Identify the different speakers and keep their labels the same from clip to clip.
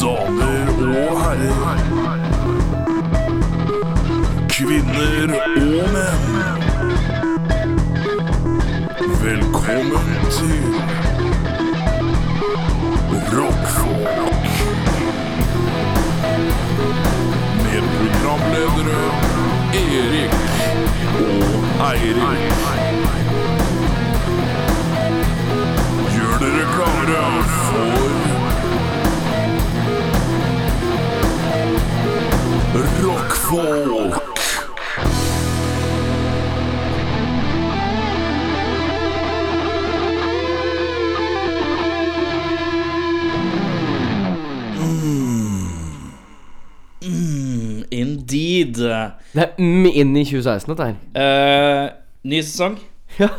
Speaker 1: Damer og herrer. Kvinner og menn. Velkommen til Rockfolk. Med programledere Erik og Eirik. Gjør dere klare for Rockfolk.
Speaker 2: Indeed.
Speaker 3: Det er mm inn i 2016 dette her.
Speaker 2: Eh, ny sesong.
Speaker 3: Ja.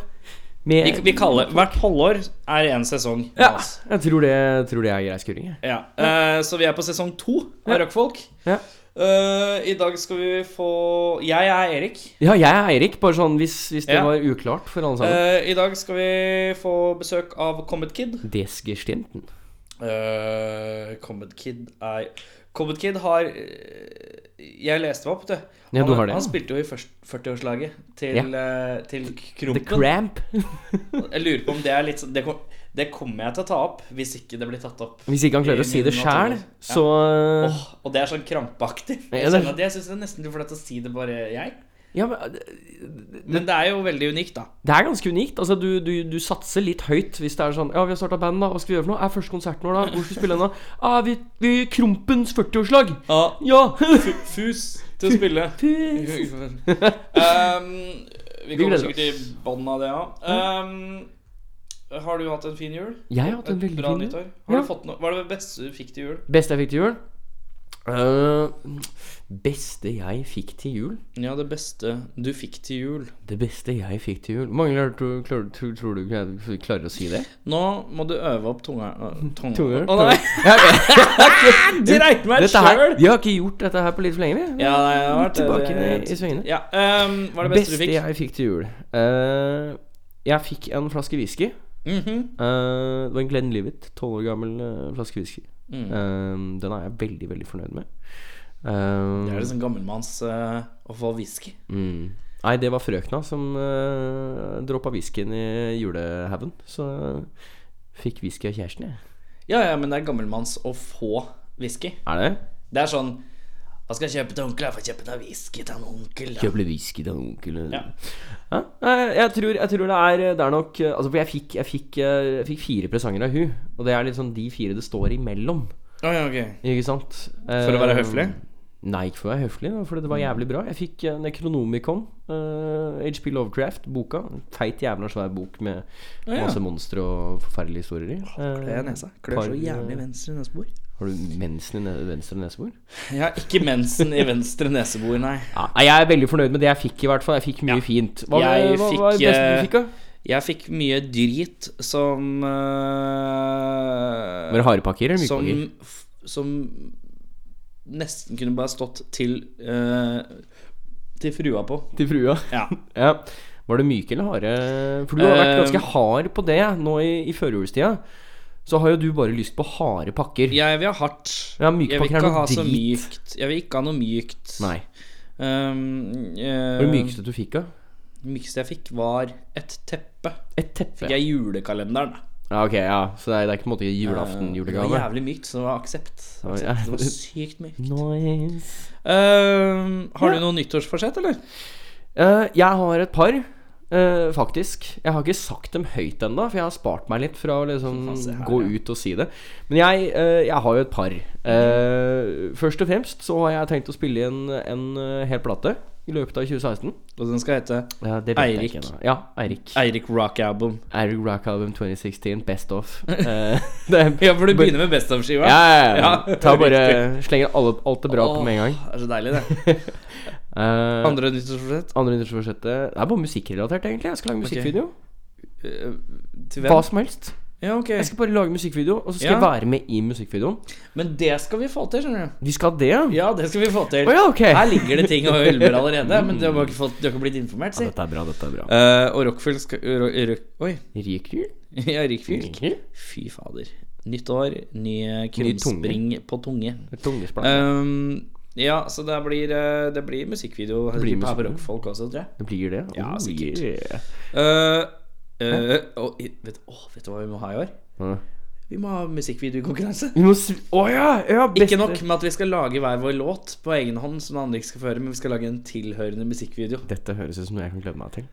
Speaker 2: Vi,
Speaker 3: Med,
Speaker 2: vi kaller Hvert halvår er én sesong. med
Speaker 3: Eh, ja.
Speaker 2: oss.
Speaker 3: Jeg tror det, tror det er grei skuring. jeg.
Speaker 2: Ja. eh, så vi er på sesong to av Rockfolk.
Speaker 3: Ja.
Speaker 2: Eh, I dag skal vi få Jeg er Erik.
Speaker 3: ja, jeg er Eirik, bare sånn hvis, hvis det
Speaker 2: Ja.
Speaker 3: var uklart for alle sammen.
Speaker 2: Eh, I dag skal vi få besøk av Comet Kid.
Speaker 3: Desgestinten.
Speaker 2: Eh, Comet Kid er Comet Kid har eh, Jeg leste meg opp, du.
Speaker 3: Ja, du
Speaker 2: Han-
Speaker 3: har det.
Speaker 2: Han spilte jo i først- 40-årslaget til, eh, til
Speaker 3: The
Speaker 2: Krompen.
Speaker 3: Cramp.
Speaker 2: Jeg lurer på om det er litt sånn det, kom, det kommer jeg til å ta opp hvis ikke det blir tatt opp.
Speaker 3: Hvis ikke han klarer å si det sjæl, så eh,
Speaker 2: Åh, og det er sånn krampaktig.
Speaker 3: Ja,
Speaker 2: Jeg,
Speaker 3: det-
Speaker 2: kjenner at jeg syns det er nesten litt flaut å si det bare jeg.
Speaker 3: Ja, men det-
Speaker 2: Men det er jo veldig unikt, da.
Speaker 3: det er ganske unikt. Altså, du, du, du satser litt høyt hvis det er sånn Ja, vi har starta band, da. Hva skal vi gjøre for noe? Er første konserten vår, da? Hvor skal vi spille den, da? Ah, vi, vi Krompens 40-årslag. Ja!
Speaker 2: Fus til å spille.
Speaker 3: Fy-
Speaker 2: um, vi kommer
Speaker 3: gleder
Speaker 2: sikkert i bånn av det, ja. Um, har du hatt en fin jul?
Speaker 3: Jeg har hatt en
Speaker 2: Et
Speaker 3: veldig
Speaker 2: bra
Speaker 3: fin jul.
Speaker 2: nyttår? Har
Speaker 3: Ja.
Speaker 2: du fått noe, hva er det beste du fikk til jul?
Speaker 3: Beste jeg fikk til jul? Eh, beste jeg fikk til jul?
Speaker 2: Ja, det beste du fikk til jul.
Speaker 3: Det beste jeg fikk til jul Hvor mange klarer, tror, klarer, tror, tror du jeg klarer å si det?
Speaker 2: Nå må du øve opp tunga. øh, tunga.
Speaker 3: Tunga?
Speaker 2: Å nei! Dreit meg
Speaker 3: Dette her,
Speaker 2: sjøl!
Speaker 3: vi har ikke gjort dette her på litt for lenge, vi.
Speaker 2: Ja, nei, det har vært
Speaker 3: Tilbake i- i svingene.
Speaker 2: Ja, ehm, Hva er det beste, du fikk?
Speaker 3: jeg fikk til jul Eh, Jeg fikk en flaske whisky.
Speaker 2: Mhm.
Speaker 3: Eh, det var en Glenn Livet, tolv år gammel eh, flaske whisky.
Speaker 2: mhm.
Speaker 3: Eh, den er jeg veldig, veldig fornøyd med. Eh,
Speaker 2: Det er litt sånn gammelmanns eh, å få whisky.
Speaker 3: Mm. Nei, det var frøkna som uh, droppa whiskyen i julehaugen. Så fikk whisky av kjæresten, jeg.
Speaker 2: Ja, ja, men det er gammelmanns å få whisky.
Speaker 3: Er det?
Speaker 2: Det er sånn Hva skal jeg kjøpe til onkel? Jeg får kjøpe deg whisky til en onkel. Da.
Speaker 3: Kjøpe litt whisky til en onkel.
Speaker 2: Ja.
Speaker 3: Hæ? Nei, jeg tror, jeg tror det, er, det er nok eh, Altså, for jeg fikk, jeg, fikk, eh, jeg fikk fire presanger av hun Og det er litt sånn de fire det står imellom.
Speaker 2: Å, ja, ok.
Speaker 3: Ikke sant?
Speaker 2: For å være
Speaker 3: Eh,
Speaker 2: høflig?
Speaker 3: Nei, ikke for å være høflig, men fordi det var jævlig bra. Jeg fikk eh, Necronomicon, eh, HP Lovecraft, boka. Feit jævla svær bok med
Speaker 2: Å, ja.
Speaker 3: masse monstre og forferdelige historier i. Eh,
Speaker 2: Det er nesa. Klør så jævlig venstre nesebor.
Speaker 3: Har du mensen i ne venstre nesebor?
Speaker 2: Jeg har ikke mensen i venstre nesebor, nei.
Speaker 3: Nei, jeg er veldig fornøyd med det jeg fikk, i hvert fall. Jeg fikk mye fint. Hva,
Speaker 2: Jeg
Speaker 3: hva,
Speaker 2: fikk,
Speaker 3: hva er det beste
Speaker 2: eh,
Speaker 3: du fikk, da?
Speaker 2: Jeg fikk mye drit som eh,
Speaker 3: Var det harepakker eller
Speaker 2: som,
Speaker 3: mykepakker?
Speaker 2: f- som nesten kunne bare stått til eh, Til frua på.
Speaker 3: Til frua.
Speaker 2: Ja.
Speaker 3: Ja. Var det myke eller harde? For du har vært
Speaker 2: Eh,
Speaker 3: ganske hard på det nå i, i førjulstida. Så har jo du bare lyst på harde pakker.
Speaker 2: Jeg vil ha hardt.
Speaker 3: Ja, myke
Speaker 2: jeg vil
Speaker 3: pakker er
Speaker 2: ikke
Speaker 3: noe
Speaker 2: ha så
Speaker 3: drit.
Speaker 2: mykt. Jeg vil ikke ha noe mykt.
Speaker 3: Nei.
Speaker 2: Um,
Speaker 3: Hva var
Speaker 2: mykeste?
Speaker 3: det mykeste du fikk, da?
Speaker 2: mykeste jeg fikk, var et teppe.
Speaker 3: Et teppe.
Speaker 2: Fikk jeg i julekalenderen. da.
Speaker 3: Ja, ok, ja. Så det er, det er ikke på en måte julaften-julegave?
Speaker 2: Det var jævlig mykt, så det var aksept.
Speaker 3: Oi,
Speaker 2: aksept.
Speaker 3: ja.
Speaker 2: Det var sykt mykt.
Speaker 3: Nice.
Speaker 2: Um, har
Speaker 3: Ja.
Speaker 2: du noe nyttårsforsett, eller?
Speaker 3: Eh, jeg har et par, eh, faktisk. Jeg har ikke sagt dem høyt ennå, for jeg har spart meg litt fra å liksom
Speaker 2: Faen, se her,
Speaker 3: gå
Speaker 2: ja.
Speaker 3: ut og si det. Men jeg, eh, jeg har jo et par. Eh, først og fremst så har jeg tenkt å spille inn en eh, hel plate i løpet av 2016.
Speaker 2: Og den skal hete
Speaker 3: Ja, det
Speaker 2: Eirik.
Speaker 3: jeg ikke ennå. Ja, Eirik.
Speaker 2: Eirik Rock Album.
Speaker 3: Eirik Rock Album 2016, best of. Eh, det er,
Speaker 2: Ja, for du begynner med Best of-skiva.
Speaker 3: ja, ja, ja.
Speaker 2: Ja,
Speaker 3: Ta bare Slenger alle, alt det bra på med en gang.
Speaker 2: Åh, Det er så deilig, det.
Speaker 3: Eh,
Speaker 2: Andre nyttårsforsett?
Speaker 3: Andre nyttårsforsettet Det er bare musikkrelatert, egentlig. Jeg skal lage musikkvideo.
Speaker 2: Eh, Til
Speaker 3: Hva
Speaker 2: hvem?
Speaker 3: som helst.
Speaker 2: Ja, ok.
Speaker 3: Jeg skal bare lage musikkvideo, og så skal
Speaker 2: Ja.
Speaker 3: jeg være med i musikkvideoen.
Speaker 2: Men det skal vi få til, skjønner du.
Speaker 3: Vi skal ha det, ja?
Speaker 2: Ja, det skal vi få til.
Speaker 3: Å ja, ok.
Speaker 2: Her ligger det ting og ulmer allerede, men du har bare ikke, fått, du har ikke blitt informert, si.
Speaker 3: er bra, dette er bra.
Speaker 2: Eh, og Rockfield skal ro, ro, Oi,
Speaker 3: Ryker du? Mm.
Speaker 2: jeg er rik fyr.
Speaker 3: Ryker du?
Speaker 2: Fy fader. Nytt år, ny krumspring på tunge.
Speaker 3: Et tungesplatt.
Speaker 2: Ehm, ja, så det blir, eh, det blir musikkvideo det blir
Speaker 3: blir
Speaker 2: på
Speaker 3: musikkvideo.
Speaker 2: rockfolk også, tror jeg.
Speaker 3: Det blir det?
Speaker 2: Ja,
Speaker 3: Oh,
Speaker 2: sikkert.
Speaker 3: yeah.
Speaker 2: Eh, eh, og i- vet, å, vet du hva vi må ha i år?
Speaker 3: Ja.
Speaker 2: Vi må ha musikkvideokonkurranse.
Speaker 3: Vi må sv... Å ja! ja beste.
Speaker 2: Ikke nok med at vi skal lage hver vår låt på egen hånd, som den andre ikke skal føre, men vi skal lage en tilhørende musikkvideo.
Speaker 3: Dette høres ut som noe jeg kan glede meg til.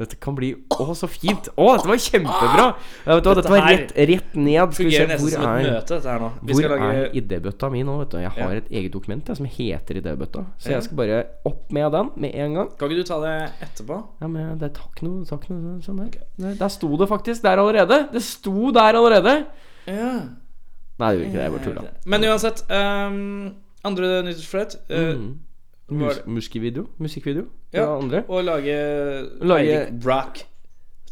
Speaker 3: Dette kan bli Å, så fint! Å, dette var kjempebra! Ja, vet du hva,
Speaker 2: Dette
Speaker 3: dette var
Speaker 2: her
Speaker 3: rett, rett ned. Skal vi se,
Speaker 2: Fungerer nesten
Speaker 3: hvor
Speaker 2: som et
Speaker 3: er
Speaker 2: møte, dette her nå. Vi
Speaker 3: hvor
Speaker 2: skal lage
Speaker 3: er idébøtta mi nå? vet du Jeg har
Speaker 2: Ja.
Speaker 3: et eget dokument jeg, som heter idébøtta. Så
Speaker 2: Ja.
Speaker 3: jeg skal bare opp med den med en gang.
Speaker 2: Kan ikke du ta det etterpå?
Speaker 3: Ja, men det tar ikke noe, tar ikke noe sånn der. Der- Der sto det faktisk der allerede. Det sto der allerede.
Speaker 2: Ja.
Speaker 3: Nei, det gjorde ikke det. Jeg bare tulla.
Speaker 2: Men uansett ehm, Andre nyttårsforsett eh,
Speaker 3: Mm.
Speaker 2: var det-
Speaker 3: Mus musikkvideo. Musikkvideo fra
Speaker 2: Ja,
Speaker 3: andre.
Speaker 2: å lage,
Speaker 3: Lage-
Speaker 2: Eirik Brock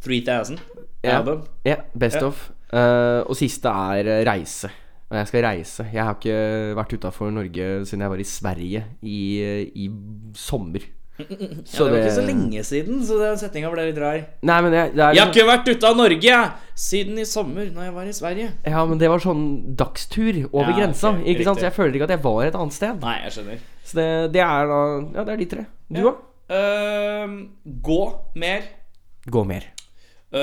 Speaker 2: 3000
Speaker 3: Ja.
Speaker 2: album.
Speaker 3: Ja, best
Speaker 2: Ja.
Speaker 3: of. Eh, og siste er eh, reise. Og jeg skal reise. Jeg har ikke vært utafor Norge siden jeg var i Sverige i, eh, i sommer.
Speaker 2: Ja, det var ikke så lenge siden, så den setninga ble litt rar.
Speaker 3: Nei, men jeg, det er
Speaker 2: Jeg har ikke vært ute av Norge jeg, siden i sommer, når jeg var i Sverige.
Speaker 3: Ja, men det var sånn dagstur over
Speaker 2: Ja,
Speaker 3: grensa.
Speaker 2: ok,
Speaker 3: Ikke sant?
Speaker 2: riktig.
Speaker 3: Så jeg føler ikke at jeg var et annet sted.
Speaker 2: Nei, jeg skjønner.
Speaker 3: Så det, det er da Ja, det er de tre. Du, da?
Speaker 2: Ehm, gå mer.
Speaker 3: Gå mer.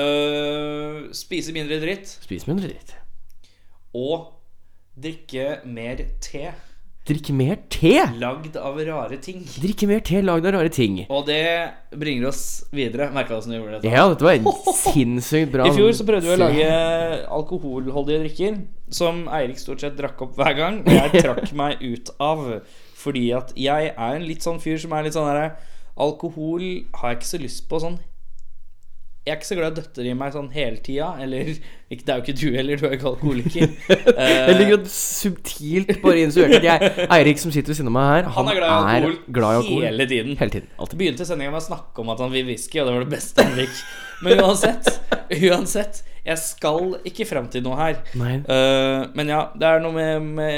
Speaker 2: Ehm, spise mindre dritt.
Speaker 3: Spis mindre dritt.
Speaker 2: Og drikke mer te.
Speaker 3: Drikk mer te!
Speaker 2: Lagd av rare ting.
Speaker 3: Drikke mer te lagd av rare ting.
Speaker 2: Og det bringer oss videre. Merka du hvordan vi gjorde dette?
Speaker 3: Ja, dette var en sinnssykt bra
Speaker 2: I fjor så prøvde vi å lage alkoholholdige drikker, som Eirik stort sett drakk opp hver gang. Og jeg trakk meg ut av. Fordi at jeg er en litt sånn fyr som er litt sånn herre Alkohol har jeg ikke så lyst på sånn Jeg er ikke så glad i døtter i meg sånn hele tida. Eller ikke, Det er jo ikke du heller, du er jo ikke alkoholiker. Eh,
Speaker 3: Jeg ligger og subtilt bare insinuerte at jeg Eirik som sitter ved siden av meg her,
Speaker 2: han er glad i alkohol,
Speaker 3: glad i alkohol. hele,
Speaker 2: hele tiden.
Speaker 3: tiden. Alltid.
Speaker 2: Begynte sendinga med å snakke om at han vil whisky, og det var det beste han fikk. Men uansett, uansett Jeg skal ikke frem til noe her.
Speaker 3: Nei.
Speaker 2: Eh, men ja, det er noe med, med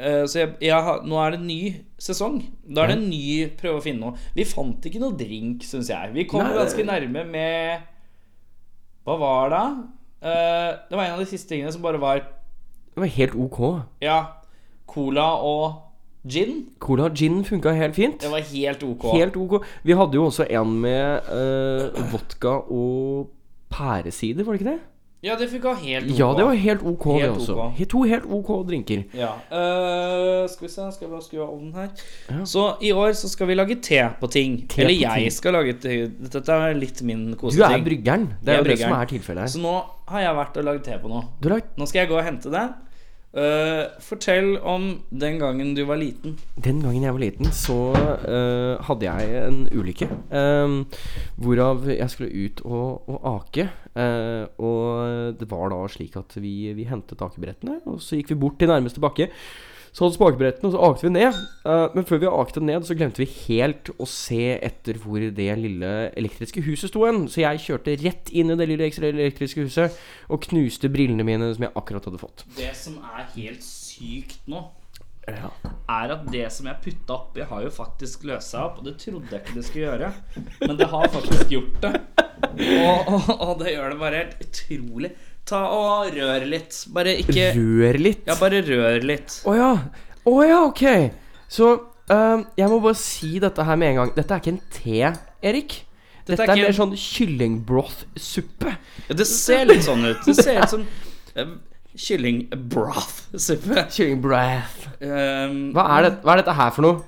Speaker 2: eh, Så jeg, jeg har, nå er det en ny sesong. Da er det en ny prøve å finne noe. Vi fant ikke noe drink, syns jeg. Vi kom
Speaker 3: Nei.
Speaker 2: ganske nærme med Hva var det? Eh, det var en av de siste tingene som bare var
Speaker 3: Det var helt ok.
Speaker 2: Ja, cola og gin.
Speaker 3: Cola og gin funka helt fint.
Speaker 2: Det var helt ok.
Speaker 3: Helt ok. Vi hadde jo også en med eh, vodka og pæresider, var det ikke det?
Speaker 2: Ja, det funka helt ok.
Speaker 3: Ja, det var helt ok, det
Speaker 2: Helt
Speaker 3: også.
Speaker 2: ok.
Speaker 3: He- To helt ok drinker.
Speaker 2: Ja. Eh, skal vi se, skal jeg bare skru av ovnen her. Så i år så skal vi lage te på ting.
Speaker 3: Te
Speaker 2: Eller
Speaker 3: på
Speaker 2: jeg
Speaker 3: ting.
Speaker 2: skal lage te. Dette er litt min
Speaker 3: Du
Speaker 2: koseting.
Speaker 3: er bryggeren. Det
Speaker 2: Jeg
Speaker 3: er
Speaker 2: er
Speaker 3: jo det som
Speaker 2: bryggeren.
Speaker 3: er tilfellet her.
Speaker 2: Så nå har jeg vært og lagd te på noe.
Speaker 3: Du har lagt
Speaker 2: Nå skal jeg gå og hente det. Eh, fortell om den gangen du var liten.
Speaker 3: Den gangen jeg var liten, så eh, hadde jeg en ulykke. eh, hvorav jeg skulle ut og, og ake. eh, og det var da slik at vi, vi hentet akebrettene, og så gikk vi bort til nærmeste bakke. Så holdt vi på akebrettene, og så akte vi ned. eh, men før vi akte ned, så glemte vi helt å se etter hvor det lille elektriske huset sto hen. Så jeg kjørte rett inn i det lille elektriske huset og knuste brillene mine som jeg akkurat hadde fått.
Speaker 2: Det som er helt sykt nå,
Speaker 3: Ja.
Speaker 2: er at det som jeg putta oppi, har jo faktisk løst seg opp. Og det trodde jeg ikke det skulle gjøre, men det har faktisk gjort det. Og, og, og det gjør det bare helt utrolig. Ta og rør litt. Bare ikke
Speaker 3: Rør litt.
Speaker 2: Ja, bare rør litt.
Speaker 3: Å ja. Å ja, ok. Så ehm, jeg må bare si dette her med en gang. Dette er ikke en te, Erik. Dette,
Speaker 2: er
Speaker 3: er,
Speaker 2: ikke
Speaker 3: mer
Speaker 2: en-
Speaker 3: sånn kyllingbroth-suppe.
Speaker 2: Ja, det ser litt sånn ut. Det ser ut som eh, kyllingbroth-suppe.
Speaker 3: Kyllingbroth.
Speaker 2: Um,
Speaker 3: Hva, er det- hva er dette her for noe?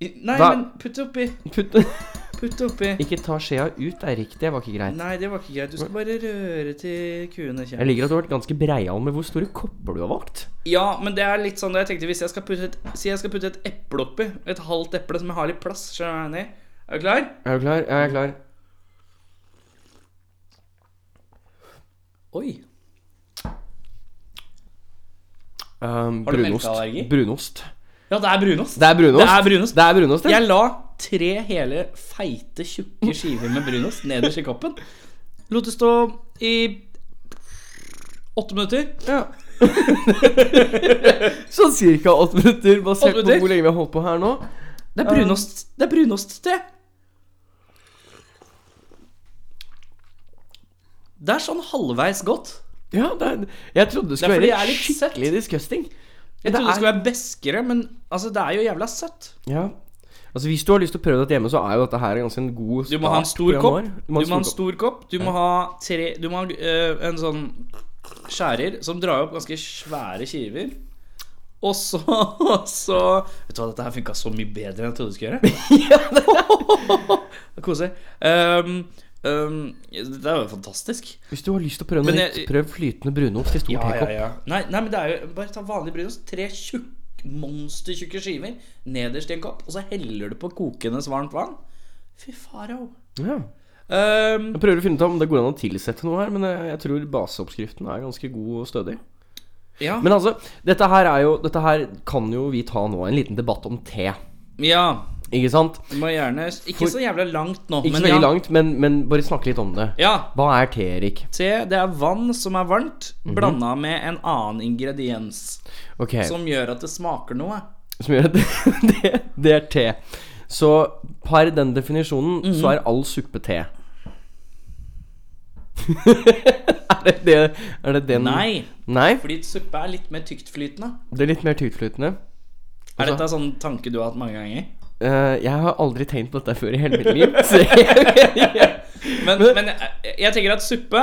Speaker 2: Nei,
Speaker 3: hva-
Speaker 2: men putt det oppi.
Speaker 3: Putt
Speaker 2: Putt det oppi.
Speaker 3: Ikke ta skjea ut, Erik. Det var ikke greit.
Speaker 2: Nei, det var ikke greit. Du skal bare røre til kuene
Speaker 3: Jeg
Speaker 2: kommer.
Speaker 3: liker at du har vært ganske breial med hvor store kopper du har valgt.
Speaker 2: Ja, men det er litt sånn jeg tenkte hvis jeg skal putte et, Si jeg skal putte et eple oppi. Et halvt eple som jeg har litt plass. Skjønner du hva jeg mener? Er du klar?
Speaker 3: Er du klar? Ja, jeg er klar.
Speaker 2: Oi.
Speaker 3: Ehm,
Speaker 2: Har du
Speaker 3: brunost.
Speaker 2: melkeallergi?
Speaker 3: Brunost.
Speaker 2: Ja, det er brunost.
Speaker 3: Det er brunost.
Speaker 2: Det er brunost.
Speaker 3: Det er brunost, ja.
Speaker 2: Jeg la tre hele feite, tjukke skiver med brunost nederst i koppen. Lot det stå i åtte minutter.
Speaker 3: ja. sånn cirka åtte minutter,
Speaker 2: Åtte
Speaker 3: basert på
Speaker 2: minutter?
Speaker 3: hvor lenge vi har holdt på her nå.
Speaker 2: Det er brunost Det er brunostste. Det er sånn halvveis godt.
Speaker 3: Ja, det er, jeg trodde det skulle
Speaker 2: fordi
Speaker 3: være
Speaker 2: jeg er litt søt.
Speaker 3: skikkelig disgusting.
Speaker 2: Jeg trodde det skulle være beskere, men altså, det er jo jævla søtt.
Speaker 3: Ja. Altså Hvis du har lyst til å prøve dette hjemme, så er jo dette her ganske en god
Speaker 2: Du må ha en
Speaker 3: start
Speaker 2: stor
Speaker 3: på
Speaker 2: kopp.
Speaker 3: januar.
Speaker 2: Du må ha en stor kopp. Du må ha tre Du må ha øh, en sånn skjærer som drar opp ganske svære skiver. Og så, og så Vet du hva, dette her funka så mye bedre enn jeg trodde det skulle gjøre. Koselig. Um, um, dette er jo fantastisk.
Speaker 3: Hvis du har lyst til å prøve
Speaker 2: Men
Speaker 3: noe
Speaker 2: jeg-
Speaker 3: nytt, prøv flytende brunost i stor
Speaker 2: Ja, ja,
Speaker 3: tekopp.
Speaker 2: ja. Nei, nei, men det er jo bare ta vanlig brunost. Tre tjukk, monstertjukke skiver nederst i en kopp, og så heller du på kokende varmt vann. Fy faro.
Speaker 3: Ja.
Speaker 2: Um,
Speaker 3: Jeg prøver å finne ut om det går an å tilsette noe her, men jeg, jeg tror baseoppskriften er ganske god og stødig.
Speaker 2: ja.
Speaker 3: Men altså, dette her er jo Dette her kan jo vi ta nå, en liten debatt om te.
Speaker 2: ja.
Speaker 3: Ikke sant?
Speaker 2: Du må gjerne Ikke
Speaker 3: For-
Speaker 2: så jævla langt nå,
Speaker 3: Ikke
Speaker 2: men
Speaker 3: så veldig
Speaker 2: ja.
Speaker 3: langt, men, men bare snakke litt om det.
Speaker 2: ja.
Speaker 3: Hva er te, Erik?
Speaker 2: Te, det er vann som er varmt,
Speaker 3: Mhm.
Speaker 2: blanda med en annen ingrediens
Speaker 3: Ok, Som,
Speaker 2: som gjør at det smaker noe.
Speaker 3: gjør at det, det er te. Så per den definisjonen så
Speaker 2: Mhm.
Speaker 3: er all suppe te. er, det det, er det den
Speaker 2: Nei,
Speaker 3: Nei?
Speaker 2: fordi suppe er litt mer tyktflytende.
Speaker 3: Det er litt mer tyktflytende.
Speaker 2: Er
Speaker 3: Altså-
Speaker 2: dette en sånn tanke du har hatt mange ganger?
Speaker 3: Eh, jeg har aldri tenkt på dette før i hele mitt liv. Så jeg,
Speaker 2: Men, men jeg, jeg tenker at suppe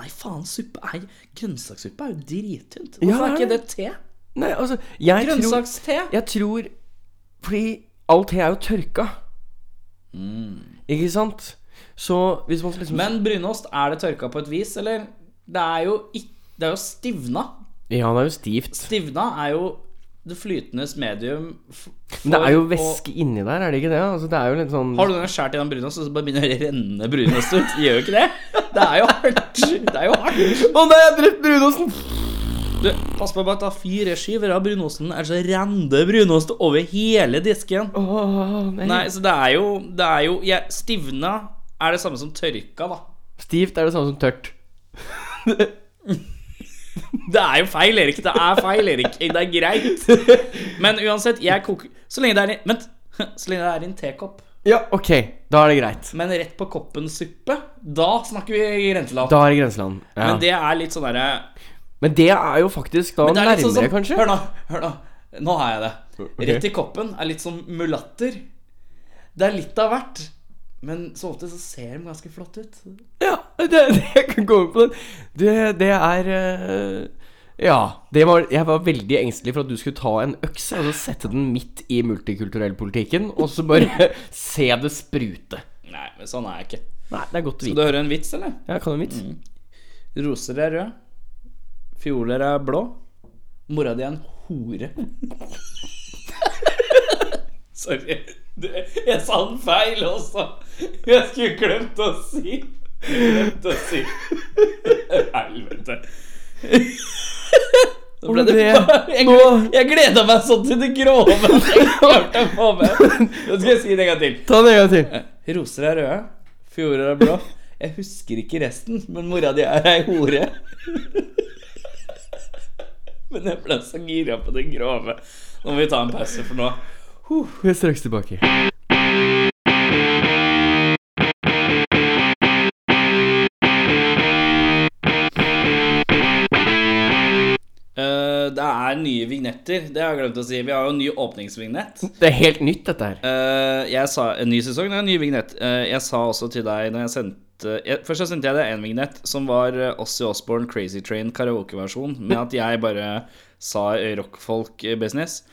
Speaker 2: Nei, faen, suppe er Grønnsakssuppe er jo drittynt. Hvorfor
Speaker 3: Ja,
Speaker 2: er
Speaker 3: det
Speaker 2: ikke
Speaker 3: er
Speaker 2: det te?
Speaker 3: nei, altså, jeg tror,
Speaker 2: Grønnsakste?
Speaker 3: jeg tror Fordi all te er jo tørka. Ikke sant? Så hvis man
Speaker 2: Mm.
Speaker 3: liksom
Speaker 2: Men brunost, er det tørka på et vis, eller? Det er jo, ikk- det er jo stivna.
Speaker 3: Ja, det er jo stivt.
Speaker 2: Stivna er jo det flytendes medium. f-
Speaker 3: Men det er jo
Speaker 2: for å-
Speaker 3: væske inni der, er det ikke det? Altså, det er jo litt sånn
Speaker 2: Har du den skjært i den brunost, og så bare begynner det å renne brunost ut? Gjør jo ikke det? Det er jo hardt. Det er jo hardt.
Speaker 3: Å nei, jeg drepte brunosten!
Speaker 2: Du, pass på bare ta fire skiver av brunosten, ellers så renner brunost over hele disken.
Speaker 3: Åh, nei.
Speaker 2: Nei, så det er jo, det er jo ja, Stivna er det samme som tørka, da.
Speaker 3: Stivt er det samme som tørt.
Speaker 2: Det er jo feil, Erik. Det er feil, Erik. Det er greit. Men uansett, jeg koker Så lenge det er i Vent. Så lenge det er i en tekopp.
Speaker 3: Ja, ok. Da er det greit.
Speaker 2: Men rett på koppen suppe, da snakker vi renteland.
Speaker 3: Da er det grenseland. Ja.
Speaker 2: Men det er litt sånn derre
Speaker 3: Men det er jo faktisk da
Speaker 2: Men det er
Speaker 3: nærmere,
Speaker 2: litt sånn som
Speaker 3: kanskje.
Speaker 2: Hør nå. Hør nå. Nå har jeg det.
Speaker 3: Ok.
Speaker 2: Rett i koppen er litt som mulatter. Det er litt av hvert. Men så ofte så ser de ganske flott ut.
Speaker 3: Ja, det, det, jeg kan komme på den. Det, det er eh, Ja. Det var, jeg var veldig engstelig for at du skulle ta en økse og så sette den midt i multikulturellpolitikken, og så bare se det sprute.
Speaker 2: Nei, men sånn er jeg ikke.
Speaker 3: Nei, det er godt å
Speaker 2: Vil du Mm.
Speaker 3: vite.
Speaker 2: høre en vits, eller?
Speaker 3: Ja, kan du en vits?
Speaker 2: Roser er røde. Fioler er blå. Mora di er en hore. Sorry. Det- Jeg sa den feil også. Jeg skulle glemt å si Glemt å si Helvete. Da ble det
Speaker 3: Hvor ble
Speaker 2: Jeg, gle- jeg gleda meg sånn til det grove. at Jeg klarte å få med. Nå skal jeg si det en gang til.
Speaker 3: Ta den en gang til.
Speaker 2: Roser er røde, fjorer er blå. Jeg husker ikke resten, men mora di er ei hore. Men jeg ble så gira på det grove. Nå må vi ta en pause for nå.
Speaker 3: Vi er straks tilbake.
Speaker 2: Eh, det er nye vignetter. Det har jeg glemt å si. Vi har jo en ny åpningsvignett.
Speaker 3: Det er helt nytt, dette her.
Speaker 2: Eh, jeg sa en ny sesong, det er en ny vignett. Eh, jeg sa også til deg når jeg sendte jeg, Først så sendte jeg deg en vignett som var eh, Ozzy Osbourne Crazy Train karaokeversjon, med at jeg bare sa rockfolk-business.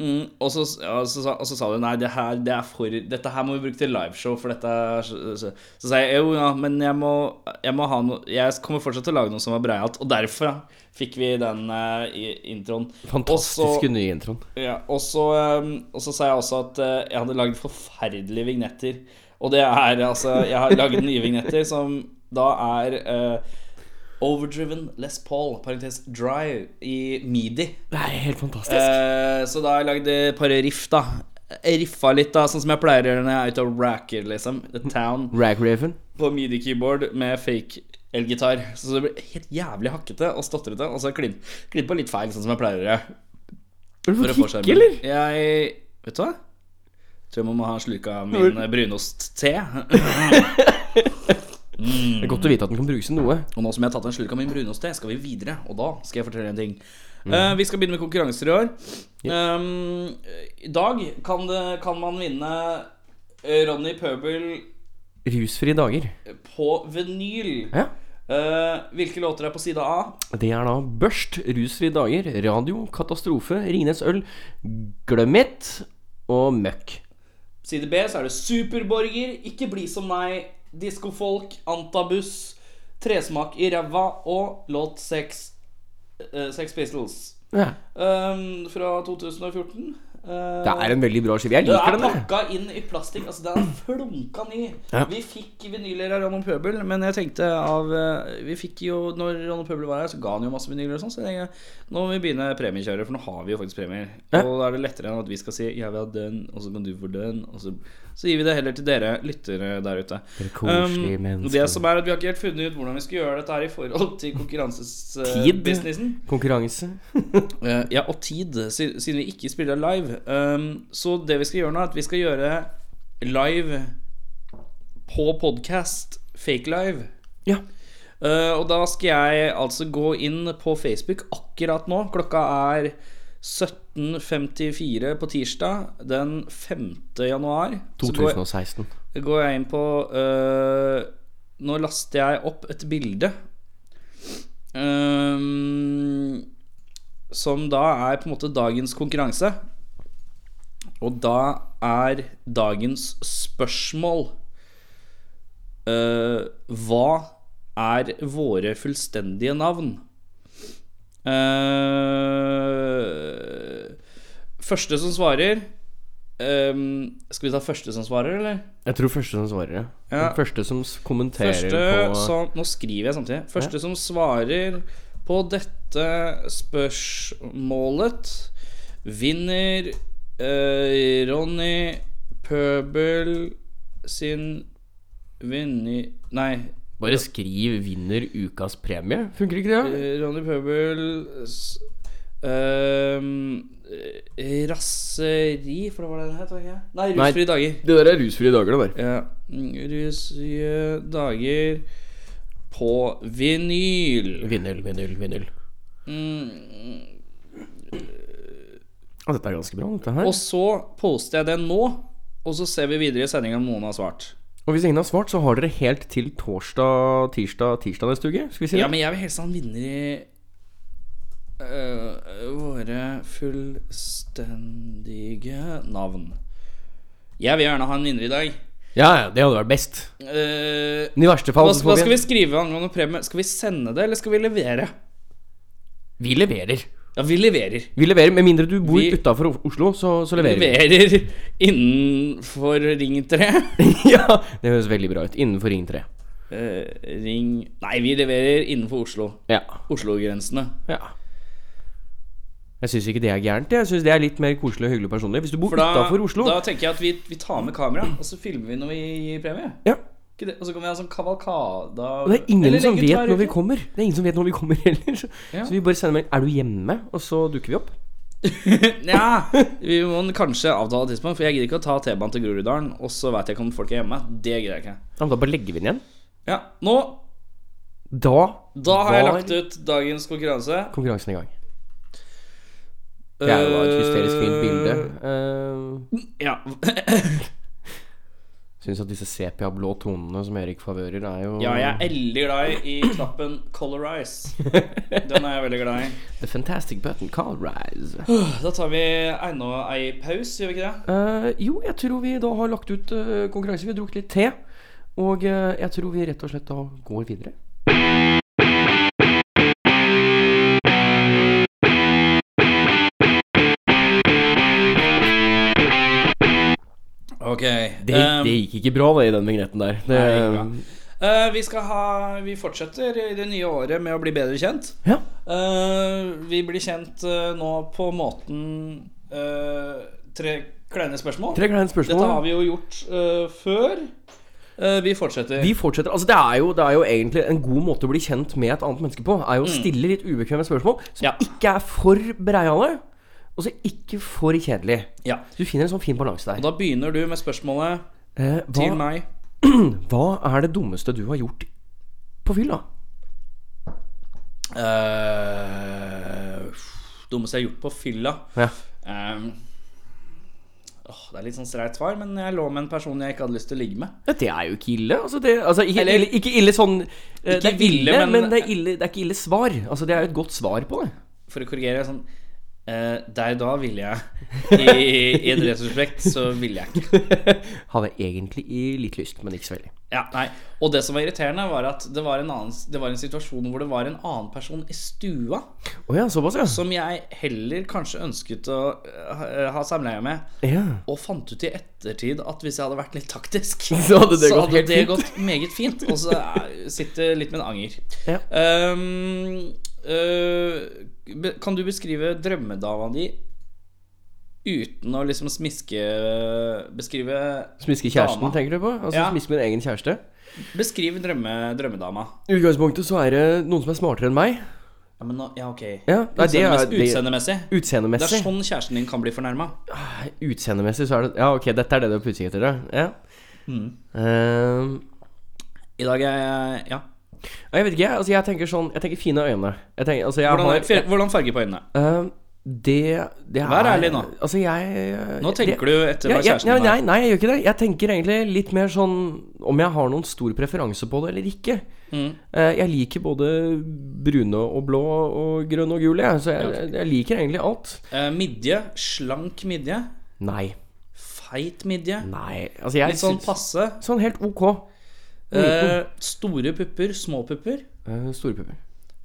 Speaker 2: mm, og, så, og, så, sa- og så sa du nei, det her, det er for, dette her må vi bruke til liveshow. For dette er så, så, så sa jeg jo ja, men jeg må, jeg må ha noe Jeg kommer fortsatt til å lage noe som er breialt. Og derfor ja, fikk vi den eh, i- introen. Også-
Speaker 3: Fantastiske nye introen.
Speaker 2: ja, og så, um, og så sa jeg også at eh, jeg hadde lagd forferdelige vignetter. Og det er altså Jeg har lagd nye vignetter som da er eh, Overdriven Les Paul, parentes dry, i midi.
Speaker 3: Det er helt fantastisk.
Speaker 2: Eh, så da har jeg lagd et par riff, da. Jeg Riffa litt, da, sånn som jeg pleier å gjøre når jeg er ute og racker, liksom. The Town
Speaker 3: Rag Raven.
Speaker 2: på midi-keyboard med fake elgitar. Så det blir helt jævlig hakkete og stotrete. Og så klipp- klippa litt feil, sånn som jeg pleier å gjøre.
Speaker 3: Vil du
Speaker 2: For å få
Speaker 3: kikke,
Speaker 2: skjermen.
Speaker 3: eller?
Speaker 2: Jeg Vet du hva? Tror jeg må ha en slurk av min
Speaker 3: Hvor-
Speaker 2: brunost-te.
Speaker 3: Det er godt å vite at den kan brukes til noe.
Speaker 2: Og nå som jeg har tatt en slurk av min brunoste, skal vi videre. Og da skal jeg fortelle en ting. Eh, vi skal begynne med konkurranser i år. Um, I dag kan, det, kan man vinne eh, Ronny Pøbel
Speaker 3: Rusfrie dager.
Speaker 2: på vinyl.
Speaker 3: Ja.
Speaker 2: Eh, hvilke låter er på side A?
Speaker 3: Det er da Børst, Rusfrie dager, Radio, Katastrofe, Ringnes øl, Glem it og Møkk.
Speaker 2: Side B så er det Superborger, Ikke bli som meg, Diskofolk, Antabus, Tresmak i ræva og låt 6 Sex Pistols.
Speaker 3: Ja.
Speaker 2: Um, fra 2014. Eh,
Speaker 3: Det er en veldig bra skive. Jeg
Speaker 2: Den er
Speaker 3: liker den.
Speaker 2: pakka inn i plastikk. Altså, den er flunka ny.
Speaker 3: Ja.
Speaker 2: Vi fikk vinyler av Ronald Pøbel, men jeg tenkte av eh, Vi fikk jo, når Ronald Pøbel var her, så ga han jo masse vinyler og sånn, så jeg tenkte nå må vi begynne premiekjøret, for nå har vi jo faktisk premier.
Speaker 3: Ja.
Speaker 2: Og da er det lettere enn at vi skal si 'jeg vil ha den', og så kan du få den, og så så gir vi det heller til dere lyttere der ute. Um,
Speaker 3: Dere koselige mennesker.
Speaker 2: det som er at Vi har ikke helt funnet ut hvordan vi skal gjøre dette her i forhold til
Speaker 3: Tid.
Speaker 2: konkurransebusinessen.
Speaker 3: Konkurranse.
Speaker 2: Eh, ja, og tid, si- siden vi ikke spiller live. Ehm, så det vi skal gjøre nå, er at vi skal gjøre live på podkast, fake live.
Speaker 3: Ja.
Speaker 2: Eh, og da skal jeg altså gå inn på Facebook akkurat nå. Klokka er 17.54 på tirsdag den 5. januar. Så går jeg-
Speaker 3: 2016.
Speaker 2: går jeg inn på øh, Nå laster jeg opp et bilde. øhm, som da er på en måte dagens konkurranse. Og da er dagens spørsmål øh, Hva er våre fullstendige navn? Eh, første som svarer øhm, Skal vi ta første som svarer, eller?
Speaker 3: Jeg tror første som svarer. ja.
Speaker 2: Ja.
Speaker 3: Den første som s- kommenterer
Speaker 2: Første
Speaker 3: på
Speaker 2: som Nå skriver jeg samtidig. Første som svarer på dette spørsmålet, vinner eh, Ronny Pøbel sin vinner... Nei.
Speaker 3: Bare skriv 'vinner ukas premie'. Funker ikke det? ja?
Speaker 2: eh, Ronny Pøbel s- ehm, eh, Rasseri, for det var det det het? var det ikke? Nei,
Speaker 3: Nei.
Speaker 2: rusfrie dager.
Speaker 3: Det der er rusfrie dager, det der.
Speaker 2: Ja. Mm, Rusfrie dager på vinyl.
Speaker 3: Vinyl, vinyl, vinyl.
Speaker 2: Mm.
Speaker 3: Ja, dette er ganske bra, dette her.
Speaker 2: Og så poster jeg den nå, og så ser vi videre i sendinga om noen har svart.
Speaker 3: Og hvis ingen har svart, så har dere helt til torsdag, tirsdag, tirsdag neste uke. Skal vi si det?
Speaker 2: Ja, men jeg vil helst ha en vinner i øh, våre fullstendige navn. Jeg vil gjerne ha en vinner i dag.
Speaker 3: Ja, ja, det hadde vært best.
Speaker 2: Eh,
Speaker 3: Men i verste fall
Speaker 2: hva,
Speaker 3: så
Speaker 2: hva
Speaker 3: får
Speaker 2: skal
Speaker 3: vi
Speaker 2: vi skrive angående premie? Skal vi sende det, eller skal vi levere?
Speaker 3: Vi leverer.
Speaker 2: Ja, vi leverer.
Speaker 3: Vi leverer, Med mindre du bor
Speaker 2: Vi-
Speaker 3: utafor Oslo, så, så
Speaker 2: Vi
Speaker 3: leverer vi.
Speaker 2: leverer innenfor Ring 3.
Speaker 3: ja, Det høres veldig bra ut. Innenfor Ring 3.
Speaker 2: Eh, ring Nei, vi leverer innenfor Oslo.
Speaker 3: Ja.
Speaker 2: Oslo-grensene.
Speaker 3: ja. Jeg syns ikke det er gærent. Jeg syns det er litt mer koselig og hyggelig personlig. Hvis du bor
Speaker 2: For da,
Speaker 3: utafor Oslo
Speaker 2: da tenker jeg at vi, vi tar med kamera, og så filmer vi når vi gir premie.
Speaker 3: Ja.
Speaker 2: Ikke det? Og så kan vi ha sånn kavalkade av-
Speaker 3: Og det er ingen
Speaker 2: Eller
Speaker 3: som
Speaker 2: legge ut
Speaker 3: vet
Speaker 2: hver
Speaker 3: når vi
Speaker 2: uke.
Speaker 3: kommer. Det er ingen som vet når vi kommer heller. Så,
Speaker 2: Ja.
Speaker 3: så vi bare sender melding 'Er du hjemme?' og så dukker vi opp.
Speaker 2: Nja, vi må kanskje avtale et tidspunkt, for jeg gidder ikke å ta T-banen til Groruddalen, og så veit jeg ikke om folk er hjemme. Det gidder jeg ikke.
Speaker 3: Ja, men da bare legger vi den igjen.
Speaker 2: Ja, nå
Speaker 3: Da
Speaker 2: da har jeg
Speaker 3: var
Speaker 2: lagt ut dagens konkurranse.
Speaker 3: konkurransen i gang. Det er jo da et hysterisk fint bilde. Uh,
Speaker 2: Ja.
Speaker 3: Syns at disse sepia-blå tonene som Erik favører, er jo
Speaker 2: ja, jeg er veldig glad i knappen Colorize. Den er jeg veldig glad i.
Speaker 3: The fantastic button call rise.
Speaker 2: Da tar vi ennå ei pause, gjør vi ikke det?
Speaker 3: Eh, jo, jeg tror vi da har lagt ut eh, konkurranse. Vi har drukket litt te. Og eh, jeg tror vi rett og slett da går videre.
Speaker 2: Ok.
Speaker 3: Det,
Speaker 2: ehm,
Speaker 3: det gikk ikke bra da i den vignetten der. Um, Det,
Speaker 2: Eh, vi skal ha Vi fortsetter i det nye året med å bli bedre kjent.
Speaker 3: ja.
Speaker 2: Eh, vi blir kjent eh, nå på måten eh, Tre kleine spørsmål.
Speaker 3: Tre kleine spørsmål.
Speaker 2: Dette har vi jo gjort eh, før. Eh, vi fortsetter.
Speaker 3: Vi fortsetter. Altså, det er, jo, det er jo egentlig en god måte å bli kjent med et annet menneske på. Er jo å stille litt ubekvemme spørsmål som
Speaker 2: Ja.
Speaker 3: ikke er for breiale, og så ikke for kjedelig.
Speaker 2: ja.
Speaker 3: Du finner en sånn fin balanse
Speaker 2: Og
Speaker 3: der.
Speaker 2: da begynner du med spørsmålet
Speaker 3: Eh,
Speaker 2: til
Speaker 3: hva,
Speaker 2: meg.
Speaker 3: Hva er det dummeste du har gjort på fylla?
Speaker 2: Eh, dummeste jeg har gjort på fylla
Speaker 3: Ja.
Speaker 2: Ehm, åh, Det er litt sånn streit svar, men jeg lå med en person jeg ikke hadde lyst til å ligge med.
Speaker 3: Ja, det er jo ikke ille. Altså det, altså ikke,
Speaker 2: Eller-
Speaker 3: ille ikke ille sånn eh, Det er
Speaker 2: ville,
Speaker 3: ille, men,
Speaker 2: men-
Speaker 3: det, er ille, det er ikke ille svar. Altså Det er jo et godt svar på det.
Speaker 2: For å korrigere sånn eh, Der da ville jeg I, i et retrospekt så ville jeg ikke.
Speaker 3: Hadde jeg egentlig i litt lyst, men ikke så veldig.
Speaker 2: Ja, nei. Og det som var irriterende, var at det var, en annen, det var en situasjon hvor det var en annen person i stua
Speaker 3: Å ja, såpass, ja.
Speaker 2: som jeg heller kanskje ønsket å eh, ha samleie med,
Speaker 3: ja.
Speaker 2: og fant ut i ettertid at hvis jeg hadde vært litt taktisk,
Speaker 3: Så hadde det gått helt fint.
Speaker 2: gått meget fint. Og så eh, sitter litt med en anger.
Speaker 3: Ja.
Speaker 2: Ehm, øh, be- kan du beskrive drømmedama di uten å liksom smiske Beskrive
Speaker 3: Smiske kjæresten,
Speaker 2: Dama.
Speaker 3: tenker du på? Altså
Speaker 2: Ja.
Speaker 3: Smiske min egen kjæreste?
Speaker 2: Beskriv drømme, drømmedama.
Speaker 3: I utgangspunktet så er det noen som er smartere enn meg.
Speaker 2: Ja, men nå, ja, ok.
Speaker 3: Ja, nei, det er-
Speaker 2: Utseendemessig.
Speaker 3: det-
Speaker 2: utseendemessig. Det
Speaker 3: Utseendemessig.
Speaker 2: er sånn kjæresten din kan bli fornærma.
Speaker 3: Utseendemessig så er det Ja, ok, dette er det du er på utkikk etter, ja.
Speaker 2: Mm.
Speaker 3: Ehm,
Speaker 2: I dag er jeg Ja.
Speaker 3: jeg vet ikke, jeg. Altså, jeg tenker sånn Jeg tenker fine øyne. Jeg tenker, altså, jeg
Speaker 2: Hvordan, er,
Speaker 3: har,
Speaker 2: fer- hvordan farge på øynene?
Speaker 3: Ehm, det, det er
Speaker 2: Vær ærlig nå.
Speaker 3: Altså, jeg
Speaker 2: Nå tenker du etter
Speaker 3: ja,
Speaker 2: hva
Speaker 3: ja,
Speaker 2: kjæresten
Speaker 3: ja,
Speaker 2: din
Speaker 3: nei,
Speaker 2: har.
Speaker 3: nei, jeg gjør ikke det. Jeg tenker egentlig litt mer sånn om jeg har noen stor preferanse på det eller ikke.
Speaker 2: Mm.
Speaker 3: Eh, Jeg liker både brune og blå og grønn og gul, jeg. Så jeg, jeg liker egentlig alt.
Speaker 2: Eh, midje. Slank midje.
Speaker 3: Nei.
Speaker 2: Feit midje.
Speaker 3: Nei. Altså, jeg Mm.
Speaker 2: Litt sånn
Speaker 3: syns-
Speaker 2: passe.
Speaker 3: Sånn helt ok.
Speaker 2: Eh, store pupper. Små pupper.
Speaker 3: Eh, Store pupper.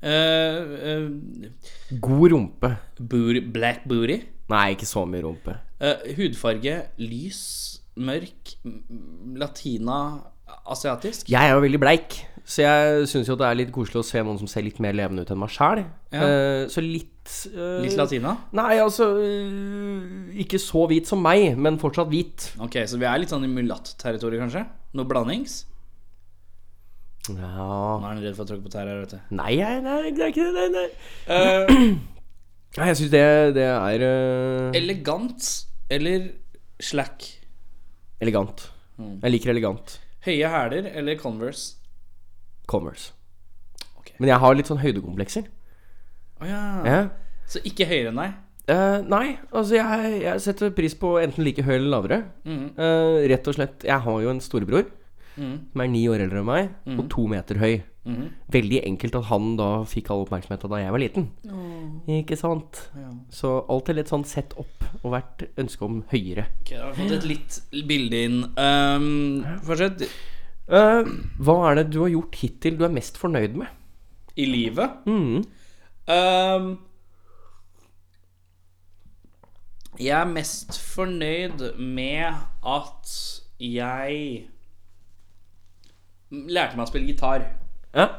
Speaker 2: Eh, eh,
Speaker 3: God rumpe.
Speaker 2: booty, black booty.
Speaker 3: Nei, ikke så mye rumpe.
Speaker 2: Eh, hudfarge lys, mørk, m- latina, asiatisk.
Speaker 3: Jeg er jo veldig bleik, så jeg syns jo det er litt koselig å se noen som ser litt mer levende ut enn meg sjæl.
Speaker 2: Ja.
Speaker 3: så litt eh,
Speaker 2: Litt latina.
Speaker 3: Nei, altså øh, Ikke så hvit som meg, men fortsatt hvit.
Speaker 2: Ok, Så vi er litt sånn i mulatt-territoriet, kanskje? Noe blandings?
Speaker 3: Ja
Speaker 2: Nå er han redd for å tråkke på tær her, vet du.
Speaker 3: Nei, jeg- nei, det er ikke det. Nei, nei.
Speaker 2: Eh,
Speaker 3: nei jeg syns det, det er øh,
Speaker 2: elegant eller slack?
Speaker 3: elegant.
Speaker 2: Mm.
Speaker 3: Jeg liker elegant.
Speaker 2: Høye hæler eller Converse?
Speaker 3: Commerce.
Speaker 2: Ok.
Speaker 3: Men jeg har litt sånn høydekomplekser.
Speaker 2: Å ja.
Speaker 3: Ja.
Speaker 2: Så ikke høyere enn deg?
Speaker 3: Eh, nei, altså jeg, jeg setter pris på enten like høy eller lavere.
Speaker 2: Mhm.
Speaker 3: Eh, rett og slett Jeg har jo en storebror
Speaker 2: Mhm.
Speaker 3: som er ni år eldre enn meg,
Speaker 2: Mm.
Speaker 3: og to meter høy.
Speaker 2: Mhm.
Speaker 3: Veldig enkelt at han da fikk all oppmerksomheten da jeg var liten. Ikke sant?
Speaker 2: Ja.
Speaker 3: Så alt er litt sånn sett opp og vært ønske om høyere.
Speaker 2: Ok, da har vi fått et litt bilde inn. Um, fortsett.
Speaker 3: Eh, hva er det du har gjort hittil du er mest fornøyd med?
Speaker 2: I livet
Speaker 3: Mm.
Speaker 2: um, Jeg er mest fornøyd med at jeg lærte meg å spille gitar.
Speaker 3: Ja.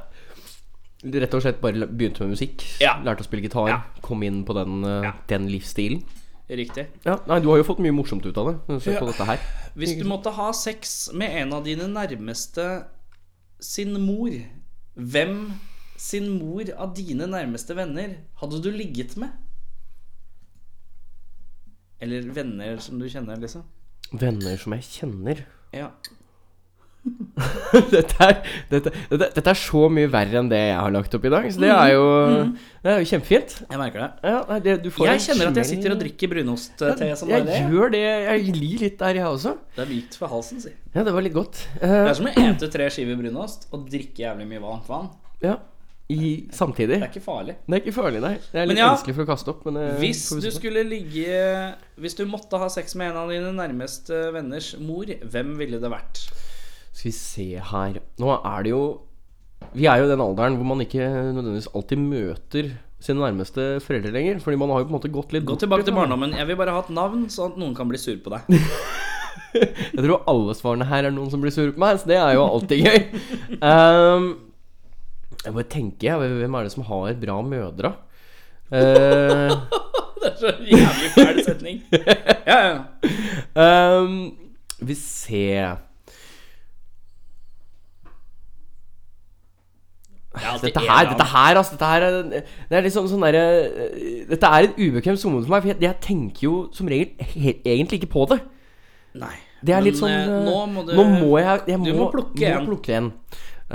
Speaker 3: Rett og slett bare la- begynte med musikk.
Speaker 2: Ja.
Speaker 3: Lærte å spille gitar. Kom inn på den, eh, den livsstilen.
Speaker 2: Riktig.
Speaker 3: Ja, nei, Du har jo fått mye morsomt ut av det. Se på dette her.
Speaker 2: Hvis du måtte ha sex med en av dine nærmeste sin mor, hvem sin mor av dine nærmeste venner hadde du ligget med? Eller venner som du kjenner, liksom.
Speaker 3: Venner som jeg kjenner.
Speaker 2: Ja.
Speaker 3: dette, er, dette, dette, dette er så mye verre enn det jeg har lagt opp i dag. Så det
Speaker 2: Mhm.
Speaker 3: er jo, det er jo kjempefint.
Speaker 2: Jeg merker det.
Speaker 3: Ja, nei, det, du får
Speaker 2: Jeg
Speaker 3: en
Speaker 2: kjenner at jeg
Speaker 3: smell.
Speaker 2: sitter og drikker brunost-te som
Speaker 3: jeg
Speaker 2: bare det.
Speaker 3: gjør det. Jeg lir litt der, jeg også.
Speaker 2: Det er mykt for halsen, si.
Speaker 3: Ja, det var litt godt.
Speaker 2: Det
Speaker 3: Eh,
Speaker 2: er som å ete tre skiver brunost og drikke jævlig mye varmt vann.
Speaker 3: ja, i, samtidig.
Speaker 2: Det er ikke farlig.
Speaker 3: Det er ikke farlig, nei. Det er litt
Speaker 2: ja,
Speaker 3: vanskelig for å kaste opp, men eh,
Speaker 2: Hvis
Speaker 3: får vi
Speaker 2: du
Speaker 3: se på.
Speaker 2: skulle ligge Hvis du måtte ha sex med en av dine nærmeste venners mor, hvem ville det vært?
Speaker 3: Skal vi se her Nå er det jo Vi er jo i den alderen hvor man ikke nødvendigvis alltid møter sine nærmeste foreldre lenger. Fordi man har jo på en måte gått litt
Speaker 2: Gå
Speaker 3: bort liksom.
Speaker 2: tilbake til
Speaker 3: ifra-
Speaker 2: barndommen. Jeg vil bare ha et navn, sånn at noen kan bli sur på deg.
Speaker 3: Jeg tror alle svarene her er noen som blir sur på meg, så det er jo alltid gøy. Um, jeg bare tenker, jeg. Hvem er det som har bra mødre? Eh,
Speaker 2: Det er så jævlig fæl setning. Ja, ja.
Speaker 3: Ehm, vi ser
Speaker 2: Det er alltid
Speaker 3: Dette
Speaker 2: en
Speaker 3: her,
Speaker 2: av-
Speaker 3: dette her, altså dette her er, Det er liksom sånn derre Dette er et ubekvemt sommermål for meg, for jeg, jeg tenker jo som regel he, egentlig ikke på det.
Speaker 2: Nei.
Speaker 3: Det er litt
Speaker 2: Men,
Speaker 3: sånn
Speaker 2: eh,
Speaker 3: eh,
Speaker 2: nå må du-
Speaker 3: Nå må jeg, jeg må,
Speaker 2: du må plukke en.
Speaker 3: plukke en.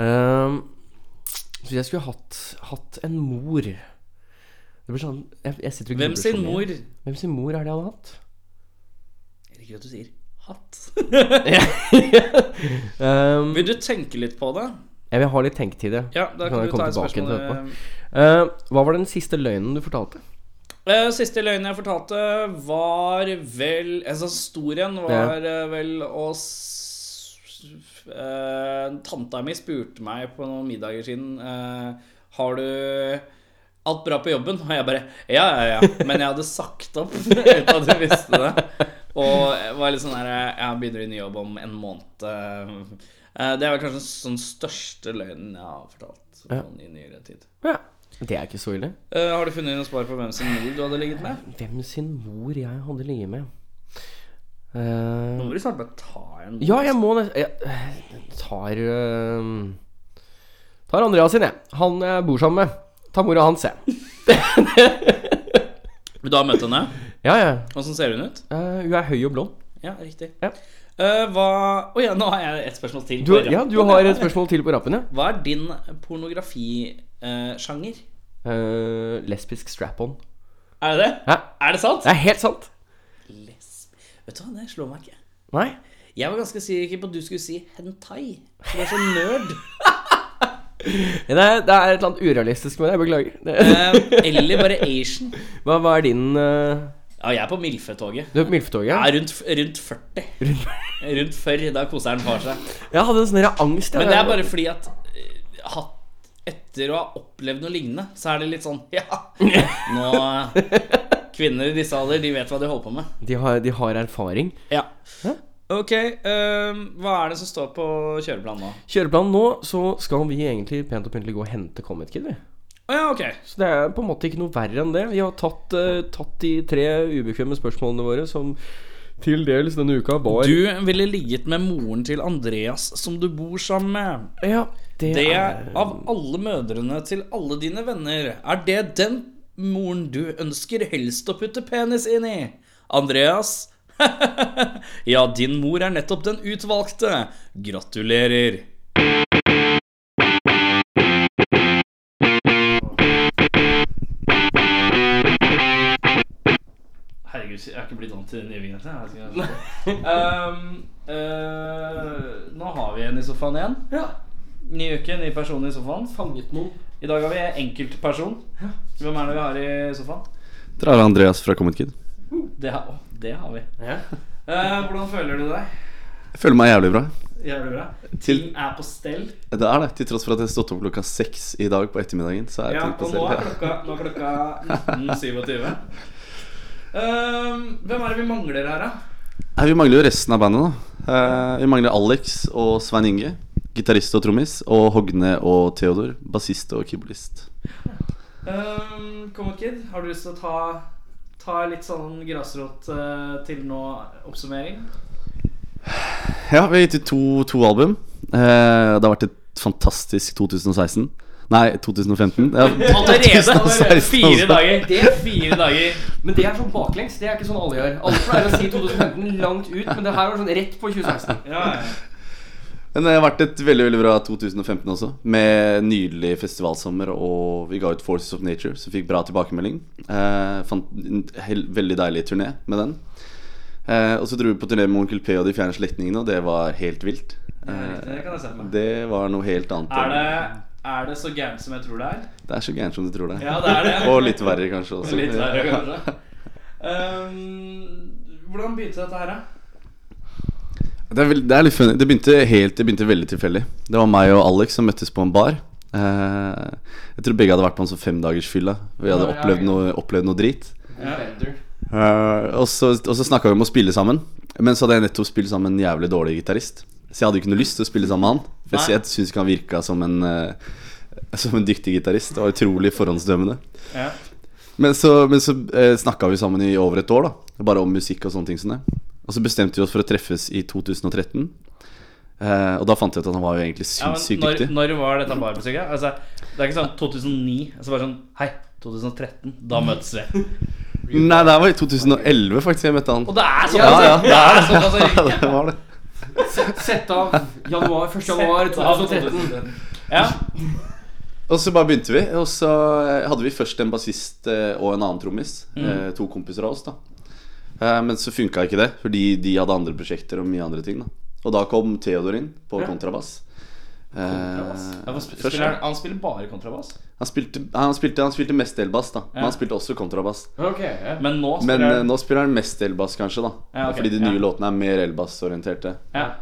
Speaker 3: Ehm, så jeg skulle hatt, hatt en mor Det blir sånn jeg, jeg sitter og
Speaker 2: Hvem
Speaker 3: grubler så
Speaker 2: sin
Speaker 3: mye.
Speaker 2: mor?
Speaker 3: Hvem sin mor er det jeg hadde hatt?
Speaker 2: Jeg liker at du sier hatt.
Speaker 3: Ehm,
Speaker 2: Vil du tenke litt på det?
Speaker 3: jeg vil ha litt tenketid. jeg.
Speaker 2: Ja, da
Speaker 3: Kan
Speaker 2: kan
Speaker 3: jeg
Speaker 2: du ta
Speaker 3: komme
Speaker 2: et
Speaker 3: tilbake til
Speaker 2: spørsmål.
Speaker 3: etterpå? Ehm, hva var den siste løgnen du fortalte?
Speaker 2: Eh, Siste løgnen jeg fortalte, var vel Altså, historien var eh, vel å s- eh, Tanta mi spurte meg på noen middager siden eh, Har du alt bra på jobben? Og jeg bare Ja, ja, ja. Men jeg hadde sagt opp uten at du visste det. Og jeg var litt sånn der Jeg begynner i ny jobb om en måned. Eh, Det er vel kanskje den sånn største løgnen jeg har fortalt sånn i nyere tid.
Speaker 3: Ja. Det er ikke så ille.
Speaker 2: Eh, har du funnet noe svar på hvem sin mor du hadde ligget med?
Speaker 3: Hvem sin mor jeg hadde ligget med? Ehm,
Speaker 2: Nå må du snart bare ta en
Speaker 3: Ja, jeg må nesten Jeg øh, tar øh, Tar Andreas sin, jeg. Han jeg bor sammen med. Tar mora hans, jeg.
Speaker 2: Du har møtt henne?
Speaker 3: Ja, ja.
Speaker 2: Åssen ser hun ut?
Speaker 3: Eh, hun er høy og blond.
Speaker 2: Ja, riktig.
Speaker 3: Ja.
Speaker 2: Eh, hva Å ja, nå har jeg et spørsmål til.
Speaker 3: Du,
Speaker 2: på
Speaker 3: ja,
Speaker 2: rappen.
Speaker 3: du har et spørsmål til på rappen, ja.
Speaker 2: Hva er din pornografisjanger?
Speaker 3: Eh, lesbisk strap-on.
Speaker 2: er det det?
Speaker 3: Hæ?
Speaker 2: Er det sant?
Speaker 3: Det er helt sant!
Speaker 2: Les- Vet du hva, det slår meg ikke.
Speaker 3: Nei?
Speaker 2: Jeg var ganske sikker på at du skulle si hentai. For du er så nerd.
Speaker 3: Det er, det er et eller annet urealistisk med det. Jeg beklager. Det,
Speaker 2: Eh, eller bare Asian.
Speaker 3: hva, hva er din eh,
Speaker 2: Ja, jeg er på Milfetoget.
Speaker 3: Du er på Milfetoget?
Speaker 2: Ja, rundt, rundt 40. Rundt 40, da koseren har seg.
Speaker 3: Jeg hadde en sånn der angst. jeg.
Speaker 2: Men det er bare fordi at eh, hatt- etter å ha opplevd noe lignende, så er det litt sånn Ja! Nå Kvinner i disse alder, de vet hva de holder på med.
Speaker 3: de, har, de har erfaring.
Speaker 2: Ja. Ok, ehm, hva er det som står på kjøreplanen nå?
Speaker 3: Kjøreplanen nå, så skal vi egentlig pent og pyntelig gå og hente Comet Kid, vi.
Speaker 2: Å ja, ok.
Speaker 3: Så det er på en måte ikke noe verre enn det. Vi har tatt, eh, tatt de tre ubekvemme spørsmålene våre, som til dels denne uka var
Speaker 2: Du ville ligget med moren til Andreas som du bor sammen med.
Speaker 3: Ja, det,
Speaker 2: Det,
Speaker 3: er
Speaker 2: av alle mødrene til alle dine venner, er det den moren du ønsker helst å putte penis inn i? Andreas? ja, din mor er nettopp den utvalgte. Gratulerer. Herregud, jeg er ikke blitt vant til den nye vignetten. Um, eh, nå har vi en i sofaen igjen.
Speaker 3: Ja,
Speaker 2: Ny uke, ny person i sofaen.
Speaker 3: fanget noen.
Speaker 2: I dag har vi enkeltperson. Hvem er det vi har i sofaen?
Speaker 4: Dere har Andreas fra Comet Kid.
Speaker 2: Det, har- å, det har vi.
Speaker 3: Ja.
Speaker 2: Eh, hvordan føler du deg?
Speaker 4: Jeg føler meg jævlig bra.
Speaker 2: Jævlig bra.
Speaker 4: Til-
Speaker 2: Ting er på stell.
Speaker 4: Det er det, Til tross for at jeg har stått opp klokka seks i dag på ettermiddagen. Så er jeg
Speaker 2: Ja,
Speaker 4: tenkt på
Speaker 2: og nå
Speaker 4: selv
Speaker 2: er klokka, nå er klokka 19.27. Eh, hvem er det vi mangler her, da?
Speaker 4: Nei, Vi mangler jo resten av bandet. da Eh, Vi mangler Alex og Svein Inge. Gitarist og trommis. Og Hogne og Theodor. Bassist og keyboardist.
Speaker 2: Um, Comet Kid, har du lyst til å ta, ta litt sånn grasrot eh, til nå-oppsummering?
Speaker 4: Ja, vi har gitt ut to, to album. Eh, Det har vært et fantastisk 2016. Nei, 2015. Ja,
Speaker 2: Allerede! allerede
Speaker 4: 2016
Speaker 2: fire
Speaker 4: også.
Speaker 2: dager. Det er fire dager.
Speaker 3: Men det er sånn baklengs. Det er ikke sånn alle gjør. Alle pleier å si 2015 langt ut, men det her var sånn rett på 2016.
Speaker 2: Ja, ja.
Speaker 4: Men det har vært et veldig veldig bra 2015 også, med nydelig festivalsommer. Og vi ga ut Forces of Nature, som fikk bra tilbakemelding. Eh, fant en hel, veldig deilig turné med den. Eh, og så dro vi på turné med Onkel P og De fjerne slektningene, og det var helt vilt. Eh,
Speaker 2: riktig, det kan jeg se for meg.
Speaker 4: det var noe helt annet.
Speaker 2: Er
Speaker 4: enn-
Speaker 2: det, er det så gærent som jeg tror det er?
Speaker 4: det er så gærent som du tror det. er.
Speaker 2: Ja, det er det.
Speaker 4: Og litt verre, kanskje. også
Speaker 2: Litt verre, kanskje. Um, hvordan begynte dette her, da?
Speaker 4: Det er, vel, det er litt funny. Det begynte, helt, det begynte veldig tilfeldig. Det var meg og Alex som møttes på en bar. Eh, jeg tror begge hadde vært på en sånn femdagersfylla. Vi hadde
Speaker 3: Ja, ja,
Speaker 4: opplevd
Speaker 3: ja.
Speaker 4: noe, opplevd noe drit.
Speaker 3: Bender.
Speaker 4: Eh, og så, og så snakka vi om å spille sammen. Men så hadde jeg nettopp spilt sammen med en jævlig dårlig gitarist. Så jeg hadde ikke noe lyst til å spille sammen med han. For
Speaker 2: Nei.
Speaker 4: jeg, jeg syns ikke han virka som en eh, Som en dyktig gitarist. Det var utrolig forhåndsdømmende.
Speaker 2: Ja.
Speaker 4: Men så, men så eh, snakka vi sammen i over et år, da. Bare om musikk og sånne ting som det. Og så bestemte vi oss for å treffes i 2013. Eh, og da fant jeg ut at han var jo egentlig
Speaker 2: Ja, men
Speaker 4: sinnssykt
Speaker 2: når,
Speaker 4: dyktig.
Speaker 2: når var dette barmusikket? Altså, det er ikke sånn 2009, altså bare sånn Hei, 2013, da møtes vi. mye.
Speaker 4: Nei, det her var i 2011, faktisk. Jeg møtte han.
Speaker 2: Og det er sånn!
Speaker 4: Ja, ja,
Speaker 2: altså.
Speaker 4: det er det.
Speaker 2: såpass riktig.
Speaker 4: det var det.
Speaker 3: Sett av januar, 1. januar 2013.
Speaker 2: Ja.
Speaker 4: Og så bare begynte vi, og så eh, hadde vi først en bassist eh, og en annen trommis.
Speaker 2: Mm.
Speaker 4: eh, To kompiser av oss, da. Eh, Men så funka ikke det, fordi de hadde andre prosjekter og mye andre ting. da Og da kom Theodor inn på kontrabass. Eh,
Speaker 2: Ja, hva sp-
Speaker 4: først-
Speaker 2: spiller han, han spiller bare kontrabass.
Speaker 4: han, spilte, han, spilte, han spilte mest elbass, da.
Speaker 2: Ja.
Speaker 4: Men han spilte også kontrabass.
Speaker 3: Ok, ja.
Speaker 2: Men nå
Speaker 4: Men
Speaker 2: spiller
Speaker 4: eh,
Speaker 2: han
Speaker 4: nå spiller han mest elbass, kanskje, da.
Speaker 2: Ja, ok,
Speaker 4: Fordi de
Speaker 2: ja.
Speaker 4: nye låtene er mer elbassorienterte.
Speaker 2: ja.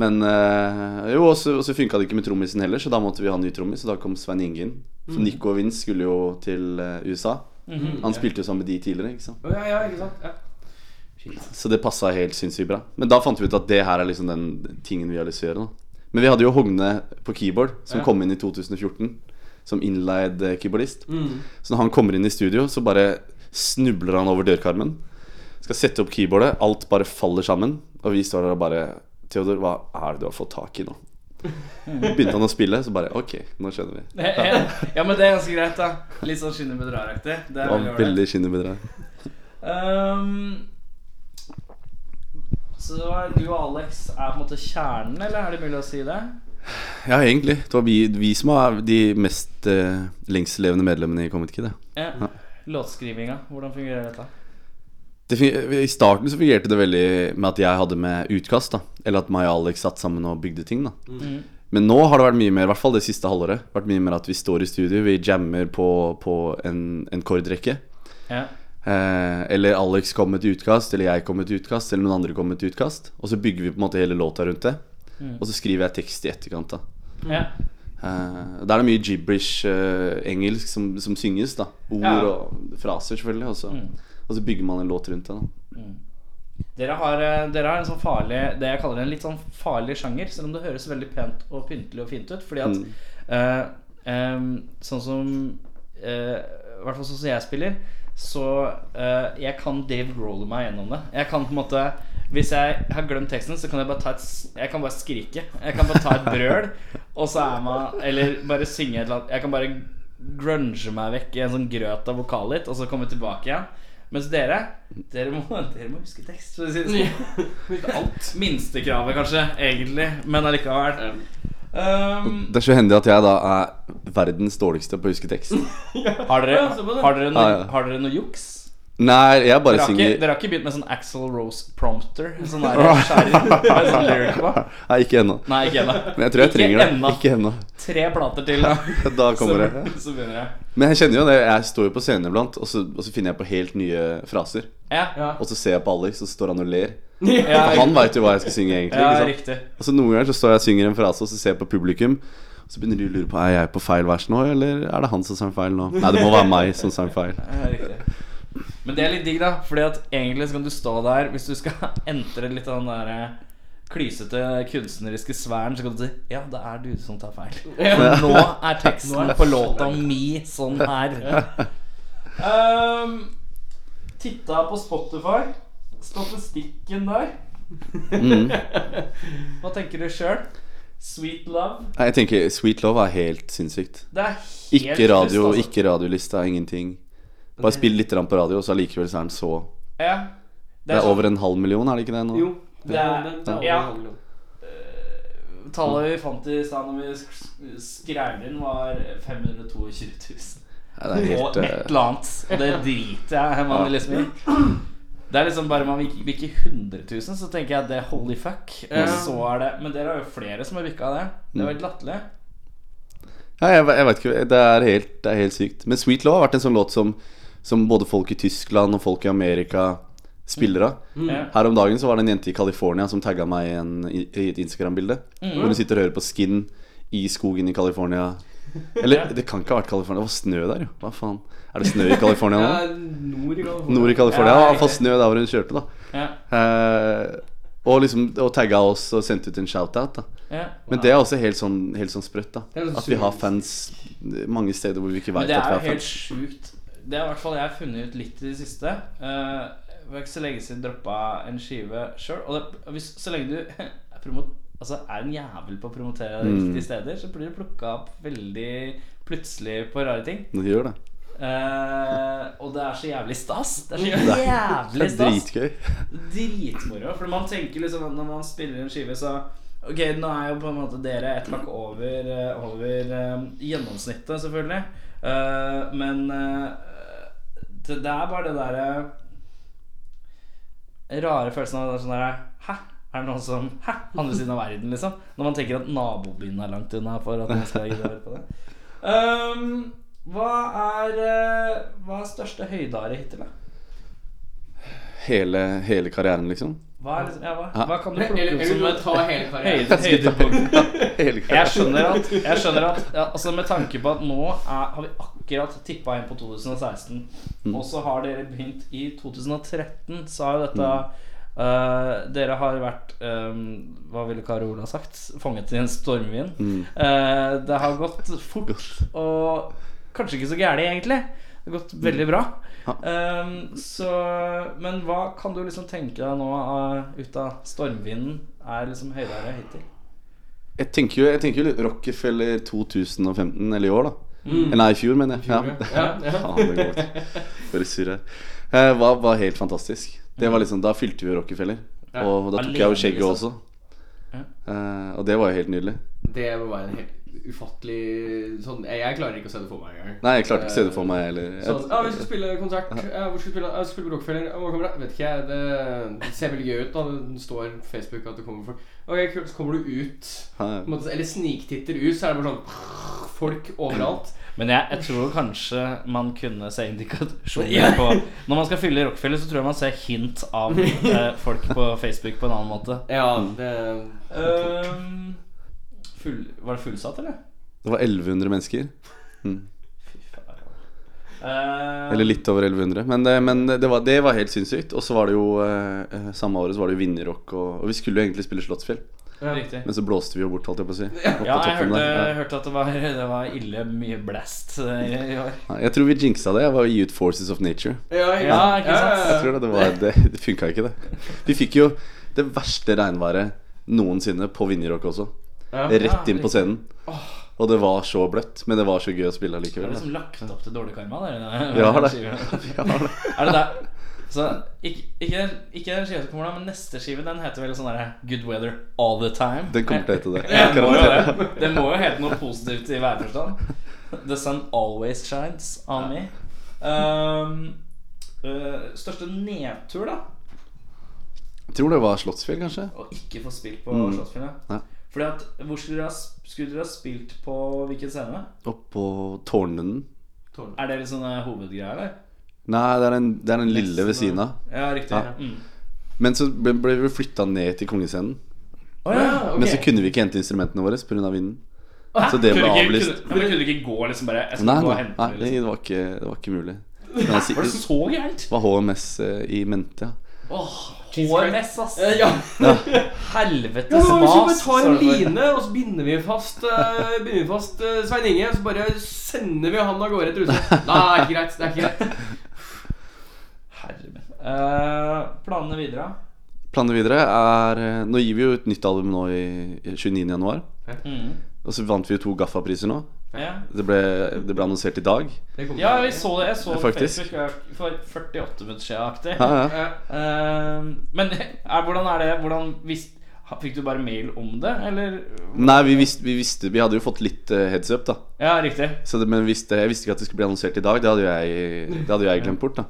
Speaker 4: Men eh, jo, og så og så funka det ikke med trommisen heller, så da måtte vi ha en ny trommis. Og da kom Svein Inge inn.
Speaker 2: Mm.
Speaker 4: For Nico og Vince skulle jo til eh, USA.
Speaker 2: Mhm.
Speaker 4: Han spilte jo sammen med de tidligere, ikke sant.
Speaker 3: Å, ja, ja, ikke sant? Ja.
Speaker 4: Så det passa helt sinnssykt bra. Men da fant vi ut at det her er liksom den tingen vi har lyst til å gjøre. Da. Men vi hadde jo Hogne på keyboard, som
Speaker 3: Ja.
Speaker 4: kom inn i 2014. Som innleid eh, keyboardist. Så når han kommer inn i studio, så bare snubler han over dørkarmen. Skal sette opp keyboardet, alt bare faller sammen. Og vi står der og bare Theodor, hva er det du har fått tak i nå? Begynte han å spille, så bare Ok, nå skjønner vi.
Speaker 2: ja, men det er ganske greit, da. Litt sånn skinner bedraraktig. Det
Speaker 4: Det
Speaker 2: er
Speaker 4: var
Speaker 2: veldig ålreit.
Speaker 4: veldig skinnebedrag.
Speaker 2: Ehm, så du og Alex er på en måte kjernen, eller er det mulig å si det?
Speaker 4: Ja, egentlig. Det var vi, vi som er de mest eh, lengstlevende medlemmene i Comet Kid. Ja.
Speaker 2: Ja. Låtskrivinga, hvordan fungerer dette?
Speaker 4: Det, fun- I starten så fungerte det veldig med at jeg hadde med utkast. da Eller at meg og Alex satt sammen og bygde ting. da Men nå har det vært mye mer, i hvert fall det siste halvåret, vært mye mer at vi står i studio, vi jammer på, på en, en kordrekke.
Speaker 2: Ja.
Speaker 4: Eh, eller Alex kom med et utkast, eller jeg kom med et utkast, eller noen andre kom med et utkast. Og så bygger vi på en måte hele låta rundt det. Og så skriver jeg tekst i etterkant. da
Speaker 2: Ja.
Speaker 4: Eh, Da er det mye gibberish eh, engelsk som, som synges. da Ord
Speaker 2: Ja.
Speaker 4: og fraser, selvfølgelig. Og så, og så bygger man en låt rundt det. da
Speaker 2: Dere, har, eh, dere har en sånn farlig Det jeg kaller en litt sånn farlig sjanger, selv om det høres veldig pent og pyntelig og fint ut. Fordi at eh, em, sånn som eh, I hvert fall sånn som jeg spiller, så eh, jeg kan Dave Grohl meg gjennom det. Jeg kan på en måte Hvis jeg har glemt teksten, så kan jeg bare ta et s- Jeg kan bare skrike. Jeg kan bare ta et brøl, og så er man Eller bare synge et eller annet. Jeg kan bare grunge meg vekk i en sånn grøt av vokalet litt, og så komme tilbake igjen. Mens dere Dere må, dere må huske tekst. For å si det sånn. Alt. Minstekravet, kanskje, egentlig, men allikevel. Um,
Speaker 4: Det er så hendig at jeg da er verdens dårligste på å huske tekst.
Speaker 2: har, dere, har, dere noe,
Speaker 4: Ja, Ah, ja.
Speaker 2: har dere noe juks?
Speaker 4: Nei, jeg
Speaker 2: Dere
Speaker 4: bare
Speaker 2: har, ikke,
Speaker 4: synger
Speaker 2: dere har ikke begynt med sånn Axel Rose prompter? Sånn der skjærer med sånn lyric på?
Speaker 4: Nei, ikke ennå.
Speaker 2: Nei, ikke ennå.
Speaker 4: Men jeg tror jeg
Speaker 2: Ikke
Speaker 4: trenger det.
Speaker 2: ennå.
Speaker 4: Ikke ennå.
Speaker 2: Tre plater til, da.
Speaker 4: Da kommer det.
Speaker 2: Så, så begynner jeg.
Speaker 4: Men jeg kjenner jo det. Jeg står jo på scenen iblant, og så, og så finner jeg på helt nye fraser.
Speaker 2: Ja, ja,
Speaker 3: Ja.
Speaker 4: Og så ser jeg på Alex, og så står han og ler.
Speaker 2: ja,
Speaker 4: For han veit jo hva jeg skal synge, egentlig. Ikke sant?
Speaker 2: riktig.
Speaker 4: Og så noen ganger så står jeg og synger en frase, og så ser jeg på publikum. Og så begynner de å lure på Er jeg på feil vers nå, eller er det han som sang feil nå? Nei, det må være meg som sang feil.
Speaker 2: Ja, riktig. Men det er litt digg, da. Fordi at egentlig så kan du stå der Hvis du skal entre litt av den der eh, klysete kunstneriske sfæren, så kan du si Ja, det er du som tar feil. For nå er teksten på låta mi sånn her. Um, titta på Spotify. Statistikken der.
Speaker 4: Mm.
Speaker 2: Hva tenker du sjøl? Sweet Love.
Speaker 4: Nei, Jeg tenker Sweet Love er helt sinnssykt.
Speaker 2: Det er helt
Speaker 4: Ikke
Speaker 2: trist,
Speaker 4: radio,
Speaker 2: altså.
Speaker 4: ikke radiolista, ingenting. Bare spill litt grann på radio, så allikevel så er den så
Speaker 2: Ja.
Speaker 4: Det er
Speaker 2: sånn-
Speaker 4: over en halv million, er det ikke det nå?
Speaker 3: Jo.
Speaker 2: Det er-
Speaker 3: over
Speaker 2: ja.
Speaker 3: halv million.
Speaker 2: Tallet vi fant i stad når vi sk- skrev inn, var 522 000.
Speaker 4: Nei, det er
Speaker 2: og
Speaker 4: helt
Speaker 2: et
Speaker 4: eh,
Speaker 2: eller annet. Og det driter jeg man
Speaker 4: Ja.
Speaker 2: liksom i. Det er liksom bare man vil vil ikke 100 000, så tenker jeg det holy fuck.
Speaker 3: Ja.
Speaker 4: Mm.
Speaker 2: Og så er det Men dere har jo flere som har bikka det. Det var helt latterlig.
Speaker 4: Nei, jeg, jeg vet ikke. Det er, helt, det er helt sykt. Men Sweet Love har vært en sånn låt som, som både folk i Tyskland og folk i Amerika spiller av.
Speaker 2: Ja.
Speaker 4: Her om dagen så var det en jente i California som tagga meg i, en, i i et Instagram-bilde. Hvor hun sitter og hører på Skin i skogen i California. Eller det kan ikke ha vært California. Det var snø der, jo. Hva faen. Er det snø i California
Speaker 3: Det
Speaker 4: nå?
Speaker 3: er nord i California.
Speaker 4: Nord i California.
Speaker 2: Ja,
Speaker 4: Ja,
Speaker 2: riktig.
Speaker 4: iallfall snø der hvor hun kjørte, da.
Speaker 2: Ja.
Speaker 4: Eh, og liksom og tagga oss og sendte ut en shout-out. da
Speaker 2: Ja.
Speaker 4: Men det er også helt sånn, helt sånn sprøtt. da
Speaker 3: er sånn
Speaker 4: At vi har fans mange steder hvor vi ikke
Speaker 2: Men
Speaker 4: veit
Speaker 2: det er jo
Speaker 4: at vi har
Speaker 2: helt
Speaker 4: fans.
Speaker 2: sjukt. Det har i hvert fall jeg funnet ut litt i det siste. Eh, Det var ikke så lenge siden jeg droppa en skive sjøl. Og det, og hvis, så lenge du er, promo- altså er en jævel på å promotere deg riktige steder, så blir du plukka opp veldig plutselig på rare ting.
Speaker 4: Det gjør det.
Speaker 2: Eh, Eh, og det er så jævlig stas. Det er så
Speaker 4: Det
Speaker 2: jævlig
Speaker 4: er
Speaker 2: stas.
Speaker 4: dritgøy.
Speaker 2: Dritmoro. For man tenker liksom at når man spiller en skive, så Ok, nå er jo på en måte dere et hakk over, eh, over eh, gjennomsnittet, selvfølgelig. Eh, men eh, det, det er bare det derre rare følelsen av det er sånn derre Hæ? Er det noen som Hæ? Andre siden av verden, liksom? Når man tenker at nabobyen er langt unna for at man skal gidde å høre på det. Ehm, hva er eh, Hva er største høydare hittil, da?
Speaker 4: Hele, hele karrieren, liksom.
Speaker 2: Hva, er, liksom- ja, hva,
Speaker 4: Hæ?
Speaker 2: hva kan du
Speaker 5: Eller,
Speaker 2: plukke ut
Speaker 5: eller
Speaker 2: som
Speaker 5: du må ta hele karrieren.
Speaker 2: høyde, høydepunkt?
Speaker 4: Hele
Speaker 2: Jeg
Speaker 4: karrieren.
Speaker 2: skjønner at, jeg skjønner at ja, altså Med tanke på at nå er, har vi akkurat tippa inn på 2016, og så har dere begynt i 2013, så har jo dette øh, Dere har vært øhm, Hva ville Kari Ola sagt? Fanget i en stormvind. Eh, det har gått fort og kanskje ikke så gærent, egentlig. Det har gått veldig bra. Ehm, så, men hva kan du liksom tenke deg nå eh, ut av stormvinden? Er liksom høydere hittil?
Speaker 4: Jeg tenker jo, jeg tenker jo litt Rockefeller 2015, eller i år, da.
Speaker 2: Mm.
Speaker 4: Nei, i fjor, mener jeg. Ja.
Speaker 5: Ja, ja.
Speaker 4: Faen, det går godt. Bare surr her. Eh, var, var helt fantastisk. Det var liksom, da fylte vi Rockefeller. Og da tok jeg jo
Speaker 2: Mm. Alene,
Speaker 4: skjegget
Speaker 2: liksom.
Speaker 4: også. Eh, og det var jo helt nydelig.
Speaker 5: Det må være en helt ufattelig sånn, Jeg, jeg klarer ikke å se det for meg engang.
Speaker 4: Nei, jeg klarte ikke å se det for meg heller.
Speaker 2: Eh,
Speaker 5: Sånn, ja, vi
Speaker 4: Jeg-
Speaker 5: skal spille konsert. Ja, hvor skal vi spille? Ja, vi skal spille på Rockefeller. Ja, hvor kommer det? Vet ikke jeg. Det, det ser veldig gøy ut. da Det står på Facebook at det kommer folk. Ok, kult. Så kommer du ut.
Speaker 4: Ja,
Speaker 5: På en måte, eller sniktitter ut, så er det bare sånn Folk overalt.
Speaker 2: Men jeg, jeg tror kanskje man kunne se indikasjoner på Når man skal fylle Rockefeller, så tror jeg man ser hint av eh, folk på Facebook på en annen måte.
Speaker 5: Ja, det
Speaker 2: Ehm, full, var det fullsatt, eller?
Speaker 4: Det var 1100 mennesker.
Speaker 2: Eh,
Speaker 4: Eller litt over 1100. Men, det, men det, var, det var helt sinnssykt. Og så var det jo eh, eh, samme året så var det jo Vinjerock, og, og vi skulle jo egentlig spille Slottsfjell.
Speaker 2: Riktig.
Speaker 4: Men så blåste vi jo bort, holdt jeg på å si. Opp på
Speaker 2: Ja, jeg
Speaker 4: toppen
Speaker 2: hørte,
Speaker 4: der. Ja.
Speaker 2: hørte at det var, det var ille mye blast eh, i år.
Speaker 4: Ja, Jeg tror vi jinxa det. Jeg var i Youth Forces of Nature.
Speaker 5: Ja, ikke
Speaker 2: Ja,
Speaker 5: sant?
Speaker 2: ikke sant?
Speaker 5: ja,
Speaker 4: Jeg tror det, det, var, det, det funka ikke, det. Vi fikk jo det verste regnværet noensinne på Vinjerock også.
Speaker 5: Ja.
Speaker 4: Rett inn på scenen. Og det var så bløtt, men det var så gøy å spille
Speaker 2: Det er
Speaker 4: allikevel. altså.
Speaker 2: liksom lagt opp til dårlig karma, der.
Speaker 4: Vi har det. Vi har det.
Speaker 2: Er det der? Så, ikke, ikke, ikke den skiva som kommer da, men neste skive den heter vel sånn derre Good Weather All The Time.
Speaker 4: Den kommer til å hete det.
Speaker 2: Ja, den må jo
Speaker 4: Garantert.
Speaker 2: det. Den må jo hete noe positivt i værforstand. The sun always shines on me. Um, øh, største nedtur, da?
Speaker 4: Jeg tror det var Slottsfjell, kanskje.
Speaker 2: Å ikke få spilt på
Speaker 4: Mm.
Speaker 2: Slottsfjellet.
Speaker 4: Ja.
Speaker 2: Fordi at, hvor skulle dere, ha, sp- skulle dere ha spilt på hvilken scene?
Speaker 4: Oppå Tårnlunden.
Speaker 2: Er det liksom eh, hovedgreia, eller?
Speaker 4: Nei, det er, den, det er den lille ved siden av.
Speaker 2: Ja, riktig.
Speaker 4: Ja.
Speaker 2: Mm.
Speaker 4: Men så ble, ble vi flytta ned til Kongescenen.
Speaker 2: Å, ja.
Speaker 4: Men så kunne vi ikke hente instrumentene våre pga. vinden.
Speaker 2: Hæ?
Speaker 4: Så det ble
Speaker 2: Ah, Kunne ikke-
Speaker 4: avlyst.
Speaker 2: Kunne, ja, men kunne du ikke gå liksom bare Jeg skal
Speaker 4: Nei,
Speaker 2: gå og
Speaker 4: nei,
Speaker 2: hente
Speaker 4: nei
Speaker 2: det,
Speaker 4: det,
Speaker 2: liksom.
Speaker 4: var ikke, det var ikke mulig. Men jeg
Speaker 2: Var det
Speaker 4: sier-
Speaker 2: så gærent?
Speaker 4: Det var HMS eh, i mente, ja.
Speaker 2: HMS, ass.
Speaker 5: Eh, ja.
Speaker 2: Helvetes
Speaker 5: Ja, men hvis vi bare tar
Speaker 2: mas, står
Speaker 5: en
Speaker 2: det for.
Speaker 5: line, og så binder vi fast, eh, binder vi fast eh, Svein Inge, og så bare sender vi han av gårde etter huset. Nei, det er ikke greit. Det er ikke greit.
Speaker 2: Herre min. Eh, planene videre?
Speaker 4: Planene videre er eh, Nå gir vi jo et nytt album nå i i 29. januar.
Speaker 2: Mm.
Speaker 4: Og så vant vi jo to Gaffa-priser nå.
Speaker 2: Ja.
Speaker 4: Det ble, det ble annonsert i dag.
Speaker 5: Det kommer
Speaker 2: ja,
Speaker 5: til å
Speaker 2: vi så det. Jeg så det på
Speaker 4: Faktisk.
Speaker 2: Facebook jeg- for 48 minutter siden aktig.
Speaker 4: Ja, ja.
Speaker 5: Ja.
Speaker 2: Eh, men er, hvordan er det hvordan, hvis, ha- Fikk du bare mail om det, eller?
Speaker 4: Nei, vi visste, vi visste Vi hadde jo fått litt eh, heads up, da.
Speaker 2: Ja, riktig.
Speaker 4: Så det, men visste, jeg visste ikke at det skulle bli annonsert i dag. Det hadde jo jeg, det hadde jo jeg glemt bort. da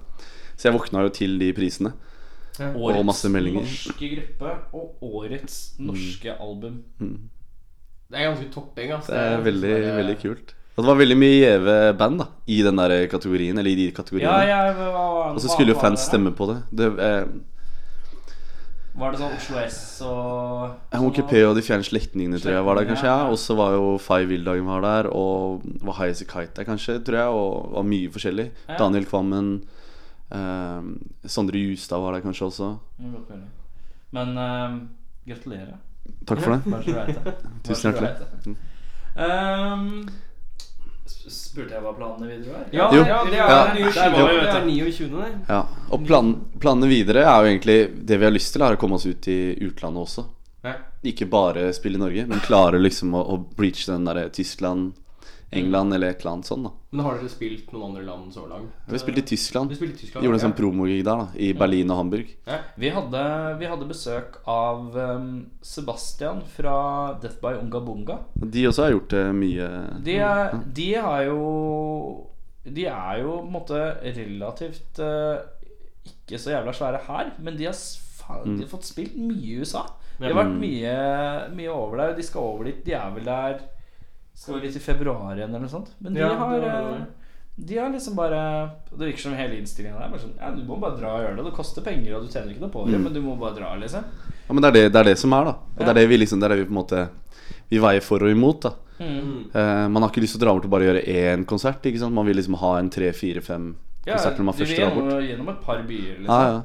Speaker 4: Så jeg våkna jo til de prisene.
Speaker 2: Årets
Speaker 4: masse meldinger. Mm.
Speaker 2: norske gruppe og årets norske album.
Speaker 5: Det er ganske topping, ass.
Speaker 4: Det er veldig,
Speaker 5: bare-
Speaker 4: veldig kult. Og det var veldig mye gjeve band da i den der kategorien. Eller i de
Speaker 2: Ja,
Speaker 4: kategoriene.
Speaker 2: jeg var,
Speaker 4: Og så skulle jo
Speaker 2: var
Speaker 4: fans
Speaker 2: det da?
Speaker 4: stemme på det. det eh,
Speaker 2: Var det sånn Oslo S og
Speaker 4: Honky P og De fjerne slektningene tror jeg var der, kanskje. Ja. Og så var jo Fay Wildagen var der, og var High As A Kite der, kanskje, tror jeg. Og var mye forskjellig.
Speaker 2: Ja.
Speaker 4: Daniel Kvammen. eh, Sondre Justad var der kanskje også.
Speaker 2: Mm, godt mulig. Men ehm, gratulerer.
Speaker 4: Takk for det.
Speaker 2: Bare så du vet det. Bare så
Speaker 4: Tusen
Speaker 2: du
Speaker 4: hjertelig.
Speaker 2: vet det. Ehm, sp- spurte jeg hva planene videre var?
Speaker 5: Ja,
Speaker 4: Jo.
Speaker 5: ja, det er
Speaker 4: Ja.
Speaker 5: nye
Speaker 2: Der var
Speaker 5: skiver,
Speaker 2: vi,
Speaker 5: det
Speaker 2: vet
Speaker 5: er
Speaker 2: du.
Speaker 5: 29. der.
Speaker 4: Ja. Og plan, planene videre er jo egentlig Det vi har lyst til, er å komme oss ut i utlandet også.
Speaker 5: Ja.
Speaker 4: Ikke bare spille i Norge, men klare liksom å, å breache den derre Tyskland, England eller et eller annet sånn da
Speaker 5: Men har dere spilt noen andre land så langt?
Speaker 4: Vi har spilt i Tyskland.
Speaker 5: Du spilte i Tyskland?
Speaker 4: Gjorde en
Speaker 5: ja.
Speaker 4: sånn promogig der, da. I Berlin og Hamburg.
Speaker 2: Vi hadde, vi hadde besøk av ehm, Sebastian fra Death by Unga Bunga.
Speaker 4: De også har gjort det mye.
Speaker 2: De, er,
Speaker 5: Mm,
Speaker 2: de har jo De er jo på en måte relativt eh, ikke så jævla svære her, men de har, s- faen,
Speaker 5: Mm.
Speaker 2: de har fått spilt mye i USA. De har vært mye, mye over der. og De skal over dit. De er vel der Skal vel dit i februar igjen, eller noe sånt. Men de
Speaker 5: Ja, det
Speaker 2: har
Speaker 5: var det.
Speaker 2: eh, de har liksom bare Det virker som hele innstillingen der. Bare sånn, ja, du må bare dra og gjøre det. Det koster penger, og du tjener ikke noe på det,
Speaker 5: Mm.
Speaker 2: men du må bare dra, liksom.
Speaker 4: Ja, men det er det, det er det som er, da. Og det er det vi liksom Det er det vi på en måte Vi veier for og imot, da.
Speaker 2: Mm.
Speaker 5: Mm.
Speaker 4: Eh, man har ikke lyst til å dra bort og bare gjøre én konsert. Ikke sant? Man vil liksom ha en tre, fire, fem konserter når man
Speaker 2: du
Speaker 4: først
Speaker 2: vil
Speaker 4: drar bort.
Speaker 2: gjennom, gjennom et par byer, liksom.
Speaker 4: Ja, ja.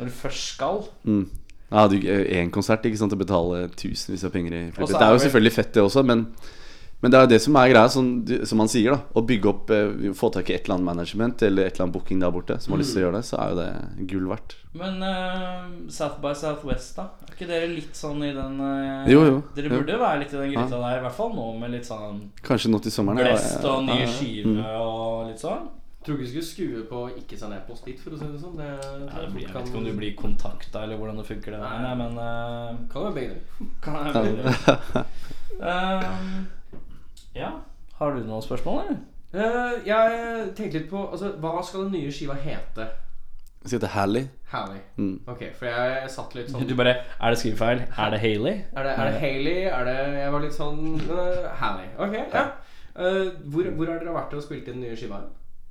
Speaker 2: Når du først skal.
Speaker 4: Mm. Ja, du, eh, en konsert, ikke sant, å betale tusenvis av penger i
Speaker 2: Og så
Speaker 4: flybillett.
Speaker 2: er
Speaker 4: Det er jo
Speaker 2: det-
Speaker 4: selvfølgelig fett, det også, men, men det er jo det som er greia, som, du- som han sier, da. Å bygge opp, eh, få tak i et eller annet management eller et eller annet booking der borte som har lyst til å
Speaker 2: Mm.
Speaker 4: gjøre det, så er jo det gull verdt.
Speaker 2: Men eh, South by Southwest, da? Er ikke dere litt sånn i den eh,
Speaker 4: Jo, jo,
Speaker 2: Dere
Speaker 4: jo.
Speaker 2: burde jo være litt i den gryta der, i hvert fall nå, med litt sånn
Speaker 4: Kanskje nå til sommeren. ja.
Speaker 2: blest og
Speaker 4: Ja,
Speaker 2: nye
Speaker 4: ja. Mm.
Speaker 2: skive og litt sånn.
Speaker 5: Tror ikke du skulle skue på å ikke sende e-post dit, for å si det sånn. Det,
Speaker 2: Jeg vet ikke om du blir kontakta, eller hvordan det funker, det der, men eh,
Speaker 5: Kan være begge deler.
Speaker 2: kan jeg Ehm, Ja. Har du noen spørsmål, eller?
Speaker 5: Eh, jeg tenkte litt på Altså, hva skal den nye skiva hete?
Speaker 4: Så heter Hally.
Speaker 5: Hally.
Speaker 4: Mm.
Speaker 5: Ok, for jeg satt litt sånn
Speaker 2: Du bare Er det skrivefeil? Er det Hailey?
Speaker 5: Er det, er det Haley? Er det Jeg var litt sånn uh, Hally. Ok, ja. Eh, hvor, hvor har dere vært og spilt inn den nye skiva?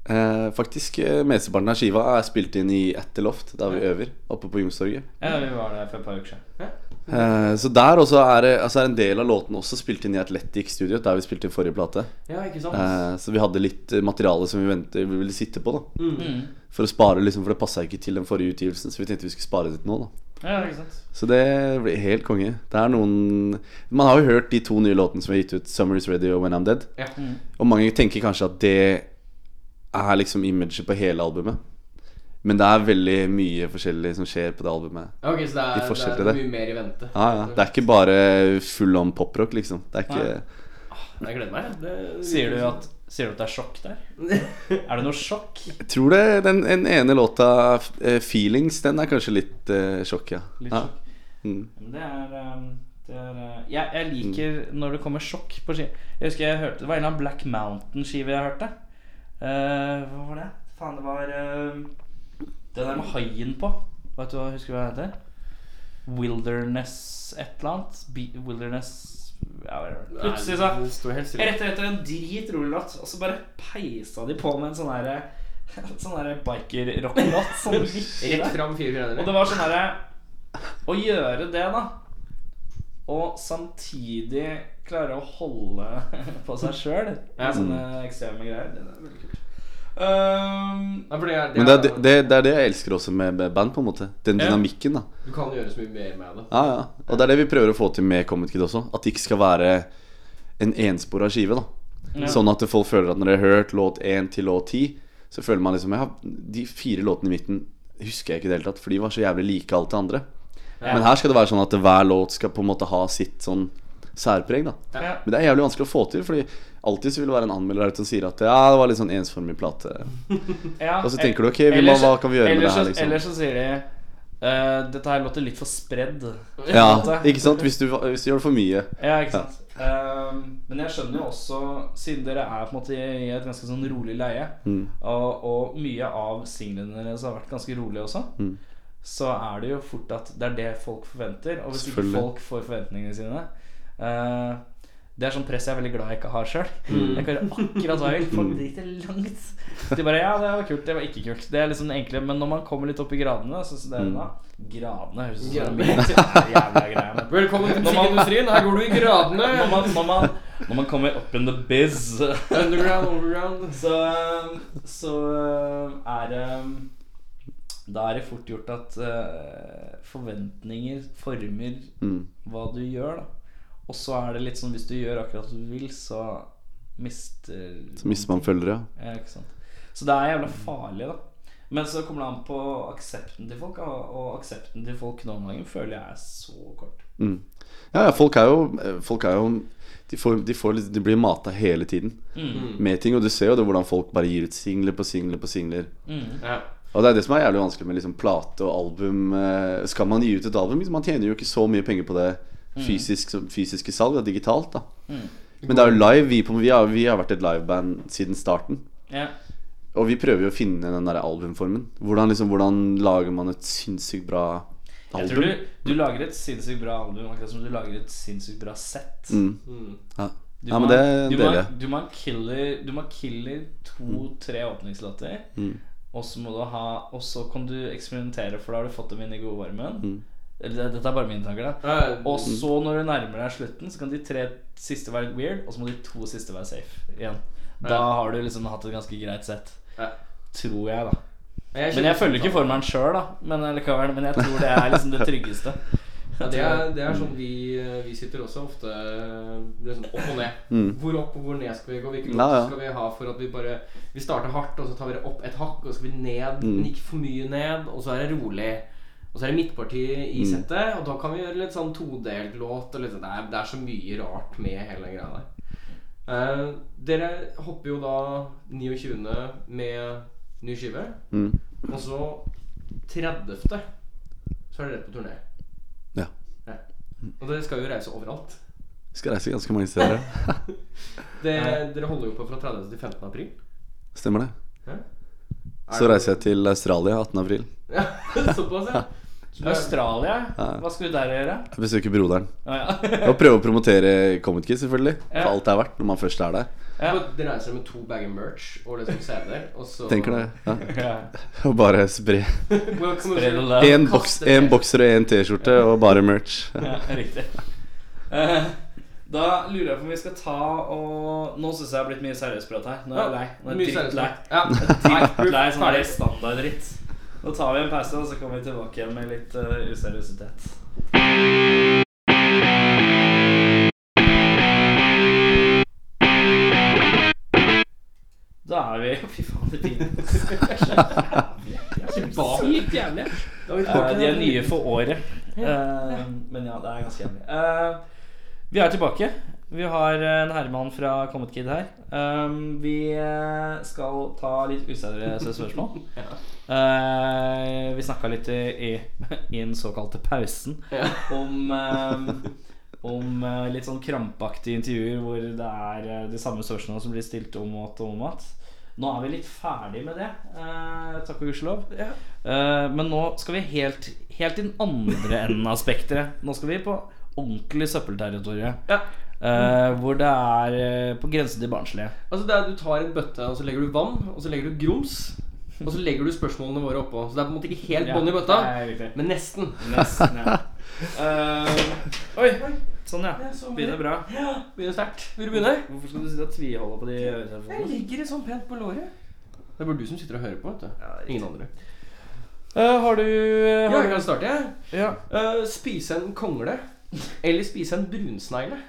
Speaker 4: Eh, faktisk, eh, mesteparten av skiva er spilt inn i Etterloft, der vi øver, oppe på Youngstorget.
Speaker 2: Ja, vi var der for et par uker siden.
Speaker 4: Eh, så der også er, det- altså er en del av låtene også spilt inn i Atletic Studio, der vi spilte inn forrige plate.
Speaker 5: Ja, ikke sant?
Speaker 4: Eh, Så vi hadde litt eh, materiale som vi, venter, vi ville sitte på, da.
Speaker 2: Mm.
Speaker 4: For å spare, liksom, for det passa ikke til den forrige utgivelsen, så vi tenkte vi skulle spare det til nå, da.
Speaker 2: Ja, ikke sant?
Speaker 4: Så det ble helt konge. Det er noen Man har jo hørt de to nye låtene som vi har gitt ut, 'Summer Is Ready' og 'When I'm Dead'.
Speaker 5: Ja.
Speaker 4: Og mange tenker kanskje at det er liksom imaget på hele albumet. Men det er veldig mye forskjellig som skjer på det albumet.
Speaker 5: Ja, Ok, Så det
Speaker 4: De
Speaker 5: er, det
Speaker 4: forskjellige
Speaker 5: er
Speaker 4: der.
Speaker 5: mye mer i vente?
Speaker 4: Ja, ja. Det er ikke bare full on poprock, liksom. Det er ikke
Speaker 5: Jeg gleder meg. Det,
Speaker 2: Sier du at Sier du at det er sjokk der? Er det noe sjokk?
Speaker 4: Jeg tror det den, den ene låta, eh, 'Feelings', den er kanskje litt eh, sjokk, ja.
Speaker 2: Litt
Speaker 4: ja.
Speaker 2: sjokk.
Speaker 4: Mm.
Speaker 2: Men Det er, um, det er uh, jeg, jeg liker når det kommer sjokk på ski. Jeg husker jeg hørte Det var en eller annen Black Mountain-skive jeg hørte. Eh, hva var det? Faen, det var eh, Den der med haien på. Vet du hva, Husker du hva den heter? Wilderness et eller annet. Be Wilderness ja, hva er det? Plutselig så
Speaker 5: Nei, det står helt stille.
Speaker 2: Rett etter en dritrolig låt, og så bare peisa de på med en sånn herre Sånn herre biker-rock-låt. Sånn
Speaker 5: Rett
Speaker 2: riktig.
Speaker 5: fram fire
Speaker 2: Og
Speaker 5: fjerdedere.
Speaker 2: det var sånn herre Å gjøre det, da, og samtidig klare å holde på seg sjøl med sånne
Speaker 4: Mm.
Speaker 2: ekstreme greier, det er veldig kult. Ehm,
Speaker 5: Ja, for det er,
Speaker 4: Men det er det, det, det er det jeg elsker også med med band, på en måte. Den
Speaker 2: Ja.
Speaker 4: dynamikken, da.
Speaker 5: Du kan gjøre så mye mer med det.
Speaker 4: Ja, ja. Og det er det vi prøver å få til med Comet Kid også. At det ikke skal være en enspora skive. da Sånn at folk føler at når de har hørt låt 1 til låt 10, så føler man liksom Ja, de fire låtene i midten husker jeg ikke i det hele tatt, for de var så jævlig like alt det andre. Men her skal det være sånn at hver låt skal på en måte ha sitt sånn særpreg. da
Speaker 2: ja.
Speaker 4: Men det er jævlig vanskelig å få til, Fordi alltid så vil det være en anmelder der ute som sier at ja, det var litt sånn ensformig plate.
Speaker 2: Ja,
Speaker 4: Og så
Speaker 2: e-
Speaker 4: tenker du, ok, vi må-
Speaker 2: ellers-
Speaker 4: hva kan vi gjøre med
Speaker 2: ellers
Speaker 4: det her,
Speaker 2: så-
Speaker 4: liksom?
Speaker 2: Ellers så sier de eh, Dette her låter litt for spredd.
Speaker 4: Ja, ikke sant? Hvis du, hvis du gjør det for mye.
Speaker 2: Ja, ikke sant. Ehm, men jeg skjønner jo også, siden dere er på en måte i et ganske sånn rolig leie,
Speaker 4: Mm.
Speaker 2: og, og mye av singlene deres har vært ganske rolig også, så er det jo fort at det er det folk forventer. Og hvis ikke
Speaker 4: Selvfølgelig.
Speaker 2: folk får forventningene sine eh, Det er sånn press jeg er veldig glad jeg ikke har sjøl. Jeg kan gjøre akkurat hva jeg vil. Folk driter langt. De bare Ja, det var kult. Det var ikke kult. Det er liksom det enkle. Men når man kommer litt opp i gradene, så så det er det da Gradene høres ut som en
Speaker 5: Gradene.
Speaker 2: jævla greie. men-
Speaker 5: Velkommen til musikkindustrien. Her går du i gradene.
Speaker 2: når man, når, man, når man kommer opp in the biz,
Speaker 5: Underground, overground.
Speaker 2: så, eh, så eh, er det Da er det fort gjort at eh, forventninger former
Speaker 4: Mm.
Speaker 2: hva du gjør, da. Og så er det litt sånn hvis du gjør akkurat hva du vil, så mister
Speaker 4: Så mister man følgere.
Speaker 2: ja, ikke sant? Så det er jævla farlig, da. Men så kommer det an på aksepten til folk, og og aksepten til folk nå om dagen føler jeg er så kort.
Speaker 4: Ja, ja folk er jo, eh, folk er jo de, får, de, får, litt- de blir mata hele tiden med ting. Og du ser jo det hvordan folk bare gir ut singler på singler på singler.
Speaker 3: Ja.
Speaker 4: Og det er det som er jævlig vanskelig med liksom plate og album. eh, Skal man gi ut et album? Man tjener jo ikke så mye penger på det fysisk, som fysiske salg, da, digitalt. da Men det er jo live. Vi, på, vi, har, vi har vært et liveband siden starten.
Speaker 2: Ja.
Speaker 4: Og vi prøver jo å finne den der albumformen. Hvordan, liksom, hvordan lager man et sinnssykt bra
Speaker 2: Jeg tror
Speaker 4: album?
Speaker 2: du, du lager et sinnssykt bra album, akkurat som du lager et sinnssykt bra sett.
Speaker 5: Hmm.
Speaker 4: Ja.
Speaker 2: Du
Speaker 4: ja, men
Speaker 2: må-
Speaker 4: det deler
Speaker 2: du
Speaker 4: jeg.
Speaker 2: må- Du må ha killer, du må ha killer
Speaker 4: Mm.
Speaker 2: to-tre åpningslåter. Og så må du ha Og så kan du eksperimentere, for da har du fått dem inn i godvarmen.
Speaker 4: Mm.
Speaker 2: Eller det- Dette er bare mine tanker, da.
Speaker 5: Eh,
Speaker 3: Ja,
Speaker 2: Og så når du nærmer deg slutten, så kan de tre siste være weird, og så må de to siste være safe igjen. Da har du liksom hatt et ganske greit sett.
Speaker 3: Ja.
Speaker 2: Tror jeg, da.
Speaker 3: jeg
Speaker 2: Men jeg følger ikke for meg den sjøl, da. Men, eh, likevel, men jeg tror det er liksom det tryggeste.
Speaker 3: Ja, det, er, det er
Speaker 4: Mm.
Speaker 3: sånn vi, eh, vi sitter også ofte eh, liksom opp og ned. Hvor opp og hvor ned skal vi gå? Hvilken
Speaker 4: Mm. Ja,
Speaker 3: låt
Speaker 4: ja.
Speaker 3: skal vi ha for at vi bare Vi starter hardt, og så tar vi det opp et hakk, og så skal vi
Speaker 4: Mm.
Speaker 3: ned. men Ikke for mye ned, og så er det rolig. Og så er det midtpartiet
Speaker 4: Mm.
Speaker 3: i settet, og da kan vi gjøre litt sånn todelt låt. Og litt, sånn- det, er, det er så mye rart med hele den greia der. Eh, dere hopper jo da 29. med ny skive.
Speaker 4: Mm.
Speaker 3: Og så 30. så er dere rett på turné.
Speaker 4: Ja.
Speaker 3: Ja. Og dere skal jo reise overalt.
Speaker 4: Vi skal reise ganske mange steder. ja.
Speaker 3: Det, dere holder jo på fra 30. til 15. april.
Speaker 4: Stemmer det.
Speaker 3: Ja.
Speaker 4: Så reiser jeg til Australia 18. april.
Speaker 3: Ja, Såpass, ja.
Speaker 2: Så Australia, hva skal du der gjøre?
Speaker 4: Jeg besøker broderen.
Speaker 2: Å, ja.
Speaker 4: Og prøver å promotere Comet Kids, selvfølgelig.
Speaker 2: Ja.
Speaker 4: For alt det er verdt når man først er der.
Speaker 3: Ja. Og Dere reiser med to bager merch og liksom CD-er, og så
Speaker 4: Tenker det. Ja.
Speaker 2: ja.
Speaker 4: Og bare spre
Speaker 3: Welcome
Speaker 2: Spre det
Speaker 3: to-
Speaker 2: der.
Speaker 4: én boks,
Speaker 3: kaste
Speaker 4: en
Speaker 3: det.
Speaker 4: bokser og én T-skjorte, og bare merch.
Speaker 2: Ja, riktig. Eh, da lurer jeg på om vi skal ta og Nå syns jeg det har blitt mye seriøsprat her. Nå er jeg lei. Nå er
Speaker 3: Mye
Speaker 2: jeg drittlei.
Speaker 3: seriøst. Ja.
Speaker 2: Drittlei sånn
Speaker 3: Ferdig.
Speaker 2: der standarddritt. Nå tar vi en pause, og så kommer vi tilbake igjen med litt eh, useriøsitet. Da er vi Fy faen, det piner. Sykt jævlig. Eh, de er nye for året. Eh, men ja, det er ganske jævlig. Eh, vi er tilbake. Vi har eh, en herremann fra Comet Kid her. Um, vi eh, skal ta litt useriøse spørsmål. Eh, vi snakka litt i, i, i den såkalte pausen om eh, om eh, litt sånn krampaktige intervjuer hvor det er eh, de samme spørsmålene som blir stilt om og om og at. Nå er vi litt ferdig med det, eh, takk og gudskjelov. Eh, men nå skal vi helt, helt i den andre enden av spekteret. Nå skal vi på ordentlig søppelterritorium. Eh, hvor det er eh, på grensen til barnslige.
Speaker 3: Altså det er Du tar en bøtte, og så legger du vann, og så legger du grums. Og så legger du spørsmålene våre oppå. Så det er på en måte ikke helt bånn i bøtta,
Speaker 2: Ja, det er riktig.
Speaker 3: men nesten.
Speaker 2: Nesten, ja. Eh, oi! Sånn, ja. Begynner bra.
Speaker 3: Begynner sterkt. Vil du begynne?
Speaker 2: Hvorfor skal du sitte og tviholde på de
Speaker 3: Jeg
Speaker 2: øretelefonene?
Speaker 3: ligger det sånn pent på låret. Det er bare du som sitter og hører på. vet du Ingen andre.
Speaker 2: sånn. Eh, har du eh,
Speaker 3: Ja,
Speaker 2: har
Speaker 3: jeg
Speaker 2: du-
Speaker 3: kan starte, jeg.
Speaker 2: ja.
Speaker 3: Eh, spise en kongle eller spise en brunsnegle?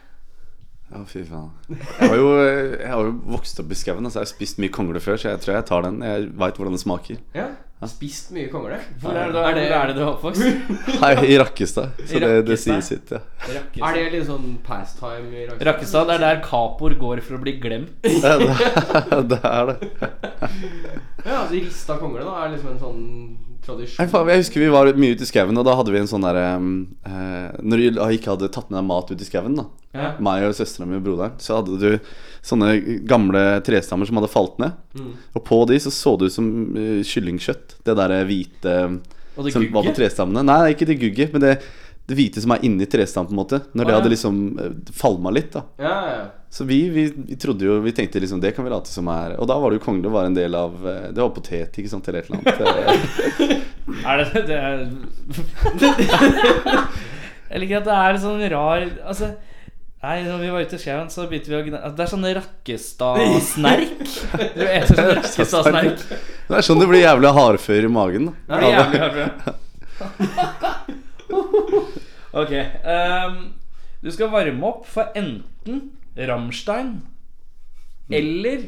Speaker 4: Ja, fy faen. Jeg har jo, jeg har jo vokst opp i skauen. Altså. Jeg har spist mye kongle før, så jeg tror jeg tar den. Jeg veit hvordan det smaker.
Speaker 3: Ja. Spist mye kongle.
Speaker 2: Hvor er det, da-
Speaker 3: Er det-
Speaker 2: hvor er det du er oppvokst?
Speaker 4: Hei, i Rakkestad. Så det, det
Speaker 2: Rakkestad?
Speaker 4: sier sitt, ja.
Speaker 3: Er det litt sånn pastime i Rakkestad?
Speaker 2: Rakkestad, det er der Kapor går for å bli glemt.
Speaker 4: Det, det, det er det.
Speaker 3: Ja, altså Rista kongle da er liksom en sånn
Speaker 4: Nei,
Speaker 3: tradisjon.
Speaker 4: faen, jeg husker vi var mye ute i skauen, og da hadde vi en sånn derre Når du ikke hadde tatt med deg mat ut i skauen, da,
Speaker 3: Ja.
Speaker 4: meg og søstera mi og broderen, så hadde du sånne gamle trestammer som hadde falt ned.
Speaker 2: Mm.
Speaker 4: Og på de så så det ut som eh, kyllingkjøtt. Det derre hvite
Speaker 2: Og det
Speaker 4: som var på
Speaker 2: gugget?
Speaker 4: trestammene. Nei, ikke det gugget, men det, det hvite som er inni trestammen, på en måte. Når det
Speaker 3: ja.
Speaker 4: hadde liksom eh, falma litt, da.
Speaker 3: Ja, ja.
Speaker 4: Så vi, vi, vi trodde jo Vi tenkte liksom det kan vi late som er Og da var det jo kongle var en del av eh, Det var potet, ikke sant, eller et eller annet. Eh,
Speaker 2: Er det det er, Jeg liker at det er sånn rar Altså Nei, når vi var ute i skauen, så begynte vi å gna... Det er sånn Rakkestad-snerk. Du eter sånn Rakkestad-snerk.
Speaker 4: Det er sånn det blir jævlig hardfør i magen. Da.
Speaker 2: Det er jævlig hardt, bra. Ok. ehm, du skal varme opp for enten Rammstein Mm. eller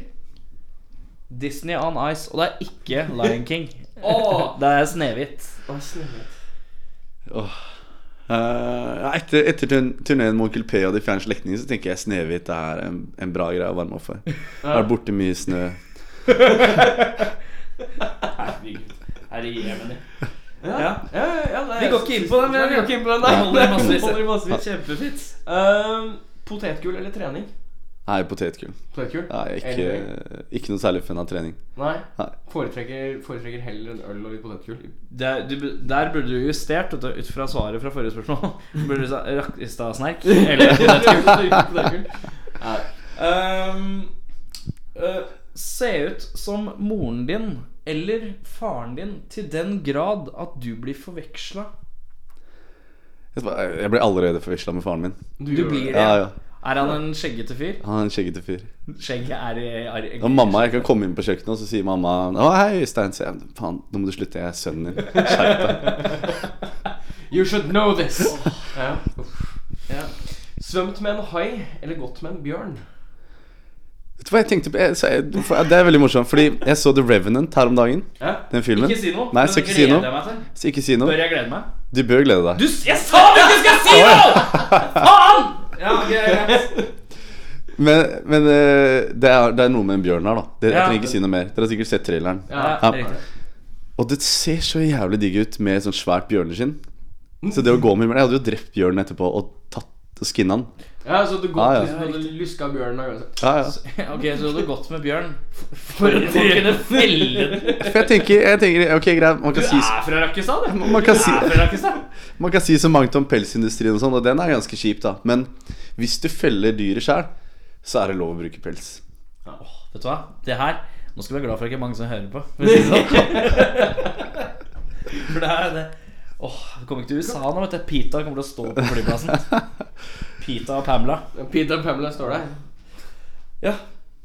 Speaker 2: Disney on Ice. Og det er ikke Lion King.
Speaker 5: Åh,
Speaker 2: Det er Snehvit.
Speaker 5: Åh, Snehvit.
Speaker 4: Eh, etter etter turneen med Onkel P og De fjerne slektninger så tenker jeg Snehvit er en, en bra greie å varme opp for.
Speaker 5: Ja.
Speaker 4: Er borte mye snø.
Speaker 2: Herregud. Er det Jemeni?
Speaker 5: Ja,
Speaker 2: Ja.
Speaker 5: ja, ja, det er-
Speaker 2: Vi går ikke inn på den,
Speaker 5: Nei, vi går ikke inn på den. Nei,
Speaker 2: Holder i massevis.
Speaker 5: Holder i massevis.
Speaker 2: Kjempefint.
Speaker 5: Ehm, Potetgull eller trening?
Speaker 4: Nei, potetgull.
Speaker 5: Potetgull?
Speaker 4: Nei,
Speaker 5: Eller-
Speaker 4: ikke, ikke noe særlig fan av trening.
Speaker 5: Nei.
Speaker 4: Nei.
Speaker 5: Foretrekker, foretrekker heller en øl og litt potetgull.
Speaker 2: Der, du, der burde du justert vet du, ut fra svaret fra forrige spørsmål. Burde du sa Rakkestad-snerk eller potetgull?
Speaker 5: Potetgull. Nei.
Speaker 2: Ehm, eh, se ut som moren din eller faren din til den grad at du blir forveksla.
Speaker 4: Jeg bare- jeg ble allerede forveksla med faren min.
Speaker 5: Du,
Speaker 2: Du
Speaker 5: gjør
Speaker 2: blir
Speaker 5: det.
Speaker 2: det.
Speaker 4: Ja, ja.
Speaker 2: Er han en skjeggete fyr?
Speaker 4: Han er en skjeggete fyr.
Speaker 2: Skjegget er i arr.
Speaker 4: Og mamma, Jeg kan komme inn på kjøkkenet, og så sier mamma Å, hei, Øystein. Så jeg, Faen, nå må du slutte. Jeg er sønnen din.
Speaker 5: You should know this. Ja.
Speaker 2: Ja.
Speaker 5: Svømt med en hai eller gått med en bjørn?
Speaker 4: Vet du hva jeg tenkte på? Jeg, så jeg, det er veldig morsomt, fordi jeg så The Revenant her om dagen.
Speaker 5: Ja.
Speaker 4: Den filmen.
Speaker 2: Ikke si noe.
Speaker 4: Nei,
Speaker 2: men
Speaker 4: så ikke
Speaker 2: gleder
Speaker 4: si
Speaker 2: jeg
Speaker 4: noe.
Speaker 2: meg til.
Speaker 4: Så ikke si noe.
Speaker 2: Bør jeg glede meg?
Speaker 4: Du bør glede deg.
Speaker 2: Du, jeg sa du ikke skal si noe! Faen! Ja, ok, greit.
Speaker 4: Men, men eh, det, er, det er noe med en bjørn her, da. Det, jeg
Speaker 2: Ja.
Speaker 4: trenger ikke si noe mer. Dere har sikkert sett traileren.
Speaker 5: Ja.
Speaker 2: Ja,
Speaker 4: Ja.
Speaker 2: riktig.
Speaker 4: Og det ser så jævlig digg ut med sånn svært bjørneskinn. Så det å gå med bjørn Jeg hadde jo drept bjørnen etterpå og tatt og skinna den.
Speaker 5: ja, så du
Speaker 4: Ah,
Speaker 5: gått
Speaker 4: ja.
Speaker 5: liksom, du luska bjørnen og gjort
Speaker 4: Ja, ja.
Speaker 2: Ok, så du hadde gått med Bjørn for å kunne felle den.
Speaker 4: For jeg tenker, jeg tenker Ok, greit, man
Speaker 2: Du
Speaker 4: kan si
Speaker 2: er fra Rakkestad, du.
Speaker 4: man kan si,
Speaker 2: Du er fra Rakkestad.
Speaker 4: man kan si så mangt om pelsindustrien og sånn, og den er ganske kjip, da. Men hvis du feller dyret sjøl, så er det lov å bruke pels.
Speaker 2: Åh, vet du hva? Det her Nå skal du være glad for at det ikke er mange som hører på. For, å si det sånn. for det her er det Åh, det kommer ikke til USA nå, vet du. Pita kommer til å stå på flyplassen. Pita og Pamela.
Speaker 5: Peter og Pamela står der.
Speaker 2: Ja.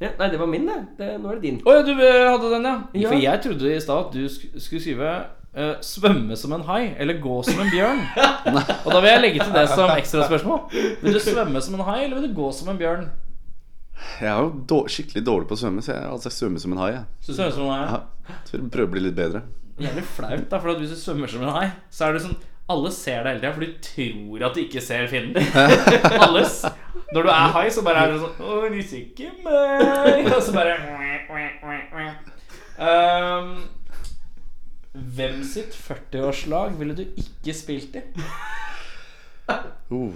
Speaker 5: Ja, nei, det var min, det. det. Nå er det din.
Speaker 2: Å ja, du eh, hadde den, ja.
Speaker 5: Ja.
Speaker 2: For jeg trodde i stad at du sk skulle skrive eh, 'svømme som en hai' eller 'gå som en bjørn'. Og da vil jeg legge til det som ekstraspørsmål. Vil du svømme som en hai, eller vil du gå som en bjørn?
Speaker 4: Jeg er jo dår, skikkelig dårlig på å svømme, så jeg altså, jeg svømmer som en hai. Jeg.
Speaker 2: Svømme som en hai.
Speaker 4: Ja, så jeg prøver å bli litt bedre.
Speaker 2: Jævlig flaut, da, for at hvis du svømmer som en hai, så er det sånn Alle ser deg hele tida, for du tror at du ikke ser fienden. Alle s- Når du er hai, så bare er det sånn Å, de ser ikke meg. Og så bare um, Hvem sitt 40-årslag ville du ikke spilt i?
Speaker 4: Uh.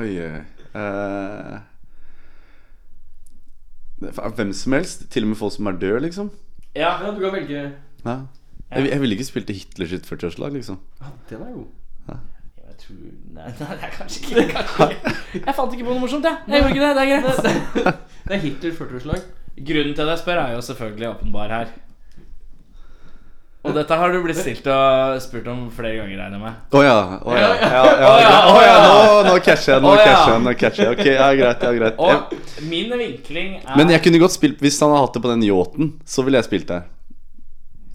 Speaker 4: Oi, oi. Eh, det er Hvem som helst, til og med folk som er døde, liksom.
Speaker 2: Ja,
Speaker 5: Ja, du kan velge.
Speaker 4: Ja. Jeg, jeg ville ikke spilt i Hitlers 40-årslag, liksom.
Speaker 5: Ja, den er god.
Speaker 2: jeg tror Nei, nei det er kanskje ikke det. er Kanskje. ikke. Jeg fant ikke på noe morsomt, jeg. Jeg gjorde ikke det. Det er greit.
Speaker 5: Det er Hitler 40-årslag.
Speaker 2: Grunnen til at jeg spør, er jo selvfølgelig åpenbar her. Og dette har du blitt stilt og spurt om flere ganger, regner jeg med.
Speaker 4: Å ja. Å ja. ja,
Speaker 2: Å
Speaker 4: ja,
Speaker 2: ja,
Speaker 4: greit.
Speaker 2: å
Speaker 4: Å ja.
Speaker 2: ja.
Speaker 4: Nå, nå catcher jeg, nå
Speaker 2: Å ja.
Speaker 4: catcher jeg. nå catcher jeg Ok, ja, greit. ja, greit
Speaker 2: Og
Speaker 4: Jeg-
Speaker 2: min vinkling er
Speaker 4: Men jeg kunne godt spilt hvis han hadde hatt det på den yachten. Så ville jeg spilt der.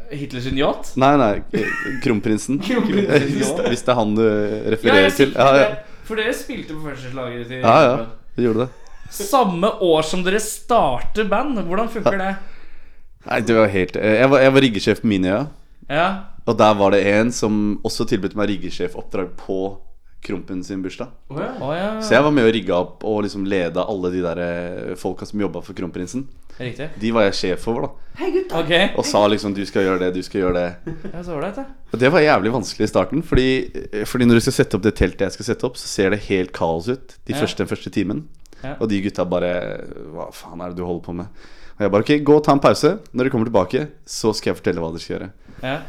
Speaker 2: Hitlers yacht.
Speaker 4: Nei, nei, kronprinsen.
Speaker 5: Kronprinsen,
Speaker 4: Hvis,
Speaker 5: ja.
Speaker 4: hvis det er han du
Speaker 2: Ja,
Speaker 4: refererer
Speaker 2: jeg
Speaker 4: til.
Speaker 2: sikter
Speaker 4: Ja, ja.
Speaker 2: det. For dere spilte på førsteslaget til
Speaker 4: ja, ja. Du gjorde det.
Speaker 2: Samme år som dere starter band. Hvordan funker det?
Speaker 4: Nei, det var helt eh, Jeg var, jeg var riggesjef på Miniøya.
Speaker 2: Ja,
Speaker 4: Og der var det en som også tilbød meg riggesjefoppdrag på Krompen sin bursdag.
Speaker 5: Å ja.
Speaker 2: Å, ja.
Speaker 4: Så jeg var med og rigga opp og liksom leda alle de der eh, folka som jobba for Kronprinsen.
Speaker 2: Riktig.
Speaker 4: De var jeg sjef over, da.
Speaker 2: Ok.
Speaker 4: Og sa liksom 'du skal gjøre det, du skal gjøre det'.
Speaker 2: Ja, så ålreit, da.
Speaker 4: Og det var jævlig vanskelig i starten, fordi, eh, fordi når du skal sette opp det teltet jeg skal sette opp, så ser det helt kaos ut de
Speaker 2: Ja.
Speaker 4: første, den første timen.
Speaker 2: Ja.
Speaker 4: Og de gutta bare Hva faen er det du holder på med? Og jeg bare ok, gå og ta en pause. Når dere kommer tilbake, så skal jeg fortelle hva dere skal gjøre.
Speaker 2: Ja.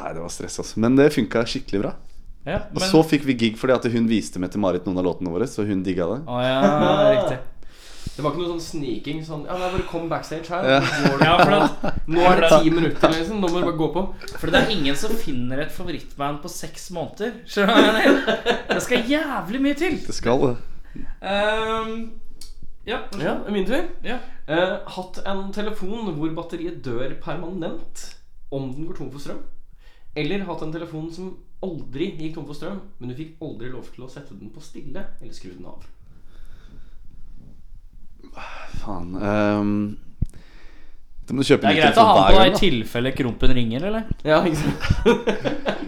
Speaker 4: Nei, det var stress, altså. Men det funka skikkelig bra.
Speaker 2: Ja,
Speaker 4: Og
Speaker 2: men
Speaker 4: så fikk vi gig fordi at hun viste Mette-Marit noen av låtene våre, så hun digga det.
Speaker 2: Å ja, riktig.
Speaker 5: Det var ikke noe sånn sniking sånn Ja, nei, bare kom backstage her.
Speaker 4: Ja.
Speaker 5: så går du.
Speaker 2: Ja, for det,
Speaker 5: Nå er det ti minutter, liksom. Nå må du bare gå på.
Speaker 2: For det er ingen som finner et favorittband på seks måneder. Skjønner du hva jeg mener? Det skal jævlig mye til.
Speaker 4: Det skal det.
Speaker 2: Ehm, ja, vær så god.
Speaker 5: Ja, det er min tur.
Speaker 2: ja.
Speaker 5: Eh, hatt en telefon hvor batteriet dør permanent om den går tom for strøm. Eller hatt en telefon som aldri gikk tom for strøm, men du fikk aldri lov til å sette den på stille eller skru den av.
Speaker 4: Faen. ehm, Det må du kjøpe
Speaker 2: Det er
Speaker 4: ny
Speaker 2: greit å
Speaker 4: telefon
Speaker 2: ha på deg
Speaker 4: hver gang,
Speaker 2: i
Speaker 4: da.
Speaker 2: tilfelle krompen ringer, eller?
Speaker 3: Ja, ikke sant?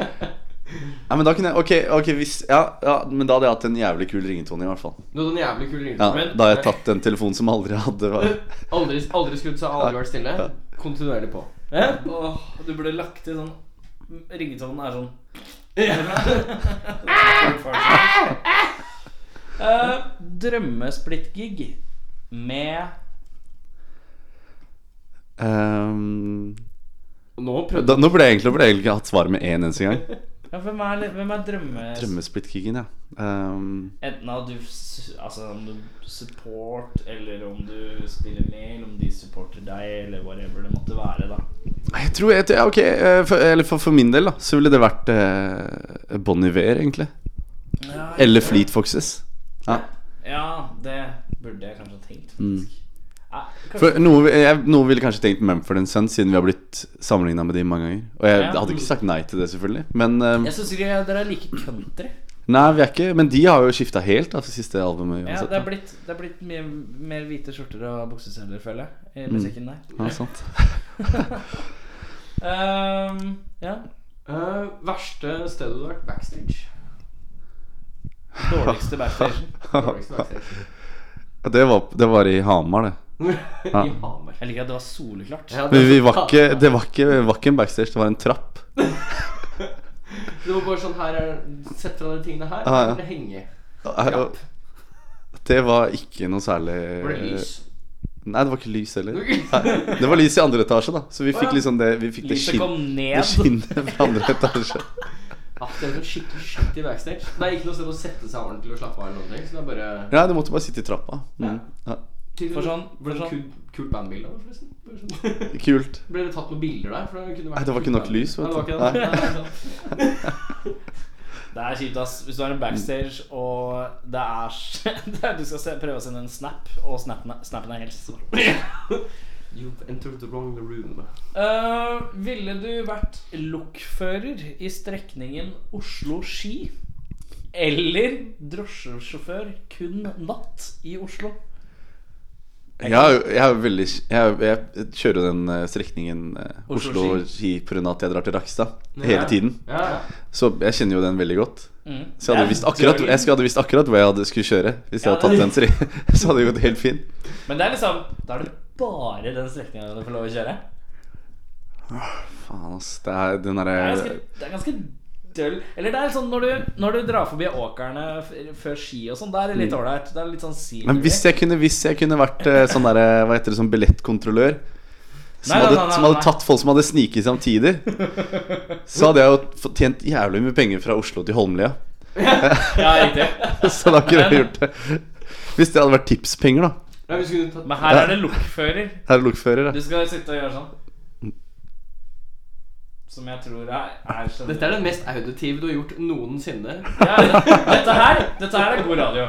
Speaker 4: Ja, men da kunne jeg, ok, ok, hvis, ja, ja, men da hadde jeg hatt en jævlig kul ringetone i hvert fall
Speaker 3: Du
Speaker 5: sånn
Speaker 3: hadde en jævlig kul ringtone.
Speaker 4: ja,
Speaker 3: men-
Speaker 4: Da hadde jeg tatt en telefon som jeg aldri hadde
Speaker 3: Aldri, aldri skrudd seg, aldri vært stille. Kontinuerlig på.
Speaker 2: Åh, du ble lagt til sånn Ringetonen er sånn Eh, Drømmesplitt-gig med
Speaker 4: Ehm,
Speaker 3: Nå prøvde
Speaker 4: da, Nå burde jeg egentlig, burde jeg egentlig ikke hatt svaret med en eneste gang
Speaker 2: ja, Hvem er, hvem er drømmes...
Speaker 4: Drømmesplitt-kicken, ja Ehm,
Speaker 2: Enten at du s- Altså om du support, eller om du spiller med, eller om de supporter deg, eller whatever det måtte være, da.
Speaker 4: Jeg tror, jeg, tror- ja, ok, eh, for, eller for, for min del da Så ville det vært eh, Bon Iver egentlig Eller Fleet Foxes ja.
Speaker 2: Ja, det burde jeg kanskje ha tenkt,
Speaker 4: Mm.
Speaker 2: faktisk. Nei, kanskje-
Speaker 4: For noe, jeg, noe ville kanskje tenkt Mumford Sons Siden vi har blitt sammenlignet med de mange ganger Og jeg
Speaker 2: Ja.
Speaker 4: hadde ikke sagt nei til det selvfølgelig Men eh,
Speaker 2: Jeg syns ikke dere er like country.
Speaker 4: Nei, vi er ikke Men de har jo skifta helt da, for siste albumet.
Speaker 2: Ja,
Speaker 4: uansett,
Speaker 2: det er
Speaker 4: da.
Speaker 2: blitt, det er blitt mye mer hvite skjorter og bukseseler, føler jeg, i musikken der.
Speaker 4: Mm. Ja, sant.
Speaker 2: Ehm, ja.
Speaker 3: Eh, Verste stedet du har vært? Backstage.
Speaker 2: Dårligste backstagen.
Speaker 3: Dårligste backstage.
Speaker 4: Det var, det var i Hamar, det.
Speaker 3: I Hamar.
Speaker 2: Jeg liker at det var soleklart.
Speaker 3: Ja,
Speaker 4: Men vi var ikke, det var ikke, det var ikke en backstage, det var en trapp.
Speaker 3: Det var bare sånn her er, Sett fra de tingene her,
Speaker 4: Ah, ja.
Speaker 3: det henge.
Speaker 4: Og- Det var ikke noe særlig
Speaker 3: Var det lys?
Speaker 4: Nei, det var ikke lys heller. Nei, Det var lys i andre etasje, da. Så vi fikk liksom det Vi fikk det,
Speaker 2: Lyset
Speaker 4: skin,
Speaker 2: kom
Speaker 4: det
Speaker 2: ned.
Speaker 4: skinnet fra andre etasje.
Speaker 3: Ah, det er sånn skikkelig skikkelig backstage. Det er ikke noe sted å sette seg ordentlig og slappe av. eller noen ting, Så det er bare
Speaker 4: Ja, du måtte bare sitte i trappa. Mm. Ja.
Speaker 2: For sånn-
Speaker 3: Ble det
Speaker 2: for sånn-
Speaker 3: kult, kult bandbilde, av det, forresten? Bare sånn.
Speaker 4: Kult.
Speaker 3: Ble det tatt med bilder der? For det, kunne vært
Speaker 4: Nei, det var ikke nok lys, vet
Speaker 3: Nei, det var
Speaker 4: du.
Speaker 3: ikke det. sånn. Nei, ikke sant.
Speaker 2: Det er kjipt, ass. Hvis du har en backstage og det er s- det er- Du skal se, prøve å sende en snap, og snappen er, snappen er helt svart.
Speaker 3: You've entered the wrong room.
Speaker 2: Ehm, ville du vært lokfører i strekningen Oslo-Ski? Eller drosjesjåfør kun natt i Oslo?
Speaker 4: Jeg, er jo- jeg, er jo veldig, jeg, er- jeg kjører jo den eh, strekningen
Speaker 2: Oslo-Ski.
Speaker 4: Oslo-Ski pga. at jeg drar til Rakstad hele tiden.
Speaker 3: Ja, ja.
Speaker 4: Så jeg kjenner jo den veldig godt.
Speaker 2: Mm.
Speaker 4: Så jeg hadde
Speaker 2: Det er
Speaker 4: visst akkurat,
Speaker 2: døgn.
Speaker 4: jeg skulle- hadde visst akkurat hvor jeg hadde skulle kjøre. Hvis jeg
Speaker 2: Ja,
Speaker 4: hadde tatt
Speaker 2: det-
Speaker 4: den tre, så hadde det gått helt fint.
Speaker 2: Men det er liksom Da er det bare den strekninga du får lov å kjøre.
Speaker 4: Faen, ass. Det er den
Speaker 2: Det er
Speaker 4: derre
Speaker 2: ganske, det er ganske døll. Eller det er sånn når du, når du drar forbi åkrene f- før ski og sånn, da er det litt ålreit. Det er litt sånn scenery.
Speaker 4: Mm. Men hvis jeg kunne, hvis jeg kunne vært eh, sånn derre Hva heter det, sånn billettkontrollør som,
Speaker 2: Nei, nei,
Speaker 4: hadde,
Speaker 2: nei, nei,
Speaker 4: som hadde
Speaker 2: nei.
Speaker 4: tatt folk som hadde sniket samtidig, så hadde jeg jo fått tjent jævlig mye penger fra Oslo til Holmlia.
Speaker 2: Ja, riktig.
Speaker 4: Så da kunne jeg gjort det. Hvis det hadde vært tipspenger, da.
Speaker 3: Nei, vi skulle tatt
Speaker 2: Men her er det lokfører.
Speaker 4: Herr lokfører.
Speaker 2: Du
Speaker 4: da.
Speaker 2: skal sitte og gjøre sånn. Som jeg tror er, er sånn
Speaker 3: Dette er det mest auditive du har gjort noensinne.
Speaker 2: ja, det- dette, her, dette her er god radio.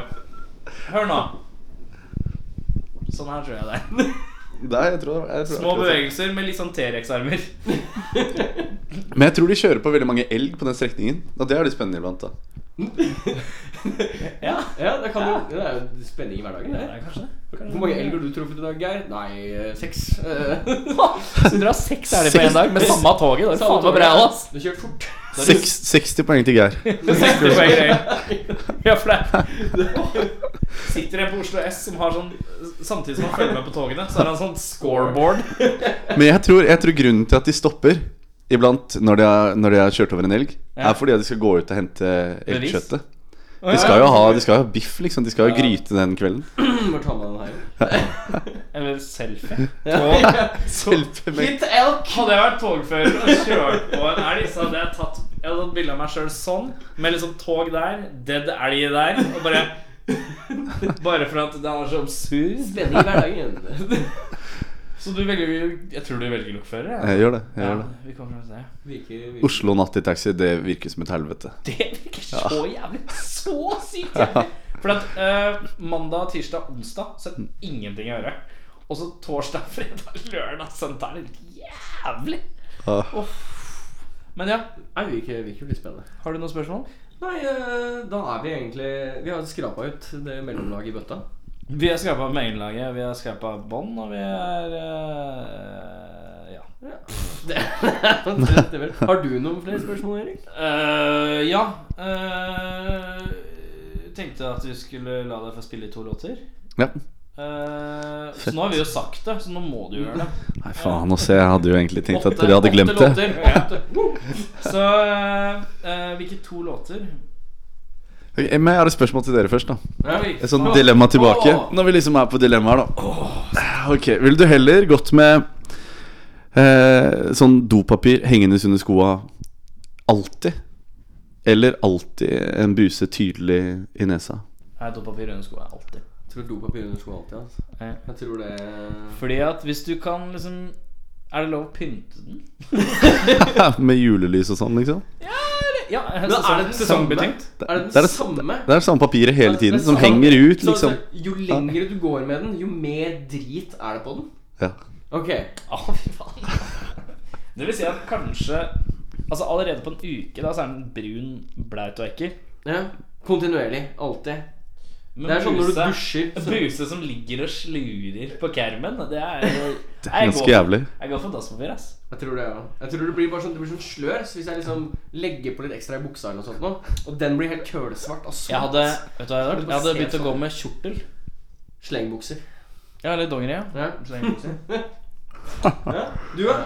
Speaker 2: Hør nå. Sånn her tror jeg det er.
Speaker 4: Nei, jeg tror, jeg tror
Speaker 2: Små
Speaker 4: akkurat det.
Speaker 2: bevegelser med litt sånn T-rex-armer.
Speaker 4: Men jeg tror de kjører på veldig mange elg på den strekningen. Og det er litt spennende iblant, da.
Speaker 2: Ja.
Speaker 3: Ja, det, kan jo- det er jo spenning i hverdagen.
Speaker 2: Det
Speaker 3: Det.
Speaker 2: er kanskje det.
Speaker 3: Hvor mange elg har du truffet i dag, Geir? Nei, eh, seks. Eh,
Speaker 2: Så dere har seks elger på én dag med samme toget? Det er faen meg bra, ass.
Speaker 3: Du kjørte fort.
Speaker 4: Seks, 60 poeng til Geir.
Speaker 2: Sitter på Øyre. Ja, for det Sitter en på Oslo S som har sånn Samtidig som han følger med på togene, så har han sånn scoreboard.
Speaker 4: Men jeg tror, jeg tror grunnen til at de stopper iblant når de har, når de har kjørt over en elg,
Speaker 2: Ja.
Speaker 4: er fordi at de skal gå ut og hente
Speaker 2: Bevis?
Speaker 4: elgkjøttet. De skal jo ha, de skal jo ha biff, liksom. De skal jo gryte den kvelden.
Speaker 3: Bare ta med den her.
Speaker 2: Eller selfie. Tog.
Speaker 4: Hjelpe meg.
Speaker 3: Hit elk!
Speaker 2: Hadde jeg vært togfører og kjørt på en elg, så hadde jeg tatt Jeg hadde tatt bilde av meg sjøl sånn, med liksom tog der, dead elg der, og bare Bare for at det er sånn så absurd.
Speaker 3: Spenning i hverdagen.
Speaker 2: Så du velger Jeg tror du velger lokfører, jeg.
Speaker 4: Jeg gjør det. jeg
Speaker 2: Ja,
Speaker 4: gjør det
Speaker 2: vi kommer til å se.
Speaker 3: Virker, virker.
Speaker 4: Oslo natt i taxi, det virker som et helvete.
Speaker 2: Det virker så jævlig. Så sykt jævlig. For at eh, mandag, tirsdag, onsdag så er det ingenting å gjøre. Og så torsdag, fredag, lørdag, søndag er det jævlig.
Speaker 4: Ah.
Speaker 2: Uff. Men ja,
Speaker 3: Nei, virker, virker litt spennende.
Speaker 2: har du noen spørsmål?
Speaker 3: Nei, eh, da er vi egentlig Vi har skrapa ut det mellomlaget i bøtta.
Speaker 2: Vi har skapa maillaget, vi har skapa bånd, og vi er eh, Ja.
Speaker 5: Det, det stemmer. Har du noen flere spørsmål, Erik?
Speaker 2: Eh, ja. eh, tenkte at vi skulle la deg få spille to låter.
Speaker 4: Ja.
Speaker 2: Eh, så nå har vi jo sagt det, så nå må du gjøre det.
Speaker 4: Nei, faen også. Jeg hadde jo egentlig tenkt at
Speaker 2: Åtte-
Speaker 4: dere hadde
Speaker 2: åtte
Speaker 4: glemt det.
Speaker 2: låter. Åtte. Woo! Så eh, hvilke to låter?
Speaker 4: Ok, men jeg har et spørsmål til dere først, da.
Speaker 5: Ja, vi-
Speaker 4: Et sånt dilemma tilbake. Når vi liksom er på dilemmaer, da. Ok, Ville du heller gått med eh, sånn dopapir hengende under skoa alltid? Eller alltid en buse tydelig i nesa?
Speaker 2: Nei, dopapir under sko er alltid.
Speaker 5: Jeg tror dopapir under sko alltid. Altså.
Speaker 2: Ja.
Speaker 5: Jeg tror det
Speaker 2: Fordi at hvis du kan liksom Er det lov å pynte den?
Speaker 4: med julelys og sånn, liksom?
Speaker 2: Ja,
Speaker 5: Men er det
Speaker 2: liksom-
Speaker 5: den
Speaker 2: sesongbetenkt?
Speaker 5: Er det den
Speaker 4: Det er det-
Speaker 5: samme?
Speaker 4: Det er det samme papiret hele
Speaker 5: Det er
Speaker 4: tiden,
Speaker 5: det
Speaker 4: som
Speaker 5: samme.
Speaker 4: henger ut,
Speaker 5: Så-
Speaker 4: liksom.
Speaker 5: så Jo lengre du går med den, jo mer drit er det på den.
Speaker 4: Ja.
Speaker 5: Ok.
Speaker 2: Å, fy faen. Det vil si at kanskje Altså Allerede på en uke da Så er den brun, blaut og ekkel.
Speaker 5: Ja. Kontinuerlig. Alltid.
Speaker 2: Men
Speaker 5: Det er sånn når du
Speaker 2: buse-
Speaker 5: dusjer så-
Speaker 2: Buse som ligger og slurer på kermen, det er jo
Speaker 4: Det er ganske jævlig.
Speaker 2: Jeg går for dasspapir, ass.
Speaker 5: Jeg tror det, ja. Jeg tror det blir bare sånn, det blir sånn slør. Så hvis jeg liksom legger på litt ekstra i buksa, eller noe sånt nå, og den blir helt kølesvart av svart
Speaker 2: Jeg hadde vet du hva jeg hadde gjort? Jeg hadde begynt å gå med kjortel.
Speaker 5: Slengbukser.
Speaker 2: Ja, eller dongeri, ja.
Speaker 5: Ja.
Speaker 2: Slengbukser.
Speaker 5: ja. Du, ja?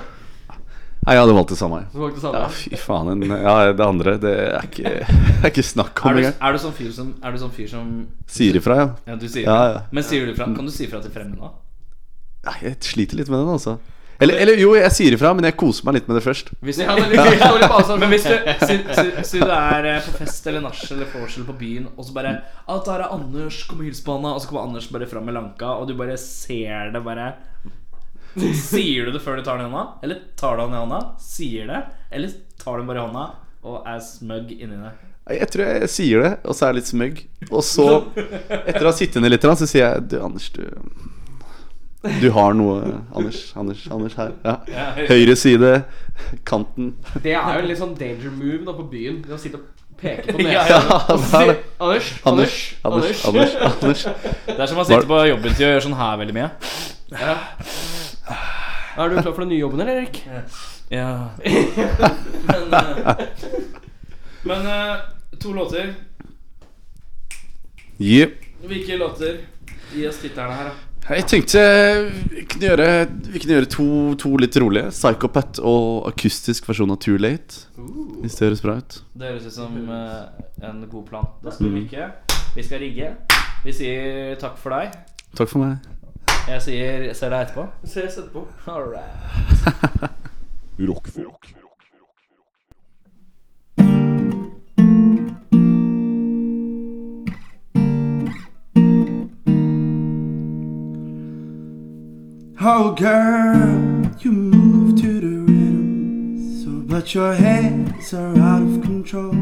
Speaker 4: Nei, jeg hadde valgt det samme. jeg.
Speaker 5: Du valgte det samme?
Speaker 4: Ja, fy faen. en- Ja, det andre, det er ikke, det er ikke snakk om
Speaker 2: Er du,
Speaker 4: engang.
Speaker 2: er du sånn fyr som, er du sånn fyr som
Speaker 4: Sier ifra, ja.
Speaker 2: Ja, du sier
Speaker 4: ja,
Speaker 2: fra.
Speaker 4: ja.
Speaker 2: Men sier du fra, kan du si fra til fremmede? da?
Speaker 4: Nei, jeg sliter litt med den, altså. Eller, eller jo, jeg sier ifra, men jeg koser meg litt med det først.
Speaker 2: Hvis
Speaker 5: Ja, det er litt gøy. Det står litt på avstand.
Speaker 2: Men hvis du, si, si, si du er eh, på fest eller nach eller vorsel på byen, og så bare ah, 'Der er Anders, kom og hils på han', da.» og så kommer Anders bare fram med lanka, og du bare ser det bare Sier du det før du tar den i hånda? Eller tar du den i hånda, sier det? Eller tar du den bare i hånda og er smøgg inni det?
Speaker 4: Nei, Jeg tror jeg sier det, og så er jeg litt smøgg. Og så, etter å ha sittet ned litt, så sier jeg Du, Anders, du Du har noe, Anders. Anders, Anders her. Ja. Høyre side, kanten.
Speaker 5: Det er jo en litt sånn danger move da på byen. Det å sitte og peke på
Speaker 2: Ja,
Speaker 5: nesa.
Speaker 4: Ja, det er det.
Speaker 5: Anders,
Speaker 4: Anders,
Speaker 5: Anders,
Speaker 4: Anders, Anders. Anders.
Speaker 2: Det er som å sitte på jobbintervju og gjøre sånn her veldig mye.
Speaker 5: Ja. Er du klar for den nye jobben, eller, Erik?
Speaker 2: Ja Men, eh, men eh, to låter.
Speaker 4: Yep.
Speaker 2: Hvilke låter? Gi oss titterne her, da.
Speaker 4: Jeg tenkte vi kunne gjøre, vi kunne gjøre to, to litt rolige. Psychopat og akustisk versjon av Too Late. Hvis det høres bra ut.
Speaker 2: Det høres ut som eh, en god plan. Da
Speaker 3: Mm.
Speaker 2: skal vi ikke. Vi skal rigge. Vi sier takk for deg.
Speaker 4: Takk for meg.
Speaker 2: Jeg sier ser deg etterpå.
Speaker 5: Ses etterpå.
Speaker 2: All right.
Speaker 1: Rockfolk.
Speaker 6: Oh girl, you move to the rhythm, so but your hands are out of control.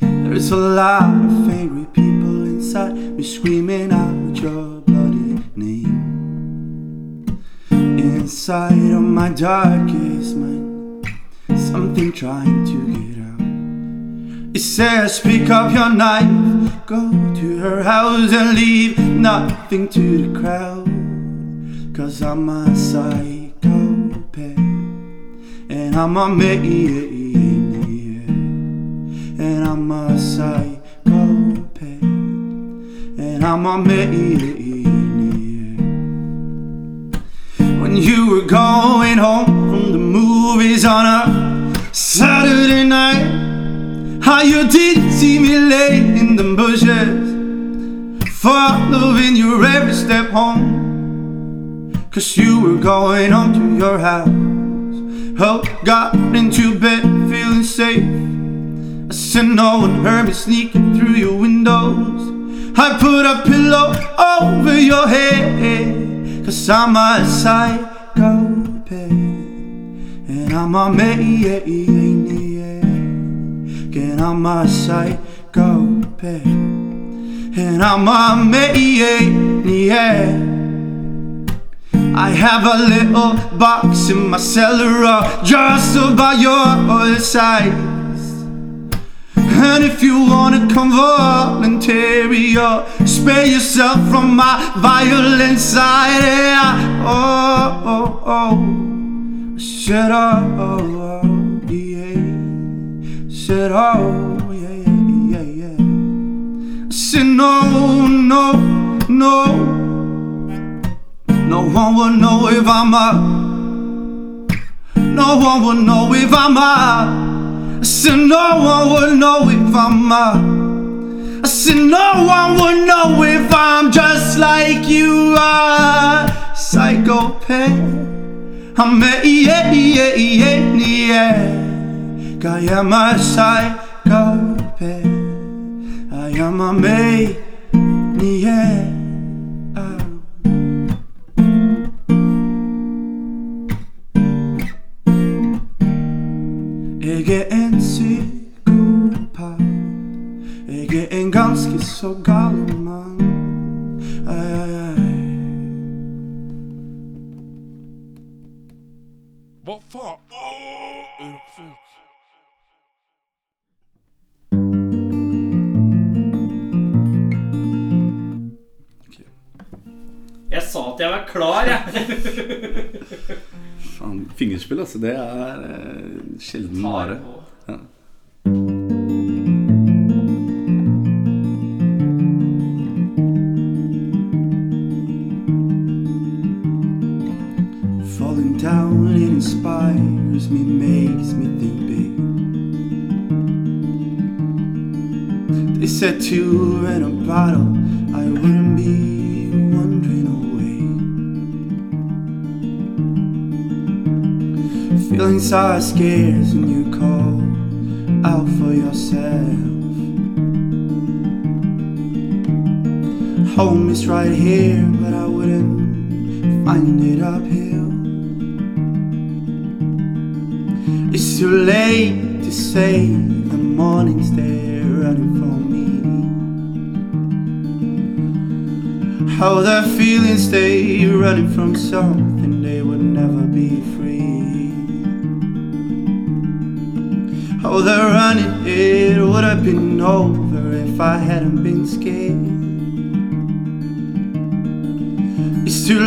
Speaker 6: There's a lot of angry people inside me screaming out your bloody name. Inside of my darkest mind, something trying to get out. It says, pick up your knife, go to her house and leave nothing to the crowd. Cause I'm a psychopath, and I'm a maniac. And I'm a psychopath, and I'm a maniac. When you were going home from the movies on a Saturday night. How you did see me lay in the bushes Following your every step home Cause you were going home to your house Oh, got into bed feeling safe I said no one heard me sneaking through your windows I put a pillow over your head Cause I'm a psychopath And I'm a maniac and I'm a psychopath. And I'm a maniac. I have a little box in my cellar, uh, just about your size. And if you wanna come voluntary, or spare yourself from my violent side, yeah. Oh, oh, oh. Shut up, oh, oh, yeah. Shut up, oh, yeah, yeah, yeah, yeah. I said, no, no, no. No one will know if I'm up. No one will know if I'm up. I said no one will know if I'm up. I said no one will know if I'm just like you are. Psychopath. I'm a yeah, yeah, yeah, yeah. I am a psychopath. I am a maniac. Jeg er en psykopat. Jeg er en ganske så gal mann. Ai, ai, ai.
Speaker 1: Hva faen? Åh, Unnskyld.
Speaker 2: Jeg sa at jeg var klar, jeg.
Speaker 4: Faen, fingerspill, altså. Det er eh, sjelden vare. Ja.
Speaker 6: Falling down, it inspires me, makes me think big. They said two in a bottle, I wouldn't be wandering away. Feelings are scarce when you call out for yourself. Home is right here, but I wouldn't find it uphill. It's too late to say the morning's there running for me. How the feelings stay running from something they would never be free. How the running it would have been over if I hadn't been scared. It's too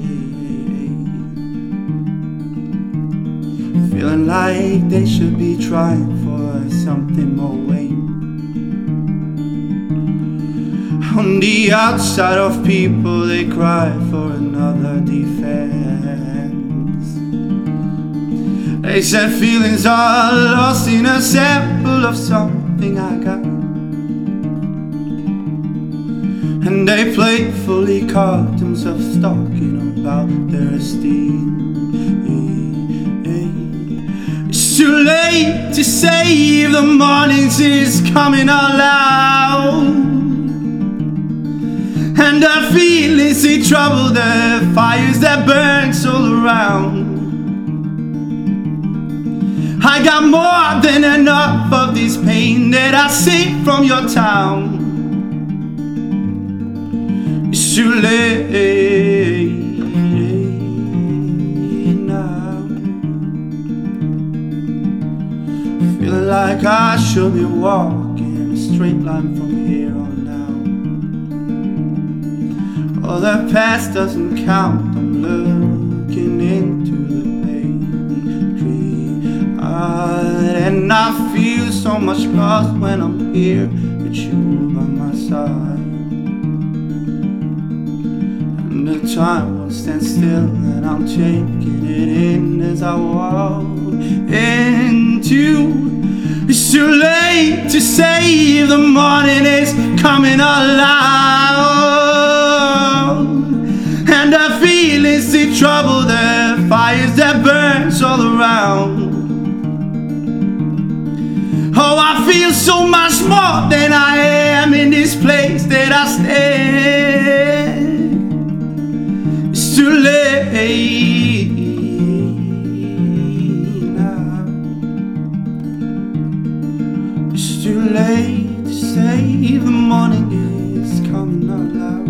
Speaker 6: late. Feeling like they should be trying for something more Wayne. On the outside of people, they cry for another defense. They said feelings are lost in a sample of something I got. And they playfully caught themselves talking about their esteem. It's too late to save the mornings is coming aloud. And I feel it's in trouble, the fires that burns all around. I got more than enough of this pain that I see from your town. It's too late now. Feel like I should be walking a straight line from here on out. All the past doesn't count. I'm looking into the page. And I feel so much lost when I'm here with you by my side. And the time won't stand still, and I'm taking it in as I walk into. It's too late to save the morning is coming alive, and I feel it's the trouble, the fires that burns all around. Oh, I feel so much more than I am in this place that I stay. It's too late now. It's too late to save. The morning is coming out loud.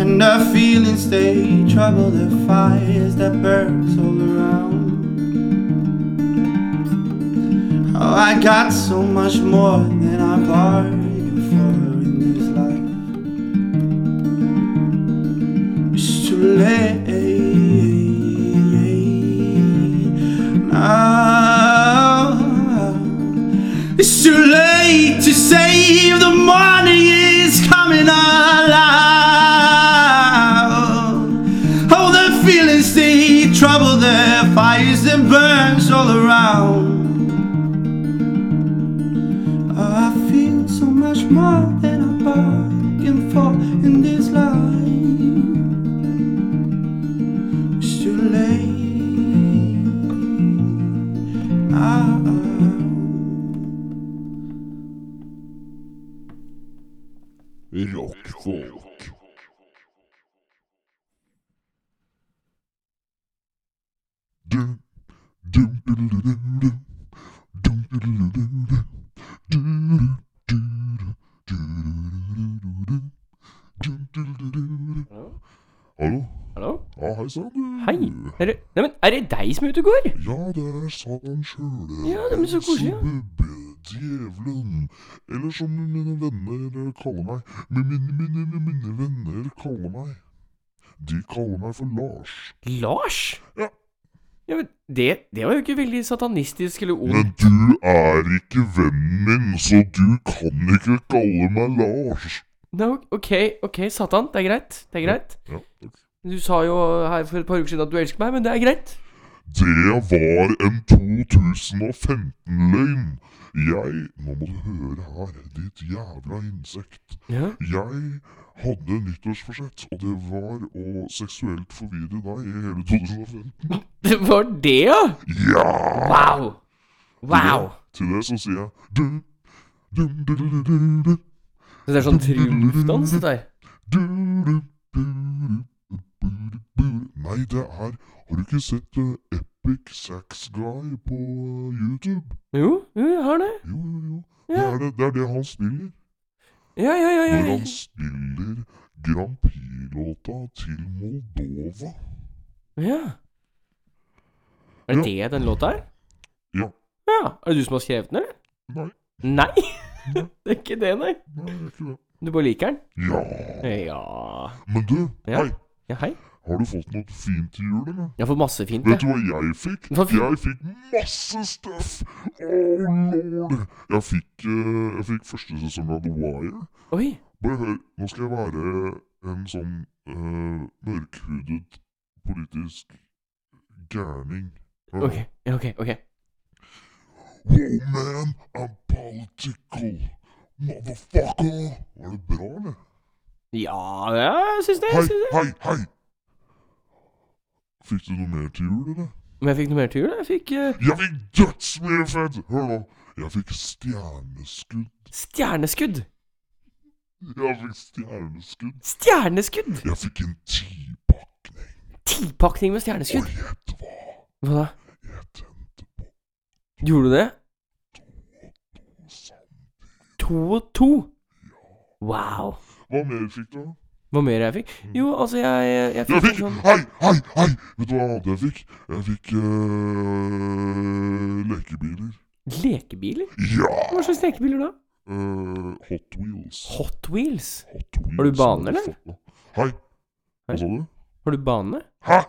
Speaker 6: And our feelings they trouble the fires that burns all around. Oh, I got so much more than I bargained for in this life. It's too late now. It's too late to save the morning is coming alive. All the feelings they trouble the fires and burns all around. Oh, I feel so much more than I bargained for in this life. It's too late Ah, now.
Speaker 1: Rockfolk. Dum, dum, dum, dum, dum. Dum, dum, dum, dum, dum. Hallo?
Speaker 3: Hallo?
Speaker 1: Ja, hei sann.
Speaker 3: Hei. Er det, nei, men, er det deg som er ute og går?
Speaker 1: Ja, det er sann sjøl.
Speaker 3: Ja, det er så koselig, ja.
Speaker 1: Subbe, djevelen. Eller som mine venner kaller meg. Men Mine, mine, mine, mine venner kaller meg. De kaller meg for Lars.
Speaker 3: Lars?
Speaker 1: Ja.
Speaker 3: Ja, men det, det var jo ikke veldig satanistisk eller
Speaker 1: Men
Speaker 3: ondt.
Speaker 1: du er ikke vennen min, så du kan ikke kalle meg Lars.
Speaker 3: Nei, ok, ok, Satan. Det er greit.
Speaker 1: Mm.
Speaker 3: Det er greit.
Speaker 1: Ja.
Speaker 3: Du sa jo her for et par uker siden at du elsker meg, men det er greit.
Speaker 1: Det var en 2015-løgn. Jeg Nå må du høre her, ditt jævla insekt.
Speaker 3: Ja.
Speaker 1: Jeg hadde nyttårsforsett, og det var å seksuelt forvirre deg i hele 2015.
Speaker 3: Det var det, ja?
Speaker 1: Ja!
Speaker 3: Wow. Wow.
Speaker 1: Til det så sier jeg du, du, du, du, du, du, du.
Speaker 3: Så det er sånn triumfdans, det der.
Speaker 1: Nei, det er Har du ikke sett eh, Epic Sax Guy på eh, YouTube?
Speaker 3: Jo, jo, jeg har det.
Speaker 1: Jo, jo, jo. Det
Speaker 3: Ja,
Speaker 1: er det, det, er det han spiller.
Speaker 3: ja, ja. ja,
Speaker 1: Når
Speaker 3: ja.
Speaker 1: han spiller Grand Prix-låta til Moldova.
Speaker 3: ja. Er det det den låta er?
Speaker 1: Ja.
Speaker 3: ja. Er det du som har skrevet den, eller?
Speaker 1: Nei,
Speaker 3: Nei. det er ikke det, nei.
Speaker 1: nei, det er ikke det.
Speaker 3: Du bare liker den?
Speaker 1: Ja,
Speaker 3: Ja.
Speaker 1: men du,
Speaker 3: Ja.
Speaker 1: hei.
Speaker 3: Ja, hei.
Speaker 1: Har du fått noe fint til jul, eller?
Speaker 3: Jeg har fått masse fint,
Speaker 1: Vet du
Speaker 3: jeg.
Speaker 1: hva jeg fikk?
Speaker 3: Hva fikk-
Speaker 1: Jeg fikk masse stuff! Oh, lord! Jeg fikk, eh, jeg fikk første sesong av The Wire.
Speaker 3: Oi.
Speaker 1: Bare hør, nå skal jeg være en sånn eh, mørkhudet politisk gærning. Hør nå.
Speaker 3: Ok, ja, ok, ok.
Speaker 1: Wow, man, I'm political. Motherfucker! Var det bra, eller?
Speaker 3: Ja, ja, jeg syns det.
Speaker 1: Hei,
Speaker 3: Jeg syns det.
Speaker 1: hei, hei! Fikk du noe mer til jul, eller?
Speaker 3: Men jeg fikk noe mer til jul. Jeg fikk eh,
Speaker 1: Jeg fikk dødsmye fett! Hør nå. Jeg fikk stjerneskudd.
Speaker 3: stjerneskudd.
Speaker 1: Jeg fikk stjerneskudd.
Speaker 3: Stjerneskudd!
Speaker 1: Jeg fikk en tipakning.
Speaker 3: Tipakning med stjerneskudd.
Speaker 1: Og gjett hva?
Speaker 3: Hva da?
Speaker 1: Jeg tente på
Speaker 3: Gjorde du det?
Speaker 1: sam-
Speaker 3: To og to. Wow.
Speaker 1: Hva mer fikk du?
Speaker 3: Hva mer jeg fikk? Jo, altså, jeg, jeg
Speaker 1: Jeg
Speaker 3: fikk
Speaker 1: fikk
Speaker 3: en sånn
Speaker 1: Hei, hei, hei! Vet du hva annet jeg fikk? Jeg fikk eh, lekebiler.
Speaker 3: lekebiler.
Speaker 1: Ja!
Speaker 3: Hva slags lekebiler da?
Speaker 1: Eh, Hot Wheels.
Speaker 3: Hot Wheels.
Speaker 1: Hot Wheels.
Speaker 3: Har du bane, eller?
Speaker 1: Hei.
Speaker 3: Hei.
Speaker 1: Hva sa du?
Speaker 3: Har du bane?
Speaker 1: Hæ?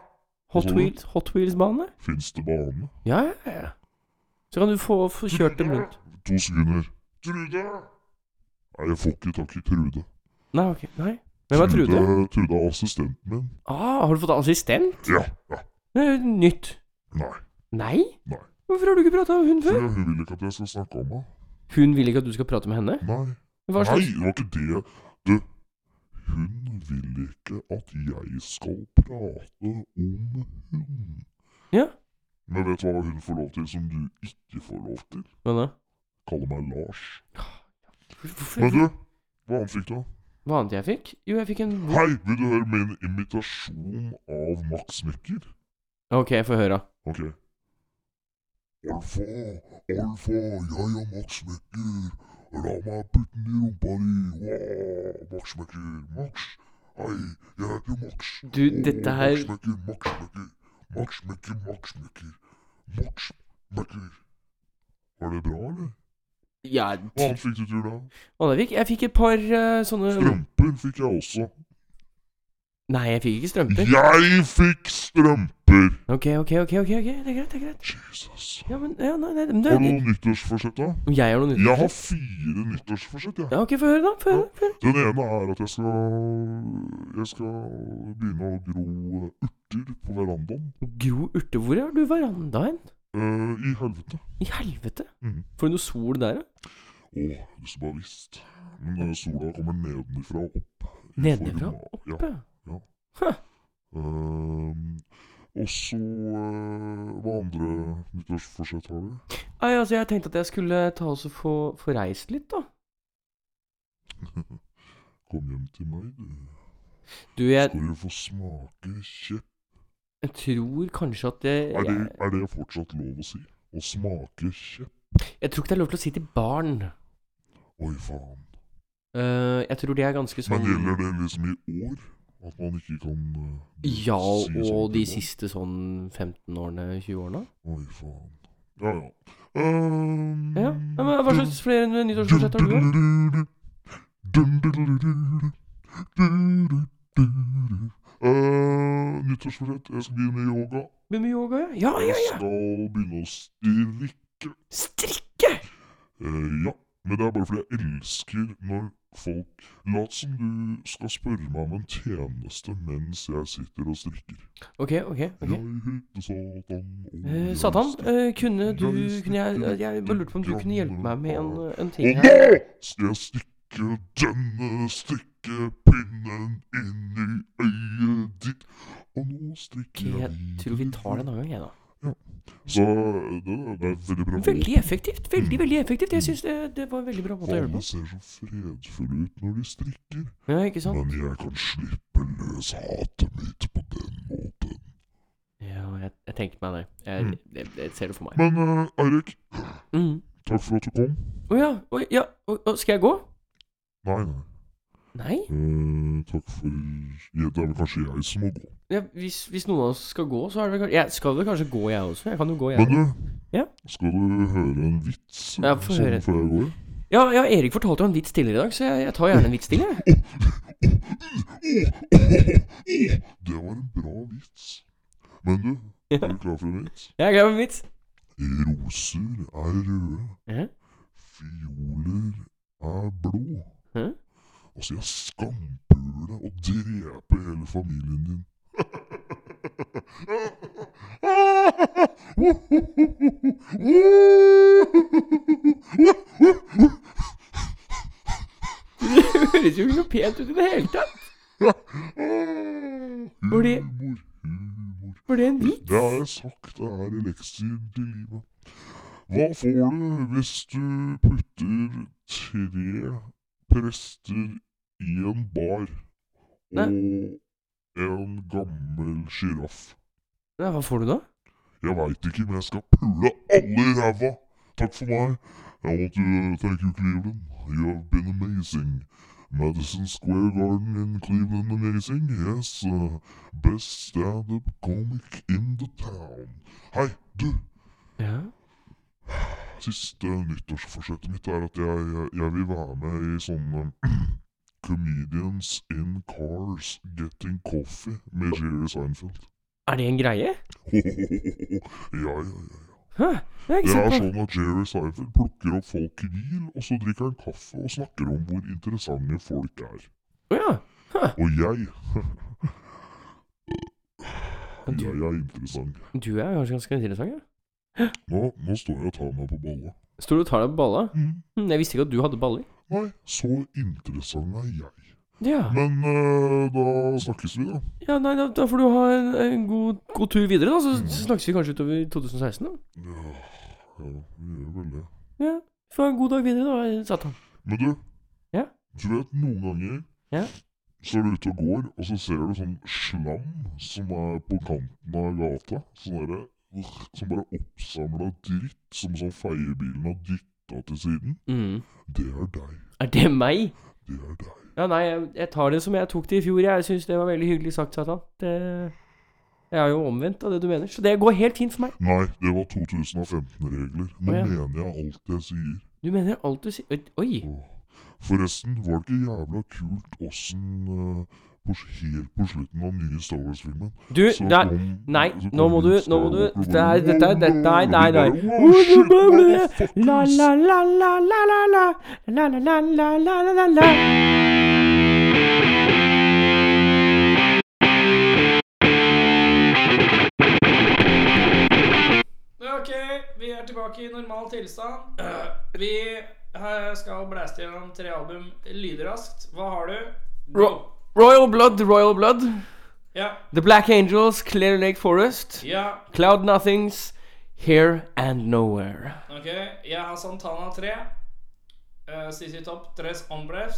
Speaker 3: Hot
Speaker 1: Mhm.
Speaker 3: Wheels, Hot Wheels bane?
Speaker 1: Fins det bane?
Speaker 3: Ja, ja, ja. Så kan du få, få kjørt dem rundt.
Speaker 1: To sekunder. Trude! Nei, jeg får ikke tak i Trude.
Speaker 3: Nei, ok. Nei. Hvem er Trude?
Speaker 1: Trude er assistenten min.
Speaker 3: Ah, har du fått assistent?
Speaker 1: Ja. ja.
Speaker 3: Det er jo nytt.
Speaker 1: Nei.
Speaker 3: Nei?
Speaker 1: Nei.
Speaker 3: Hvorfor har du ikke prata med hun
Speaker 1: For
Speaker 3: før?
Speaker 1: hun vil ikke at jeg skal snakke om henne.
Speaker 3: Hun vil ikke at du skal prate med henne?
Speaker 1: Nei.
Speaker 3: Hva
Speaker 1: Nei,
Speaker 3: slags
Speaker 1: det var ikke det. Du, hun vil ikke at jeg skal prate om hun.
Speaker 3: Ja.
Speaker 1: Men vet du hva hun får lov til som du ikke får lov til?
Speaker 3: Hva da?
Speaker 1: Kalle meg Lars. Men
Speaker 3: Hvorfor?
Speaker 1: du, hva annet fikk du?
Speaker 3: Hva annet jeg fikk? Jo, jeg fikk en
Speaker 1: Hei, vil du høre min imitasjon av Max Mekker?
Speaker 3: Ok, jeg får høre.
Speaker 1: Ok. Alfa, alfa, jeg er Max Mekker. La meg putte den i rumpa di. Wow, Max Mekker, Max. Hei, jeg smekker, maks.
Speaker 3: Du, dette her
Speaker 1: Maks smekker, maks smekker. Maks smekker, maks smekker. Maks smekker. Var det bra, eller?
Speaker 3: Ja,
Speaker 1: Hva annet fikk du til da?
Speaker 3: å, det fikk, jeg fikk et par eh, sånne
Speaker 1: Strømper fikk jeg også.
Speaker 3: Nei, jeg fikk ikke strømper.
Speaker 1: Jeg fikk strømper!
Speaker 3: Ok, ok, ok. ok, ok, Det er greit. det er greit
Speaker 1: Jesus.
Speaker 3: Ja, men, ja, nei, nei, men det
Speaker 1: Har
Speaker 3: er
Speaker 1: du noen nyttårsforsett, da?
Speaker 3: Om jeg har noe nytt?
Speaker 1: Jeg har fire nyttårsforsett, jeg.
Speaker 3: Ja, ok, få høre, da. Få høre, da. Få høre.
Speaker 1: Den ene er at jeg skal Jeg skal begynne å gro urter på verandaen.
Speaker 3: Gro urte, hvor har du verandaen?
Speaker 1: Eh, I helvete.
Speaker 3: I helvete!
Speaker 1: Mhm.
Speaker 3: Mm. Får du noe sol der, da?
Speaker 1: Å, hvis du bare visste. Men eh, sola kommer nedenifra og opp. i
Speaker 3: Nedenifra
Speaker 1: form av- Ja.
Speaker 3: oppe?
Speaker 1: Ehm, og så eh, Hva andre nyttårsforsett har du?
Speaker 3: Nei, altså, jeg tenkte at jeg skulle ta oss og få, få reist litt, da.
Speaker 1: Kom hjem til meg, du.
Speaker 3: Du, jeg,
Speaker 1: Skal du få smake kjepp.
Speaker 3: jeg tror kanskje at jeg,
Speaker 1: Er det,
Speaker 3: jeg
Speaker 1: er det fortsatt lov å si? Å smake kjepp?
Speaker 3: Jeg tror ikke det er lov til å si til barn.
Speaker 1: Oi, faen.
Speaker 3: Eh, jeg tror det er ganske sånn
Speaker 1: Men gjelder det liksom i år? At man ikke kan eh,
Speaker 3: Ja,
Speaker 1: si sånt
Speaker 3: og
Speaker 1: til
Speaker 3: de
Speaker 1: barn?
Speaker 3: siste sånn 15 årene, 20 årene?
Speaker 1: Oi, faen. Ja, ja. Um,
Speaker 3: Ja. ja men hva slags flere nyttårsforsett har du? da?
Speaker 1: Eh, Nyttårsforsett. Jeg skal begynne i yoga.
Speaker 3: Blir med yoga, ja? Ja, ja,
Speaker 1: Jeg
Speaker 3: ja!
Speaker 1: skal begynne å strikke.
Speaker 3: Strikke!
Speaker 1: Eh, ja, men det er bare fordi jeg elsker når folk Lat som du skal spørre meg om en tjeneste mens jeg sitter og strikker.
Speaker 3: Ok, ok. ok.
Speaker 1: Jeg heter Satan. og
Speaker 3: Eh,
Speaker 1: jeg
Speaker 3: Satan,
Speaker 1: strikker.
Speaker 3: eh, kunne du
Speaker 1: Jeg
Speaker 3: kunne jeg,
Speaker 1: strikker
Speaker 3: jeg bare lurte på om du kunne hjelpe meg med en, en ting
Speaker 1: Og
Speaker 3: her?
Speaker 1: nå skal jeg stikke denne strikkepinnen inn i øyet ditt. Og nå
Speaker 3: Ok,
Speaker 1: strikker
Speaker 3: jeg tror vi tar det en annen gang, jeg, da.
Speaker 1: Så det, det er veldig bra.
Speaker 3: Veldig effektivt. Veldig, veldig effektivt. Jeg syns det, det var en veldig bra måte å gjøre
Speaker 1: Alle
Speaker 3: det på.
Speaker 1: ser så fredfulle ut når de strikker,
Speaker 3: Ja, ikke sant?
Speaker 1: men jeg kan slippe løs hatet mitt på den måten.
Speaker 3: Ja, jeg, jeg tenkte meg det. Jeg, jeg, jeg ser det for meg.
Speaker 1: Men uh, Eirik,
Speaker 3: Å mm.
Speaker 1: takk for at du kom.
Speaker 3: Å ja. Å ja. Å, å, skal jeg gå?
Speaker 1: Nei, nei.
Speaker 3: Nei?
Speaker 1: Eh, takk for ja, Det er vel kanskje jeg som må gå.
Speaker 3: Ja, hvis, hvis noen av oss skal gå, så er det vel kanskje Jeg skal vel kanskje gå, jeg også. Jeg kan jo gå, jeg.
Speaker 1: Men du,
Speaker 3: Ja.
Speaker 1: skal du høre en vits
Speaker 3: Ja,
Speaker 1: eh,
Speaker 3: få
Speaker 1: sånn
Speaker 3: høre.
Speaker 1: før jeg går?
Speaker 3: Ja, ja, Erik fortalte jo en vits tidligere i dag, så jeg, jeg tar gjerne en vits til, jeg.
Speaker 1: Det var en bra vits. Men du, er du klar for en vits?
Speaker 3: Jeg er glad for en vits.
Speaker 1: Roser er røde,
Speaker 3: Ja.
Speaker 1: fioler er blå.
Speaker 3: Hæ?
Speaker 1: Og så jeg skampuler deg og dreper hele familien din.
Speaker 3: Det høres jo ikke noe pent ut i det hele tatt. Var det-
Speaker 1: Humor, humor.
Speaker 3: Var det en vits?
Speaker 1: Det har jeg sagt, det er lekser til livet. Hva får du hvis du putter tre prester i en bar
Speaker 3: Nei.
Speaker 1: og en gammel sjiraff?
Speaker 3: Nei, hva får du da?
Speaker 1: Jeg veit ikke, men jeg skal pule alle i ræva! Takk for meg. I want to thank you, Cleveland. You have been amazing. Madison Square Garden in Cleveland, amazing. Yes, uh, best stand-up comic in the town. Hei, du!
Speaker 3: Ja.
Speaker 1: Siste nyttårsforsettet mitt er at jeg, jeg, jeg vil være med i sånne Comedians in Cars Getting Coffee med Jerry Seinfeld.
Speaker 3: Er det en greie?
Speaker 1: ja, ja, ja.
Speaker 3: Hæ? Det har jeg
Speaker 1: Det
Speaker 3: ikke
Speaker 1: er
Speaker 3: sett på.
Speaker 1: sånn at Jerry Seinfeld plukker opp folk i bil, og så drikker han kaffe og snakker om hvor interessante folk er.
Speaker 3: Å ja.
Speaker 1: Og jeg
Speaker 3: Men du-
Speaker 1: Jeg er interessant.
Speaker 3: Du er kanskje ganske interessant, ja.
Speaker 1: Nå, nå står jeg og tar meg på balla.
Speaker 3: Står du og tar deg på balla?
Speaker 1: Mm.
Speaker 3: Hm, Jeg visste ikke at du hadde baller.
Speaker 1: Nei, så interessant er jeg.
Speaker 3: Ja.
Speaker 1: Men eh, da snakkes vi, da.
Speaker 3: ja nei, da, da får du ha en, en god, god tur videre, da. Så snakkes vi kanskje utover 2016, da.
Speaker 1: Ja, ja vi gjør vel det.
Speaker 3: Ja. Få ha en god dag videre, da, Satan.
Speaker 1: Men du,
Speaker 3: Ja?
Speaker 1: du vet noen ganger
Speaker 3: Ja?
Speaker 1: så er du ute og går, og så ser du sånn slam som er på kanten av gata. Sånn derre uh, Som bare oppsamla dritt som sånn feiebilen har dytta til siden.
Speaker 3: Mm.
Speaker 1: Det er deg.
Speaker 3: Er det meg?
Speaker 1: Det er deg.
Speaker 7: Ja, nei, jeg, jeg tar det som jeg tok det i fjor. Jeg syns det var veldig hyggelig sagt, Satan. Det Jeg er jo omvendt av det du mener, så det går helt fint for meg.
Speaker 1: Nei, det var 2015-regler. Nå
Speaker 7: Å, ja.
Speaker 1: mener jeg alt jeg sier.
Speaker 7: Du mener alt du sier Oi!
Speaker 1: Forresten, var det ikke jævla kult åssen eh, på, s- Helt på slutten av den nye Star Wars-filmen
Speaker 7: Du,
Speaker 1: så
Speaker 7: nei,
Speaker 1: kom-
Speaker 7: nei,
Speaker 1: så
Speaker 7: nå
Speaker 1: kom
Speaker 7: må du
Speaker 1: Luke
Speaker 7: Nå må du
Speaker 1: Skywalker og
Speaker 7: Det er
Speaker 1: bare,
Speaker 7: dette er dette Nei, nei, nei.
Speaker 1: Oh, shit, motherfuckers.
Speaker 7: La, la, la, la, la, la, la. La, la, la, la, la, la, la, la.
Speaker 8: Ok, vi er tilbake i normal tilstand. Vi eh, skal blæste gjennom tre album lynraskt. Hva har du?
Speaker 7: Ro Royal Blood, Royal Blood.
Speaker 8: Ja.
Speaker 7: The Black Angels, Clear Lake Forest.
Speaker 8: ja,
Speaker 7: Cloud Nothings, Here and Nowhere.
Speaker 8: ok. Jeg har Santana 3. Uh, CC Topp, Tres Ombres.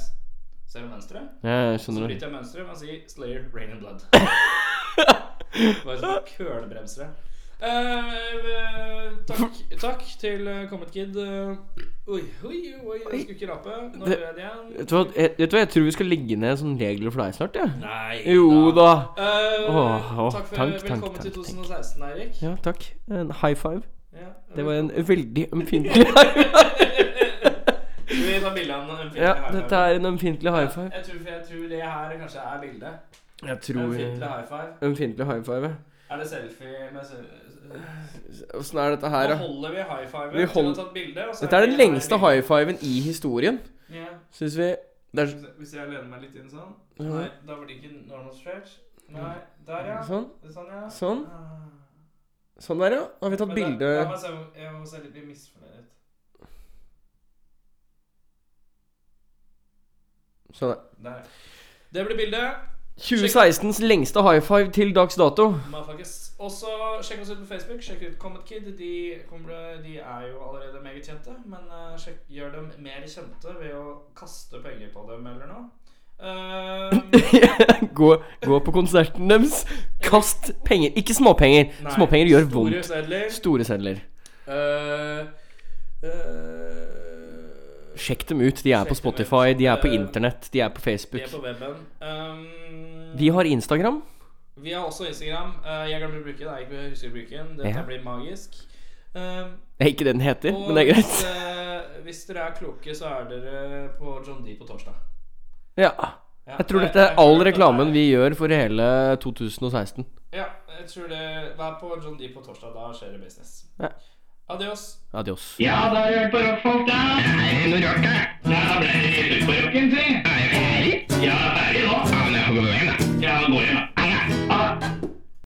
Speaker 8: Ser du mønsteret?
Speaker 7: Ja, jeg
Speaker 8: Så
Speaker 7: skjønner det.
Speaker 8: bryter jeg mønsteret med å si Slayer, Rain and Blood. Bare sånn kølebremsere. Eh, eh, takk, takk til eh, Comet Kid. eh, Oi, oi, oi, jeg skulle ikke rape. Nå
Speaker 7: Det-
Speaker 8: gjør jeg det igjen.
Speaker 7: Vet du, hva, jeg, vet du hva, jeg tror vi skal legge ned sånne regler for deg snart, jeg.
Speaker 8: Nei
Speaker 7: Ja. Jo da.
Speaker 8: Eh,
Speaker 7: Åh, åh,
Speaker 8: takk for
Speaker 7: tank, tank,
Speaker 8: Velkommen
Speaker 7: tank,
Speaker 8: til
Speaker 7: tank.
Speaker 8: 2016, Eirik.
Speaker 7: Ja, takk. En high five.
Speaker 8: Ja,
Speaker 7: Det var en veldig ømfintlig high five.
Speaker 8: Skal vi ta bilde av en
Speaker 7: Ja,
Speaker 8: fintlig high
Speaker 7: dette
Speaker 8: five?
Speaker 7: er en ømfintlig high five.
Speaker 8: Jeg tror, jeg tror det her kanskje er bildet.
Speaker 7: Jeg
Speaker 8: En
Speaker 7: tror
Speaker 8: fintlig high five.
Speaker 7: Ømfintlig high five. ja.
Speaker 8: Er det selfie med selfie?
Speaker 7: Åssen er dette her,
Speaker 8: Nå
Speaker 7: da?
Speaker 8: holder vi high five.
Speaker 7: Vi
Speaker 8: Vi
Speaker 7: hold-
Speaker 8: har tatt bilde. og så
Speaker 7: Dette er
Speaker 8: det
Speaker 7: den lengste
Speaker 8: her
Speaker 7: high fiven i historien,
Speaker 8: bildet. Ja.
Speaker 7: syns vi. Det er
Speaker 8: Hvis jeg- Hvis jeg lener meg litt inn sånn
Speaker 7: Ja.
Speaker 8: Nei, da blir det ikke normal stretch. Nei, der, ja.
Speaker 7: sånn.
Speaker 8: Sånn, ja.
Speaker 7: Sånn.
Speaker 8: Ah.
Speaker 7: Sånn der, ja. Da har vi tatt
Speaker 8: Men da-
Speaker 7: bilde
Speaker 8: La meg se, om- jeg må se litt bli misfornøyd ut.
Speaker 7: Sånn
Speaker 8: Der.
Speaker 7: der.
Speaker 8: Det blir bildet.
Speaker 7: 2016s lengste high five til dags dato.
Speaker 8: Motherfuckers. Også sjekk oss ut på Facebook. Sjekk ut Comet Kid. De, kommer, de er jo allerede meget kjente, men eh, sjekk, gjør dem mer kjente ved å kaste penger på dem eller noe. Eh,
Speaker 7: gå, gå på konserten deres. Kast penger. Ikke småpenger.
Speaker 8: nei,
Speaker 7: småpenger gjør
Speaker 8: store
Speaker 7: vondt.
Speaker 8: sedler.
Speaker 7: Store sedler.
Speaker 8: Eh, eh,
Speaker 7: Sjekk dem ut. De er på
Speaker 8: Sjekk dem ut.
Speaker 7: Spotify, de er på
Speaker 8: Eh,
Speaker 7: Internett, de er på
Speaker 8: de er
Speaker 7: Facebook.
Speaker 8: på webben. Um,
Speaker 7: Vi har Instagram.
Speaker 8: Vi har også Instagram. Eh, jeg glemmer å bruke den. Jeg husker å bruke den. Dette
Speaker 7: Ja.
Speaker 8: blir magisk. Um,
Speaker 7: Det er ikke det den heter,
Speaker 8: og
Speaker 7: men det er greit.
Speaker 8: Hvis, eh, hvis dere er kloke, så er dere på John D på torsdag.
Speaker 7: Ja.
Speaker 8: Ja,
Speaker 7: Jeg tror
Speaker 8: jeg-
Speaker 7: dette
Speaker 8: jeg
Speaker 7: er
Speaker 8: tror
Speaker 7: all
Speaker 8: dette
Speaker 7: reklamen
Speaker 8: er-
Speaker 7: vi gjør for hele 2016.
Speaker 8: Ja, jeg tror det Vær på John D på torsdag. Da skjer det business.
Speaker 7: Ja.
Speaker 8: Adios.
Speaker 7: Adios.
Speaker 9: Ja, da har du hørt på Rockfolk.